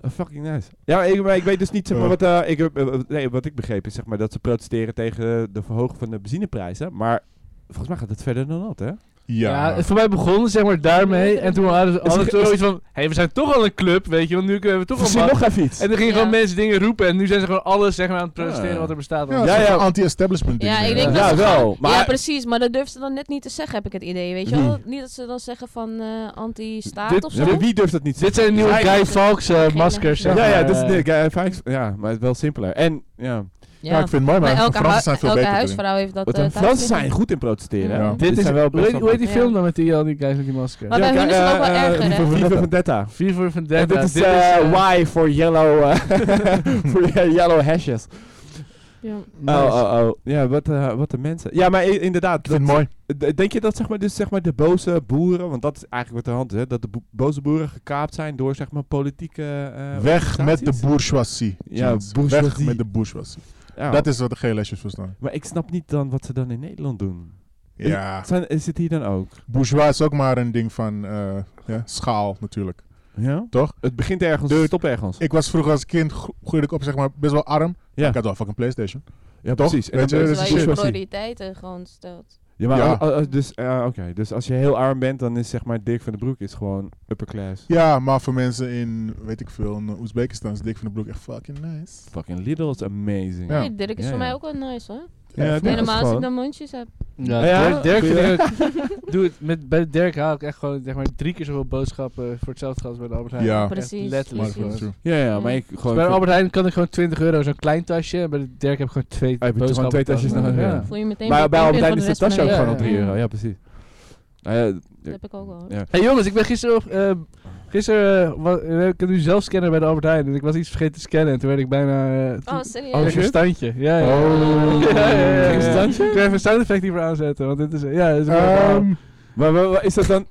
A: Eh, fucking nice. Ja, maar ik, maar ik weet dus niet, zeg maar,
B: Ja.
A: wat, eh, ik, heb- eh, wat- nee, wat ik begreep is zeg maar, dat ze protesteren tegen de verhoging van de benzineprijzen. Maar volgens mij gaat het verder dan dat, hè?
B: Ja.
C: Ja, voor mij begonnen zeg maar daarmee. En toen hadden ze
A: Is
C: hadden
A: het-
C: ze
A: is-
C: zoiets van... Hé, we zijn toch al een club, weet je. Want nu hebben we toch
A: Verzin
C: al...
A: nog even iets.
C: En dan gingen
D: Ja.
C: gewoon mensen dingen roepen. En nu zijn ze gewoon alles zeg maar, aan het protesteren
A: Ja.
C: wat er bestaat.
B: Ja,
A: Ja,
B: ja,
A: ja.
B: anti-establishment ding.
D: Ja, ik
B: eh.
D: denk dat
A: ja,
D: ze
A: wel. Maar
D: ja, precies. Maar dat durft ze dan net niet te zeggen, heb ik het idee. Weet je wel? Niet dat ze dan zeggen van eh, anti-staat
A: dit,
D: of zo.
A: ja, wie durft dat niet
C: Dit zijn de nieuwe
A: Ja,
C: Guy Fawkes eh, maskers. zeg
A: ja, ja,
C: maar,
A: dit is,
C: eh.
A: nee, Guy Fawkes- ja, maar het is wel simpeler. En, ja.
D: Ja.
B: Ja, ik vind het mooi, maar,
D: elke,
B: Fransen
D: hu-
B: zijn veel
D: elke
B: beter. erin.
D: huisvrouw heeft dat
A: Want
D: eh,
A: de
D: thuis
A: Fransen
D: liggen.
A: zijn goed in protesteren.
B: Ja.
A: hè?
C: Dit is
A: zijn wel
C: hoe
A: best
C: heet, hoe
A: wel...
C: heet die
D: Ja.
C: film dan met die, al die guys met die masker?
D: Maar bij hun is het ook wel erger, hè?
A: Viva Vendetta.
C: Vier voor Vendetta.
A: En dit is
C: Dit
A: eh,
C: eh,
A: Y voor yellow, eh, voor eh, yellow hashes.
D: Ja.
C: nice.
A: Oh, oh, oh. Ja, wat, eh, wat de mensen. Ja, maar i- inderdaad.
B: Ik vind het
A: dat-
B: mooi.
A: d- denk je dat zeg maar, dus, zeg maar, de boze boeren, want dat is eigenlijk wat er aan de hand is, hè, dat de bo- boze boeren gekaapt zijn door zeg maar, politieke... eh,
B: Weg met de
A: organisaties?
B: bourgeoisie.
A: Ja,
B: Jeans. Weg
A: bourgeoisie.
B: met de bourgeoisie.
A: Ja,
B: Dat is wat de gele hesjes verstaan.
A: Maar ik snap niet dan wat ze dan in Nederland doen.
B: Ja,
A: Zijn, is het hier dan ook?
B: bourgeois is ook maar een ding van eh, ja, schaal natuurlijk.
A: Ja?
B: Toch?
A: Het begint ergens,
B: Dude,
A: stopt ergens.
B: Ik was vroeger als kind, gro- groeide ik op zeg maar best wel arm.
A: Ja.
B: Ik had wel een fucking Playstation.
A: ja,
B: toch?
A: precies. En
B: Weet
A: dan
B: je,
A: ben
B: dat
D: Terwijl Dus je
B: is
A: bourgeoisie.
D: prioriteiten gewoon stelt.
A: Ja, maar
B: Ja.
A: al- al- dus, eh, oké. dus als je heel arm bent, dan is zeg maar Dirk van den Broek is gewoon upper class.
B: Ja, maar voor mensen in, weet ik veel, in eh, Oezbekistan is Dick van de Broek echt fucking nice.
A: Fucking Lidl is amazing.
B: Ja.
D: Nee, Dirk is
A: Ja,
D: voor
A: ja.
D: mij ook wel nice hoor.
A: Ja,
B: echt nice.
A: nee, dat is
D: Helemaal als
A: gewoon-
D: ik dan mondjes heb.
C: Ja,
A: Ja,
C: Dirk- Dirk
A: goeie.
C: vind ik [LAUGHS] ook- Doe het. Met, bij Dirk haal ik echt gewoon zeg maar, drie keer zoveel boodschappen voor hetzelfde geld als bij de Albert Heijn.
B: Ja.
C: Echt
D: Precies,
C: Letterlijk.
D: precies.
C: gewoon.
B: True.
A: Ja, ja, maar ik
C: Dus
A: gewoon...
C: bij de Albert Heijn kan ik gewoon 20 euro zo'n klein tasje. En bij de Dirk heb ik gewoon twee
A: Ah, heb je
C: boodschappen.
A: gewoon twee tasjes
C: betaald.
A: nodig, ja.
C: Ja.
D: Voel je meteen
A: maar
D: weer
A: bij Albert
D: pinprikken
A: Heijn
D: voor
A: is de
D: de rest van
A: tasje
D: je
A: ook
C: Ja,
A: gewoon
D: leven.
A: al
C: ja.
A: 3 euro. Ja, precies. Nou ja,
D: Dat heb ik ook wel. hoor.
A: ja.
C: Hey jongens, ik ben gisteren. op, eh, gisteren. eh, wa- eh, ik heb nu zelf scannen bij de Albert Heijn. En ik was iets vergeten te scannen. En toen werd ik bijna. eh, toen-
D: Oh,
A: Oh,
D: serieus?
C: kreeg ik een
A: shit.
C: standje. Ja, ja.
A: Oh.
C: ja, ja, ja, ja.
A: Kreeg je een standje?
C: Ik wil even een sound effect hiervoor aanzetten. Want dit is. Ja, dit is een mooi verhaal.
B: Ehm,
A: Maar, wa- wa- is dat dan...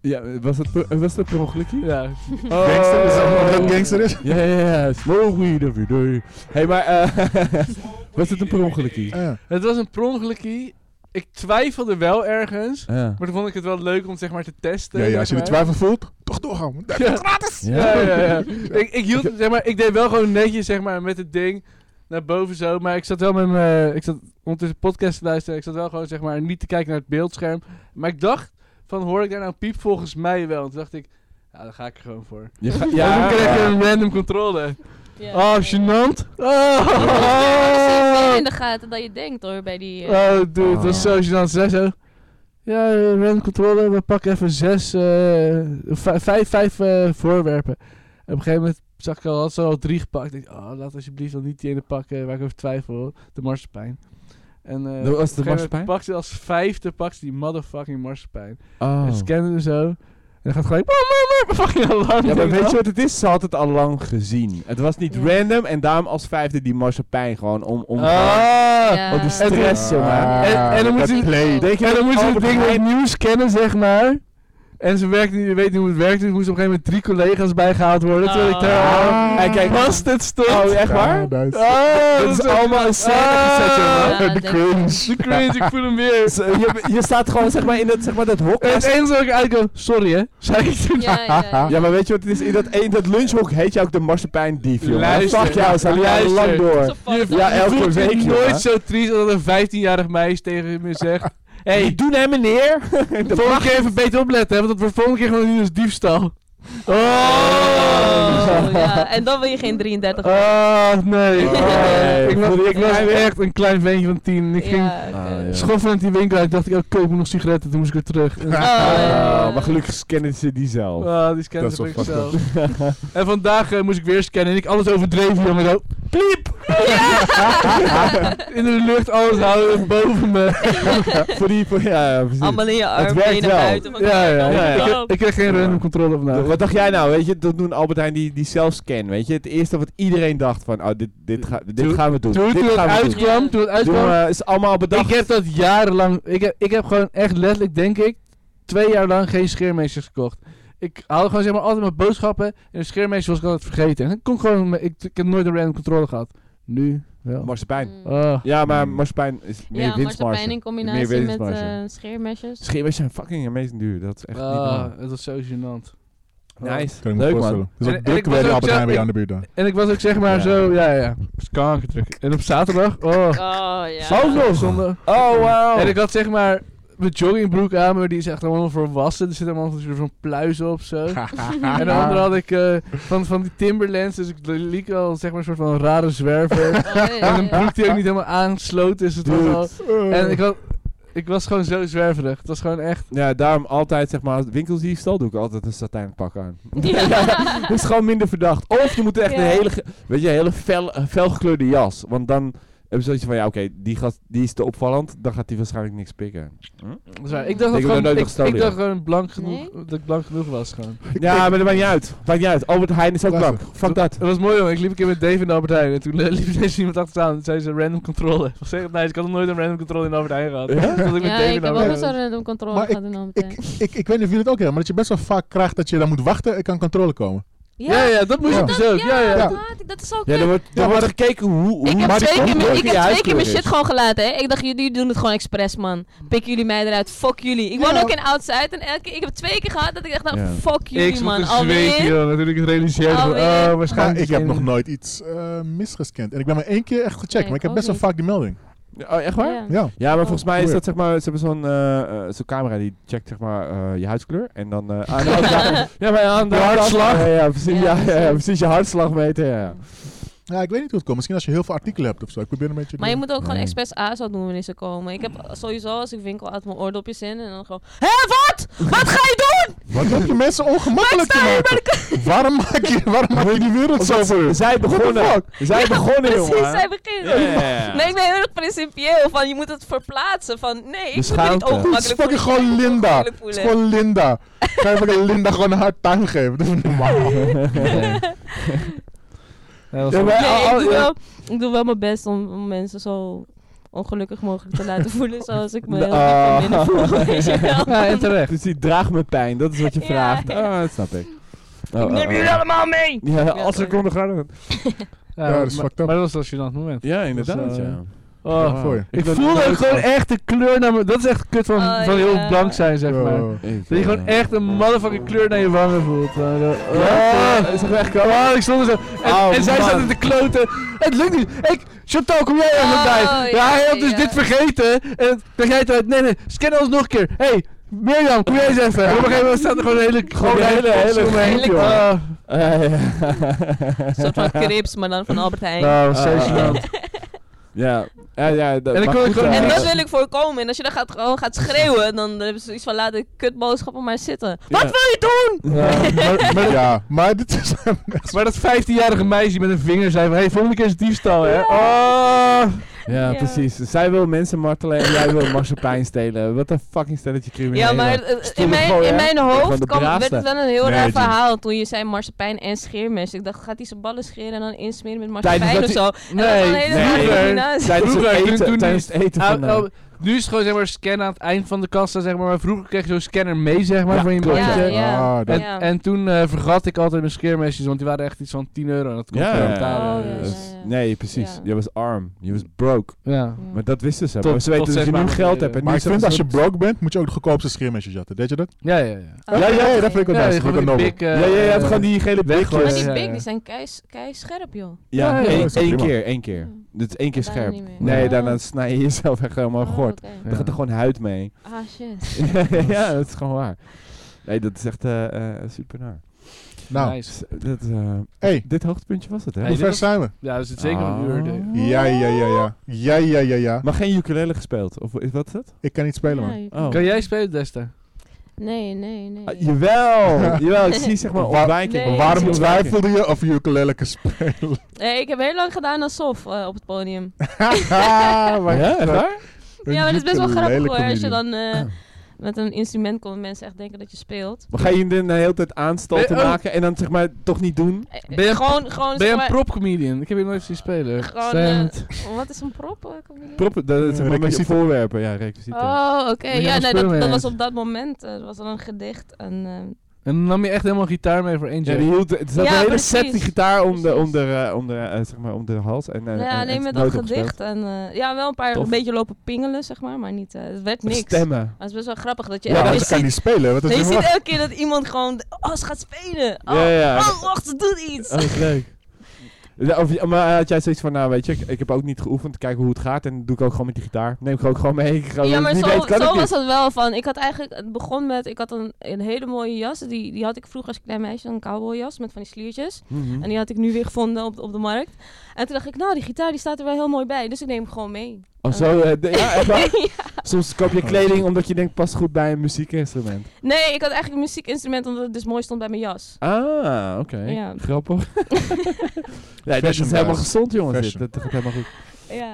A: Ja, was dat, per- was dat per ongelukje?
C: ja.
A: Oh.
B: Gangster, is dat wat een gangster
A: [LAUGHS]
B: is?
A: Ja, ja, ja. Smoke weed every day. Hé, maar... eh [LAUGHS] was het een per ongelukje?
B: Ja.
C: Het was een per ongelukkie. Ik twijfelde wel ergens.
A: Ja.
C: Maar toen vond ik het wel leuk om zeg maar te testen.
B: Ja, ja,
C: zeg
B: als je de
C: maar.
B: twijfel voelt, toch doorgaan. man.
C: Ja, ja, ja. ik, ik hield, zeg maar, ik deed wel gewoon netjes, zeg maar, met het ding naar boven zo. Maar ik zat wel met mijn, eh, ik zat ondertussen podcast te luisteren. Ik zat wel gewoon, zeg maar, niet te kijken naar het beeldscherm. Maar ik dacht, van hoor ik daar nou een piep? Volgens mij wel. En toen dacht ik, ja, daar ga ik er gewoon voor.
A: Je ga-
C: Ja,
A: ja,
C: toen kreeg ik een random controle.
D: Ja.
C: Oh, gênant.
A: Ah.
C: Oh,
D: wel in de gaten dat je denkt hoor, bij die... eh,
C: Oh, dude, dat was
A: Ah.
C: zo gênant. Ze zei zo... Ja, eh, random controle, we pakken even zes, eh, vij- vijf, vijf eh, voorwerpen. En op een gegeven moment zag ik al, had ze al drie gepakt. Ik denk, oh, laat alsjeblieft dan niet die ene pakken waar ik over twijfel. De marspijn. En, eh,
A: Dat was
C: op een
A: de
C: gegeven moment
A: marsepein?
C: Pakt ze als vijfde, pakt ze die motherfucking marspijn.
A: Oh.
C: En scannen ze zo. En dan gaat gelijk, boom, boom, boom, fucking alarm.
A: Ja, maar
C: Denk ik,
A: weet je
C: oh.
A: wat het is? Ze had het al lang gezien. Het was niet
D: Ja.
A: random en daarom als vijfde die marsepein gewoon om... om
C: Ah.
D: ja.
A: Oh, die stress, jongen.
B: Ah,
C: En- en dan moet
B: dat
C: je-
B: play.
A: Denk je
C: Ja, dan
A: dat
C: moest ze het
A: Albert
C: ding
A: Heijn-
C: opnieuw scannen, zeg maar. En ze werkt niet, je weet niet hoe het werkt, dus moest op een gegeven moment drie collega's bijgehaald worden. Terwijl ik daar al
A: Ah. En kijk,
C: vast het stond.
A: Oh, echt waar?
B: Ja, dat is-
C: Oh,
A: Dat is allemaal een scène
C: Ah.
A: gezet, jongen.
D: Ja,
B: De
D: denk ik.
B: cringe.
C: De cringe, ik voel hem weer. [LAUGHS]
A: Dus, eh, je, je staat gewoon zeg maar in dat, zeg maar, dat hok.
C: En het
A: naast-
C: enige wat ik uitkom, sorry hè, [LAUGHS] zei ik toen.
D: Ja, ja, ja.
A: [LAUGHS] Ja, maar weet je wat het is? In dat, in dat lunchhok heet je ook de marsepein dief, jongen.
C: Luister.
A: Fuck jou, ze hadden jou al lang
C: Luister.
A: door.
C: Je,
A: Ja,
C: je
A: elke
C: voelt je
A: week,
C: nooit
A: jongen.
C: zo triest als dat een 15-jarig meisje tegen me zegt. Hé,
A: Hey,
C: hey,
A: doe hem meneer.
C: [LAUGHS]
A: [LAUGHS]
C: volgende keer even beter opletten, hè, want dat wordt volgende keer gewoon niet als diefstal. [LAUGHS]
D: Oh, ja. En dan wil je geen
A: Oh.
D: 33.
C: Ah, nee. Ah,
A: Nee.
C: Ik was, ik was echt een klein ventje van tien. en Ik ging
D: ja, oké.
A: Ah, ja.
C: schoffelend die winkel uit. dacht ik, oh, kut, ik moet nog sigaretten. Toen moest ik weer terug. En-
D: ja.
A: Oh, maar gelukkig scannen ze die zelf.
C: Ah, die scannen
B: Dat is
C: ze
B: wel
C: ik zelf.
B: fucked
C: [LAUGHS] En vandaag eh, moest ik weer scannen en ik alles overdreven, jongen. Zo, pliep! In de lucht, alles houden, boven me.
A: voor die, voor, ja, ja, precies.
D: Allemaal in je arm,
A: Het werkt
D: benen
A: wel.
D: buiten. Van,
C: [LAUGHS] Ja, ja,
A: ja, ja.
C: Ik, ik kreeg geen random controle vandaag.
A: Wat dacht jij nou? Weet je, dat doen Albert Heijn die, die zelfscan. Weet je, het eerste wat iedereen dacht van, oh, dit, dit, ga, dit
C: Toen-
A: gaan we doen.
C: Toen,
A: dit
C: toen het
A: gaan we doen.
C: uitkwam, toen het
A: Doen
C: uitkwam,
A: we- is allemaal bedacht.
C: ik heb dat jarenlang, ik heb, ik heb gewoon echt letterlijk, denk ik, twee jaar lang geen scheermeesters gekocht. Ik haalde gewoon zeg maar altijd mijn boodschappen en de scheermeester was ik altijd vergeten. En ik kon gewoon, me- ik, ik heb nooit een random controle gehad. Nu wel.
A: Marsepein.
C: Ah.
A: Ja, maar Marsepein is meer
D: Mm. ja, maar
A: winstmarge.
D: pijn in
A: Meer
D: combinatie met
A: winstmarge.
D: eh, scheermesjes.
A: Scheepers zijn fucking amazing duur. Dat is echt niet
C: Ah,
A: normaal.
C: het was zo gênant.
A: Nice.
B: Kan ik me
A: Leuk man.
B: voorstellen. Dus
C: En-
B: ook
C: en
B: druk
C: ik was
B: bij de
C: ook
B: Albert Heijn
C: zelf-
B: bij jou aan de buurt daar.
C: Ah. En ik was ook zeg maar
A: Ja.
C: zo, ja, ja. Kankertruc. En op zaterdag, oh.
D: Oh, ja.
C: nog zondag.
A: Oh, wow.
C: En ik had zeg maar mijn joggingbroek aan, maar die is echt helemaal volwassen. Er zit helemaal zo'n soort van pluis op,
A: [LAUGHS]
C: zo. En de andere had ik eh, van, van die Timberlands, dus ik liep al zeg maar een soort van rare zwerver.
D: Oh, ja,
C: en een
D: ja.
C: broek die ook niet helemaal aansloot, dus het was al...
A: Eh.
C: En ik, had, ik was gewoon zo zwerverig. Het was gewoon echt...
A: Ja, daarom altijd, zeg maar, winkels die ik stal, doe ik altijd een satijnen pak aan.
D: Ja.
A: [LAUGHS] Dat is gewoon minder verdacht. Of je moet echt
D: Ja.
A: een hele, ge- weet je, een hele fel, eh, felgekleurde jas. Want dan hebben ze zoiets van, ja, oké, die gast, die is te opvallend. Dan gaat die waarschijnlijk niks pikken.
C: dat is waar. Ik dacht dat
A: Ik heb nog
C: gewoon,
A: nooit
C: ik,
A: gestolen,
C: ik dacht
A: ja.
C: gewoon blank genoeg, dat ik blank genoeg was gewoon.
A: [LAUGHS] Ja, maar dat maakt niet uit. Maakt niet uit. Albert Heijn is ook
B: Luister.
A: blank. Fuck dat.
C: Dat was mooi hoor. Ik liep een keer met Dave in de Albert Heijn. En toen eh, liep [LAUGHS] ineens iemand achteraan. Toen zei ze random controle. Ik was echt nice. Ik had nog nooit een random controle in de Albert Heijn gehad. [LAUGHS] Toen ik met
D: Ja,
C: Dave in
D: ik
C: de Albert
D: heb ook een
C: Heijn
D: zo'n random controle
B: Maar ik-
D: gehad in Amsterdam.
B: Ik, ik, ik weet niet of jullie het ook hebben, maar dat je best wel vaak krijgt dat je dan moet wachten en kan controle komen.
C: was. Ja, ja, dat moest
B: Ja.
C: ik dus ook. Ja, ja.
B: Ja.
D: Maat, ik- dat is ook
A: Ja, er wordt, er
B: maar
A: wordt
B: dat-
A: gekeken hoe...
D: Ik
A: hoe
D: heb
A: maar die
D: zeker mijn,
A: kleur-
D: ik
A: je
D: heb zeker
A: huidskleur
D: mijn
A: is.
D: shit gewoon gelaten, hè. Ik dacht, jullie doen het gewoon expres, man. Pik jullie mij eruit. Fuck jullie. Ik woon
B: Ja.
D: ook in Outside en elke, ik heb twee keer gehad dat ik dacht, nou,
A: Ja.
D: fuck
C: Ik
D: jullie,
C: zat
D: man.
C: te zweten,
D: Alweer.
C: joh. Natuurlijk ik het realiseerde. van,
D: Alweer.
C: Oh,
B: Maar
C: waarschijnlijk.
B: ik heb
C: is-
B: nog
C: [LAUGHS]
B: nooit iets eh, misgescand. En ik ben maar één keer echt gecheckt,
D: Nee,
B: maar ik heb
D: ook
B: best wel
D: niet.
B: vaak die melding.
A: Oh, echt waar?
D: Ja.
B: Ja.
A: Ja, maar
D: Oh,
A: volgens mij is
B: weird.
A: dat zeg maar, ze hebben zo'n eh, eh, zo'n camera die checkt zeg maar eh, je huidskleur en dan eh, aan de andere kant- [LAUGHS] ja, maar aan de andere
C: Je hartslag.
A: kant- Ja, ja, precies, ja,
D: Ja,
A: ja,
D: precies.
A: precies je hartslag meten. Ja.
B: Ja, ik weet niet hoe het komt. Misschien als je heel veel artikelen hebt of zo. Ik probeer een beetje...
D: Maar je moet ook gewoon
A: Nee.
D: expres ASO doen wanneer ze komen. Ik heb sowieso, als ik winkel, uit mijn oordopjes in en dan gewoon... Hé, wat? Wat ga je
B: [LAUGHS]
D: doen?
B: Wat heb je mensen ongemakkelijk te maken? Waarom maak je, waarom maak je die wereld zo voor hun?
A: Zij begonnen. Zij begonnen,
D: Precies,
A: jongen.
D: zij beginnen.
A: Ja, ja,
C: [LAUGHS]
A: ja.
D: [LAUGHS] Nee, ik ben heel erg principieel van, je moet het verplaatsen van... Nee,
B: Dus
D: ik moet me niet
A: schaamte.
D: ongemakkelijk
B: Het is fucking
D: voelen.
B: gewoon Linda.
D: Ongemakkelijk
B: Het is
D: voelen.
B: gewoon Linda. Ga je fucking Linda gewoon een hard time geven? Dat is niet normaal.
C: Ja, dat was
A: Ja,
C: wel-
A: maar-
B: eh,
D: Nee,
A: al-
B: oh,
D: ik, doe
A: ja.
D: wel, ik doe wel mijn best om, om mensen zo ongelukkig mogelijk te laten voelen zoals
B: [LAUGHS]
D: ik me heel diep
A: Ah.
D: van binnen voel. [LAUGHS] weet je wel.
C: Ja, en terecht.
A: Dus die draagt me pijn, dat is wat je
D: Ja,
A: vraagt.
D: ja.
A: Ah, dat snap ik. Oh,
D: Ik
A: oh,
D: neem
A: oh.
D: jullie allemaal mee!
A: Ja, als
D: sorry.
A: ik kon gaan.
C: Ja,
B: Ja, dat is
C: maar-
B: fucked up.
C: Maar dat was als je dat moment.
A: Ja,
C: Dat
A: inderdaad.
C: is, eh,
A: ja.
C: Oh.
B: voor je.
C: Ik
A: ben
C: voelde ook
A: nooit
C: gewoon
A: van-
C: echt de kleur naar me. Dat is echt kut van,
D: Oh,
C: van
D: ja.
C: heel blank zijn, zeg maar.
B: Oh.
A: Ik,
C: Dat je
A: eh,
C: gewoon echt een motherfucking kleur naar je wangen voelt. Gewoon zo, Oh,
A: Ja, is er echt
C: echt oh, ik stond er zo. En,
A: Oh,
C: en zij
A: man.
C: zat in de kloten. Het lukt niet. Ik, Chantal, kom jij even
D: Oh,
C: bij? Ja,
D: ja,
C: hij had dus
D: ja.
C: dit vergeten. En dan jij het uit. Nee, nee, scan ons nog een keer. Hé, hey, Mirjam, kom jij eens even. En op een gegeven moment staat er gewoon een hele... Gewoon
A: een hele- hele-
D: hele-
C: Oh,
D: Een soort van crips, maar dan van Albert Heijn.
B: Nou,
C: oh,
A: Ah,
C: zo
A: ah,
C: gênant.
A: [LAUGHS] Ja, ja, ja dat,
C: En ik
A: maar
C: kon-
A: goed,
C: ik kon-
A: eh,
D: En
C: Ja.
D: dat wil ik voorkomen. En als je dan gaat, gewoon gaat schreeuwen, dan hebben ze zoiets van laat de kutboodschappen maar zitten.
A: Ja.
D: Wat wil je doen?
B: Maar, maar- ja, maar dit is...
C: [LAUGHS] Maar dat 15-jarige meisje die met een vinger zei van... Hé, hey, volgende keer is diefstal, hè. Oh.
A: Ja,
D: Ja.
A: precies. Zij wil mensen martelen en jij wil marsepein stelen. Wat een fucking stelletje criminelen.
D: Ja, maar eh, in
A: Stomme
D: mijn,
A: gooi,
D: in
A: hè?
D: mijn
A: Van de
D: hoofd kwam, werd
A: braafste.
D: het wel een heel raar
B: Nee, Jim.
D: verhaal toen je zei marsepein en scheermes. Ik dacht, gaat hij zijn ballen scheren en dan insmeren met
A: Tijdens
D: marsepein of zo?
A: dat
D: En dat was een hele
A: nee,
D: rare
A: nee.
D: combinatie.
A: Tijdens het
C: Vroeger, toen-
A: eten,
C: toen
A: tijdens het eten van...
C: Ah,
A: eh,
C: oh, nu is het gewoon zeg maar scannen aan het eind van de kassa, zeg maar. Maar vroeger kreeg je zo'n scanner mee, zeg maar,
A: Ja,
C: voor je
A: klopt.
C: mandje.
D: Ja, ja.
B: Ah, dat-
C: En,
D: Ja.
C: en toen eh, vergat ik altijd mijn scheermesjes, want die waren echt iets van 10 euro. En dat kon
A: ja,
C: gewoon
A: ja,
C: betalen.
D: Oh, ja,
A: dat
C: Dus-
A: is-
D: ja,
A: eh,
D: ja.
A: Nee, precies.
D: Ja.
A: Je was arm. Je was broke.
C: ja.
A: Maar dat wisten ze.
C: Tot-
A: maar ze
C: tot
A: weten dus dat
C: zes
A: je nu
C: maanden
A: geld
C: geleden.
A: hebt. En
B: Maar
A: nu
B: ik vind
A: zeggen
B: als je
A: ze-
B: broke bent, moet je ook de goedkoopste scheermesjes jatten. Deed je dat?
C: Ja, ja, ja.
D: Oh,
B: ja, ja, dat
D: oké.
B: vind ik wel
C: Ja,
B: nice.
C: je
B: Vind ik
C: gewoon
B: wel
C: die
B: nobel.
C: big, eh,
A: Ja, ja, je hebt
C: eh,
A: gewoon die gele
C: weg-
A: blikjes.
D: Maar die
C: Ja, ja,
D: big,
C: ja.
D: die zijn kei, kei scherp, joh.
A: Ja,
C: Ja, ja,
A: één
B: dat is wel
A: één
B: prima.
A: keer, één keer. Dit is één keer
D: Daarna
A: scherp.
D: niet meer.
A: Nee,
D: Oh.
A: daarna snij je jezelf echt helemaal
D: Oh,
A: gort.
D: oké.
A: Dan gaat er gewoon huid mee.
D: Ah, shit.
A: [LAUGHS] dus- ja, dat is gewoon waar. Nee, dat is echt eh, eh, super naar.
B: Nou,
C: Nice.
A: Dat, eh,
B: hey,
A: dit hoogtepuntje was het, hè?
C: Hey,
B: hoe
C: dit
B: ver
C: was-
B: zijn we?
C: Ja, dat zit zeker een uur. denk ik.
D: Oh.
B: Ja, ja, ja, ja. Ja, ja, ja, ja.
A: Maar geen ukulele gespeeld? Of is- wat is het?
B: Ik kan niet spelen, man.
D: Ja,
A: Oh.
C: Kan jij spelen, Desta?
D: Nee, nee, nee.
A: Ah, jawel! [LAUGHS] jawel, ik zie zeg maar
B: Waar-
A: ontwijking.
D: Nee.
A: Waarom
B: Waarom
D: Heel
B: twijfelde je of je ukulele kan spelen?
D: Nee, ik heb heel lang gedaan als sof eh, op het podium.
B: Haha, wat
A: Ja, echt waar?
B: een
D: ja, maar dat is best wel grappig hoor. Als je
B: ukulele-comedian.
D: dan eh, met een instrument komt, mensen echt denken dat je speelt.
A: Maar ga je dan de hele tijd aanstal
C: Ben-
A: te
C: oh.
A: maken en dan zeg maar toch niet doen?
D: Eh,
C: Ben je een-
D: gewoon, gewoon
C: Ben
D: zeg
C: je een
D: maar-
C: prop-comedian? Ik heb je nooit zien spelen.
D: Gewoon,
C: Zijn
D: eh, wat is een prop? eh, kom je niet?
A: Proppen, dat
B: Eh,
A: is maar met je
B: requisiten.
A: voorwerpen, ja, requisiten.
D: Oh, oké.
C: je
D: Ja,
C: een
D: nee,
C: spul
D: dat,
C: mee
D: dat
C: hebt.
D: was op dat moment. eh, Dat was dan een gedicht. En, eh,
C: En dan nam je echt helemaal gitaar mee voor
A: Ja,
C: Angel.
A: die hield, het zat
D: Ja,
A: een hele
D: precies.
A: set die gitaar om de,
D: Precies.
A: om de, eh, om de, eh, zeg maar, om de hals. En, eh,
D: nou
A: en-
D: ja,
A: en
D: nee, met
A: nooit
D: dat
A: opgespeeld.
D: gedicht. En, eh, ja, wel een paar
A: Tof.
D: een beetje lopen pingelen, zeg maar. Maar niet, eh, het werd niks.
A: Stemmen.
D: Maar het is best wel grappig dat je...
B: Ja,
D: echt-
B: maar
D: je
B: ze kan
D: ziet,
B: niet spelen. Wat is
D: je
B: er
D: ziet
B: wacht?
D: elke keer dat iemand gewoon... d- Oh, ze gaat spelen. Oh,
A: Ja, ja.
D: oh wacht, ze doet iets.
A: [LAUGHS] Oh, dat is leuk. Ja, Of, ja, maar had jij zoiets van, nou weet je, ik, ik heb ook niet geoefend, kijken hoe het gaat en doe ik ook gewoon met die gitaar. Neem ik ook gewoon mee. Ik ga-
D: Ja, maar
A: wie
D: zo,
A: weet kan ik
D: zo
A: dit.
D: was het wel van. Ik had eigenlijk, het begon met, ik had een, een hele mooie jas. Die, die had ik vroeger als klein meisje, een cowboyjas met van die sliertjes.
A: Mhm.
D: En die had ik nu weer gevonden op, op de markt. En toen dacht ik, nou, die gitaar die staat er wel heel mooi bij. Dus ik neem hem gewoon mee.
A: Oh, zo, eh, de- ja, echt waar?
D: [LAUGHS] Ja.
A: Soms koop
B: Oh,
A: je kleding omdat je denkt, past goed bij een muziekinstrument.
D: Nee, ik had eigenlijk een muziekinstrument omdat het dus mooi stond bij mijn jas.
A: Ah, oké.
D: Ja. [LAUGHS]
A: Grappig. ja, dit
B: Fashion
A: is helemaal
B: guys.
A: gezond, jongens. Dit.
B: Fashion.
A: Dat gaat helemaal goed.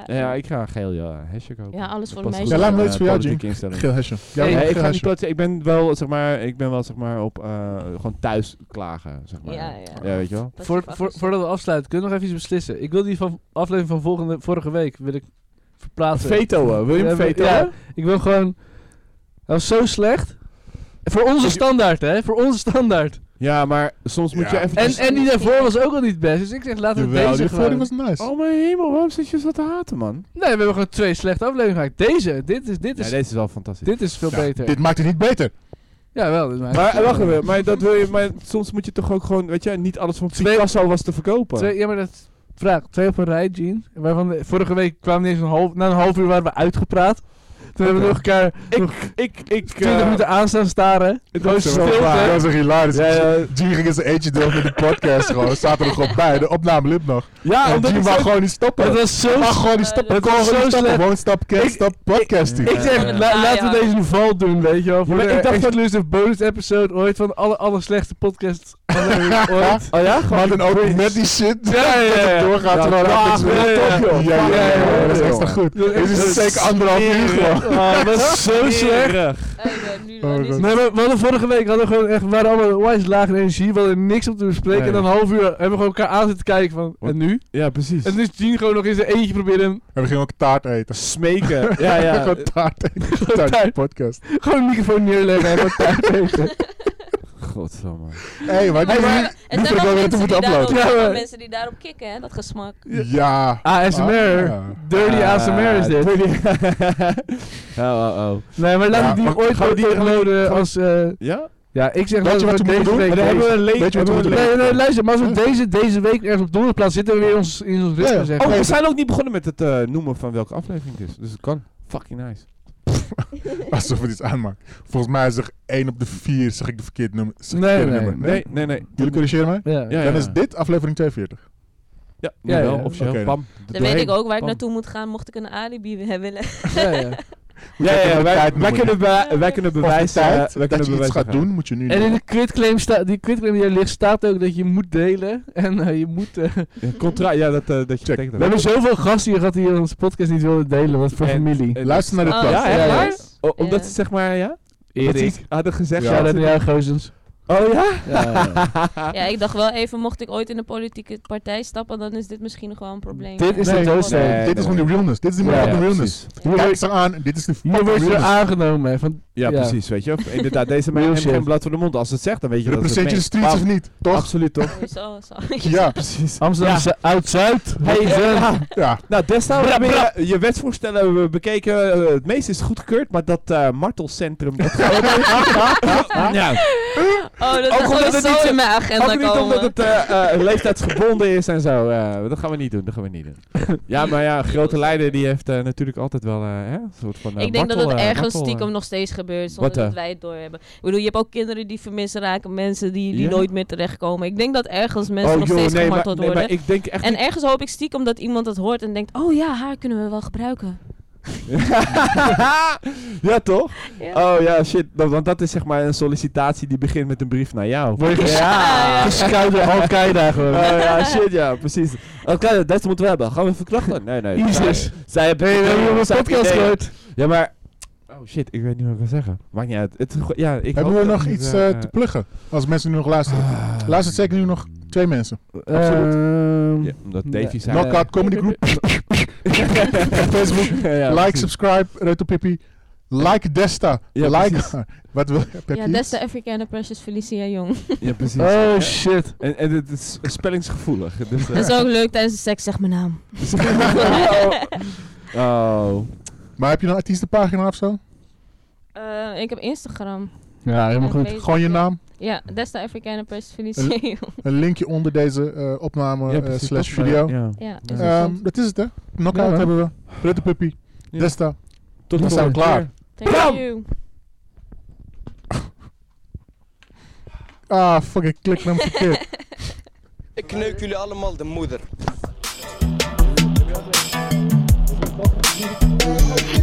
D: Ja,
A: Ja, ik ga een geel ja, hesje kopen.
D: Ja, alles voor
A: Dat past goed
D: de meisjes. Ja,
A: bij
B: laat me
A: een,
B: iets
A: eh,
B: voor jou,
A: politieke instelling.
B: Geel hesje. Ja,
C: Hey,
B: maar
A: Nee,
B: geel
A: ik ga niet
B: hesje.
A: plaatsen. Ik ben wel, zeg maar, ik ben wel, zeg maar, op, eh, gewoon thuis klagen, zeg maar.
D: Ja, ja.
A: weet je wel.
D: Dat is
C: Voor,
D: grappig.
C: voor, voordat we afsluiten, kunnen we nog even iets beslissen? Ik wil die van aflevering van volgende, vorige week wil ik verplaatsen.
A: Vetoen, wil je
C: Ja,
A: hem
C: maar-
A: vetoen?
C: ja, ik wil gewoon... Dat was zo slecht. Voor onze standaard, hè? Voor onze standaard.
A: Ja, maar soms moet
B: Ja.
A: je even...
C: En, en die daarvoor was ook al niet best. Dus ik zeg, laten we
B: Jawel,
C: deze
B: die
C: gewoon...
B: voordeel was nice.
A: Oh mijn hemel, waarom zit je zo te haten, man?
C: Nee, we hebben gewoon twee slechte afleveringen gemaakt. Deze, dit is, dit
A: Ja,
C: is,
A: deze is wel fantastisch.
C: dit is veel
B: Ja,
C: beter.
B: Dit maakt het niet beter.
C: Ja, wel. dit maakt-
A: maar eh, wacht even, maar, dat wil je, maar soms moet je toch ook gewoon, weet je, niet alles van
C: Twee-
A: Picasso was te verkopen.
C: Twee, ja, maar dat... Vraag, twee op een rij, Jean. Waarvan de- vorige week kwamen we eens een half... Na een half uur waren we uitgepraat. Toen hebben we nog elkaar
A: ik, ik, ik...
C: 20
A: eh, [LAUGHS]
C: minuten aan staan staren.
A: het was
B: Zo,
A: stilte.
B: waar. Dat was een hilarisch.
A: Ja, ja.
B: G ging in zijn eentje door met de podcast gewoon. Zaten er gewoon bij. De opname liep nog.
A: Ja,
B: en
A: omdat
B: G
A: ik
B: wou
A: zo-
B: gewoon niet stoppen.
C: Het was zo...
B: Hij wou gewoon niet stoppen.
D: Het
B: Hij kon
C: was
B: gewoon
C: zo
B: niet stoppen.
C: slecht.
B: Gewoon stop,
C: Ik-
B: can't stop, podcasting.
C: Ik zeg,
A: Ah, Ja.
C: la-
D: Ja,
C: laten we
D: ja.
C: deze een val doen, weet je wel. Voor
A: Ja, maar
C: de
A: ik dacht dat-
C: exclusive bonus episode ooit van alle, alle slechte podcasts ooit.
A: Oh ja?
B: Maar dan ook met die shit.
C: Ja, ja, ja.
B: Doorgaat
A: Ja,
B: gewoon
A: ja,
B: af.
A: ja, ja,
B: Ja, ja,
A: ja,
B: ja. Dat is
A: ja,
B: extra
A: ja.
B: goed. Dit is zeker anderhalf uur gewoon.
A: Oh,
C: Ah, dat is [LAUGHS] zo slecht.
D: Eh, ja, nu-
B: Oh,
D: nu is
B: God.
C: Nee, maar we hadden vorige week hadden we gewoon echt, we waren allemaal onwijs laag in energie, we hadden niks om te bespreken.
A: Nee.
C: En dan een half uur hebben we gewoon elkaar aan zitten kijken van,
A: Wat?
C: en nu?
A: Ja, precies.
C: En nu is Jean gewoon nog eens een eentje proberen,
B: En we gingen ook taart eten.
A: Smeken. [LAUGHS] Ja, ja.
B: Gewoon taart eten. Taart
C: taart.
B: podcast.
C: gewoon een microfoon neerleggen en gewoon
A: [LAUGHS]
C: taart eten.
A: Godsamme.
B: Hé, maar
D: Hey,
B: die-
D: maar
B: die vind ik wel weer te moeten uploaden.
C: Ja,
D: Ja,
C: maar-
D: mensen die daarop kicken, hè, dat gesmak.
B: Ja.
C: ASMR.
B: Ah.
C: Dirty
A: Ah,
C: ASMR is dit.
A: dirty- [LAUGHS] oh, oh, oh.
C: Nee, maar laten
B: Ja,
C: we die
B: maar
A: gaan
C: ooit
A: we
C: ooit
A: die- gaan we-
C: uploaden
A: gaan we-
C: als... eh,
A: Ja?
C: Ja,
B: Weet
C: ik zeg
B: je
C: dat
B: wat we moeten
C: deze
B: doen?
C: week...
A: Maar dan hebben we een leeg...
B: Weet je wat we
A: hebben
B: moeten
A: een
C: Nee, nee,
A: leeg-
C: luister, maar als we
B: Ja.
C: deze, deze week ergens op donderdag plaatsen, zitten we weer in ons, in ons ritme,
B: Ja, ja.
C: zeg
A: Oh,
C: maar.
A: we zijn ook niet begonnen met het eh, noemen van welke aflevering het is. Dus het kan. Fucking nice.
B: Alsof het iets aanmaakt. Volgens mij zeg 1 op de 4 zeg ik de verkeerd nummer. Zeg ik
C: Nee,
B: verkeerd
C: nee,
B: nummer.
A: Nee, nee, nee.
B: Jullie corrigeren mij?
C: Ja.
A: Ja,
B: Dan
A: ja.
B: is dit aflevering 42.
A: Ja, nu
C: Ja, ja,
A: wel.
C: ja.
A: Officieel.
B: Oké,
A: Pam.
D: Dan weet ik ook waar ik
A: Bam.
D: naartoe moet gaan mocht ik een alibi he- willen.
C: Ja, ja.
A: Ja, ja, ja, wij, wij, kunnen
D: Ja.
A: be- wij kunnen
B: Of de
A: bewijzen... eh,
B: tijd
A: wij
B: dat
A: kunnen
B: je iets
A: bewijzen
B: gaat doen, moet je nu
C: En in
B: doen.
C: de quitclaim, sta, die quitclaim die er ligt staat ook dat je moet delen. En eh, je moet... eh,
A: Ja, contra ja, dat, eh, dat je
B: Check.
A: tekent
C: we hebben zoveel gasten hier gehad die onze podcast niet wilden delen, wat voor
A: En-
C: familie.
A: en-
B: Luister naar de
D: Oh,
B: podcast.
A: Ja, echt
D: serieus?
A: waar?
D: Ja.
A: O- Oh, Omdat ze zeg maar, ja? Dat ze iets hadden gezegd.
B: Ja.
C: Ja,
A: dat
C: dat
A: ze-
C: jou, gozens.
A: Oh ja?
D: Ja, ik dacht wel even, mocht ik ooit in de politieke partij stappen, dan is dit misschien nog wel een probleem.
C: Dit is
B: Nee,
C: de doodsteek.
A: nee.
B: dit is gewoon de realness. Dit is de
A: Ja,
B: fucking
A: ja,
B: realness.
A: precies.
C: Hier
B: Kijk
C: wordt-
B: ze aan. Dit is de
C: Hier
B: fucking
C: wordt je
B: realness.
C: aangenomen. hè, Van,
A: Ja,
C: Ja.
A: precies, weet je. [LAUGHS] Inderdaad, deze
C: Real
A: man heeft
C: shit.
A: geen blad voor de mond. Als ze het zegt, dan weet je dat ze
B: Represent je de
A: het meent.
B: streets of niet?
A: Wauw,
B: Toch?
C: [LAUGHS]
A: Absoluut, toch?
D: Zo, zo.
A: [LAUGHS]
B: Ja.
A: Precies.
C: Amsterdam Oud-Zuid.
A: Hey,
C: Hey,
A: eh,
B: Ja.
A: nou, destijds hebben je, je wetsvoorstellen hebben we bekeken. Eh, het meeste is goedgekeurd, maar dat eh, martelcentrum... Dat gaat ook niet. ja.
D: Oh, dat
A: Ook
D: is
A: omdat het
D: sowieso
A: niet-
D: in mijn agenda
A: Ook niet
D: komen.
A: omdat het eh, eh, leeftijdsgebonden is en zo. eh, dat gaan we niet doen, dat gaan we niet doen. Ja, maar ja, een grote leider die heeft eh, natuurlijk altijd wel eh, hè, een soort van eh,
D: ik denk dat
A: martel,
D: het
A: eh,
D: ergens
A: martel, eh.
D: stiekem nog steeds gebeurt zonder
A: Wat, eh?
D: dat wij het doorhebben. Ik bedoel, je hebt ook kinderen die vermist raken, mensen die, die
A: Ja. Oh,
D: nooit meer terechtkomen. Ik denk dat ergens mensen nog
A: joh,
D: steeds
A: nee, maar,
D: gemarteld
A: nee,
D: worden.
A: maar ik denk echt
D: en ergens hoop ik stiekem dat iemand dat hoort en denkt, oh ja, haar kunnen we wel gebruiken.
A: [LAUGHS] ja, toch?
D: Ja.
A: Oh ja, shit. dat- want dat is zeg maar een sollicitatie die begint met een brief naar jou.
E: Word je
A: ja.
D: ja.
A: geschuild door Al-Qaeda gewoon. Oh ja, shit, ja, precies. Al-Qaeda, dat moeten we hebben. Gaan we verkrachten? Nee, nee.
E: Jezus.
A: Zij hebben
E: Hey, we hebben
A: ideeën,
E: een
A: zij hebben
E: podcast
A: ideeën.
E: gehoord.
A: Ja, maar... Oh shit, ik weet niet wat ik wil zeggen. Maakt niet uit. Het, is gewoon- ja, ik
B: Hebben
A: hoop
B: we
A: dat
B: nog
A: het,
B: iets
A: eh, Ah,
B: eh, te pluggen? Als mensen nu nog luisteren. Luistert zeker nu nog twee mensen. Absoluut.
E: Ehm,
A: Ja, omdat
E: Nee.
A: Davy eh, zijn...
B: Knockout Comedy Group. [LAUGHS]
A: [LAUGHS]
B: Facebook. like, subscribe, Reto Pippi. Like Desta.
A: Ja,
B: like
A: precies.
B: haar. [LAUGHS] Wat wil heb
D: Ja,
B: je
D: that's
B: iets?
D: the African Precious Felicia Jong.
A: Ja, precies.
E: Oh shit.
A: en, en het is spellingsgevoelig. Dus, eh,
D: [LAUGHS]
B: [LAUGHS]
A: [LAUGHS]
D: Dat is ook leuk, tijdens de seks zeg mijn naam. [LAUGHS]
A: oh.
B: Maar heb je een artiestenpagina of zo?
D: Eh, ik heb Instagram.
E: Ja, helemaal
D: En
E: goed.
D: Facebook,
B: Gewoon je
D: ja.
B: naam.
D: Ja, that's the African Precious Felicia Jong.
B: Een linkje onder deze eh, opname eh, slash video.
A: Oh. Ja.
D: [LAUGHS] Ja, dus is
A: Ja.
B: Ehm,
D: goed.
B: dat is het hè. Knockout
E: Ja, man.
B: hebben we. Reto Pippi.
A: Ja.
B: Desta.
A: Tot
B: Dan
A: de
B: zijn we
A: volgende
B: klaar.
A: keer.
D: Thank you.
B: Ah, fuck, ik klik
D: [LAUGHS]
B: hem verkeerd.
F: Ik kneuk jullie allemaal de moeder.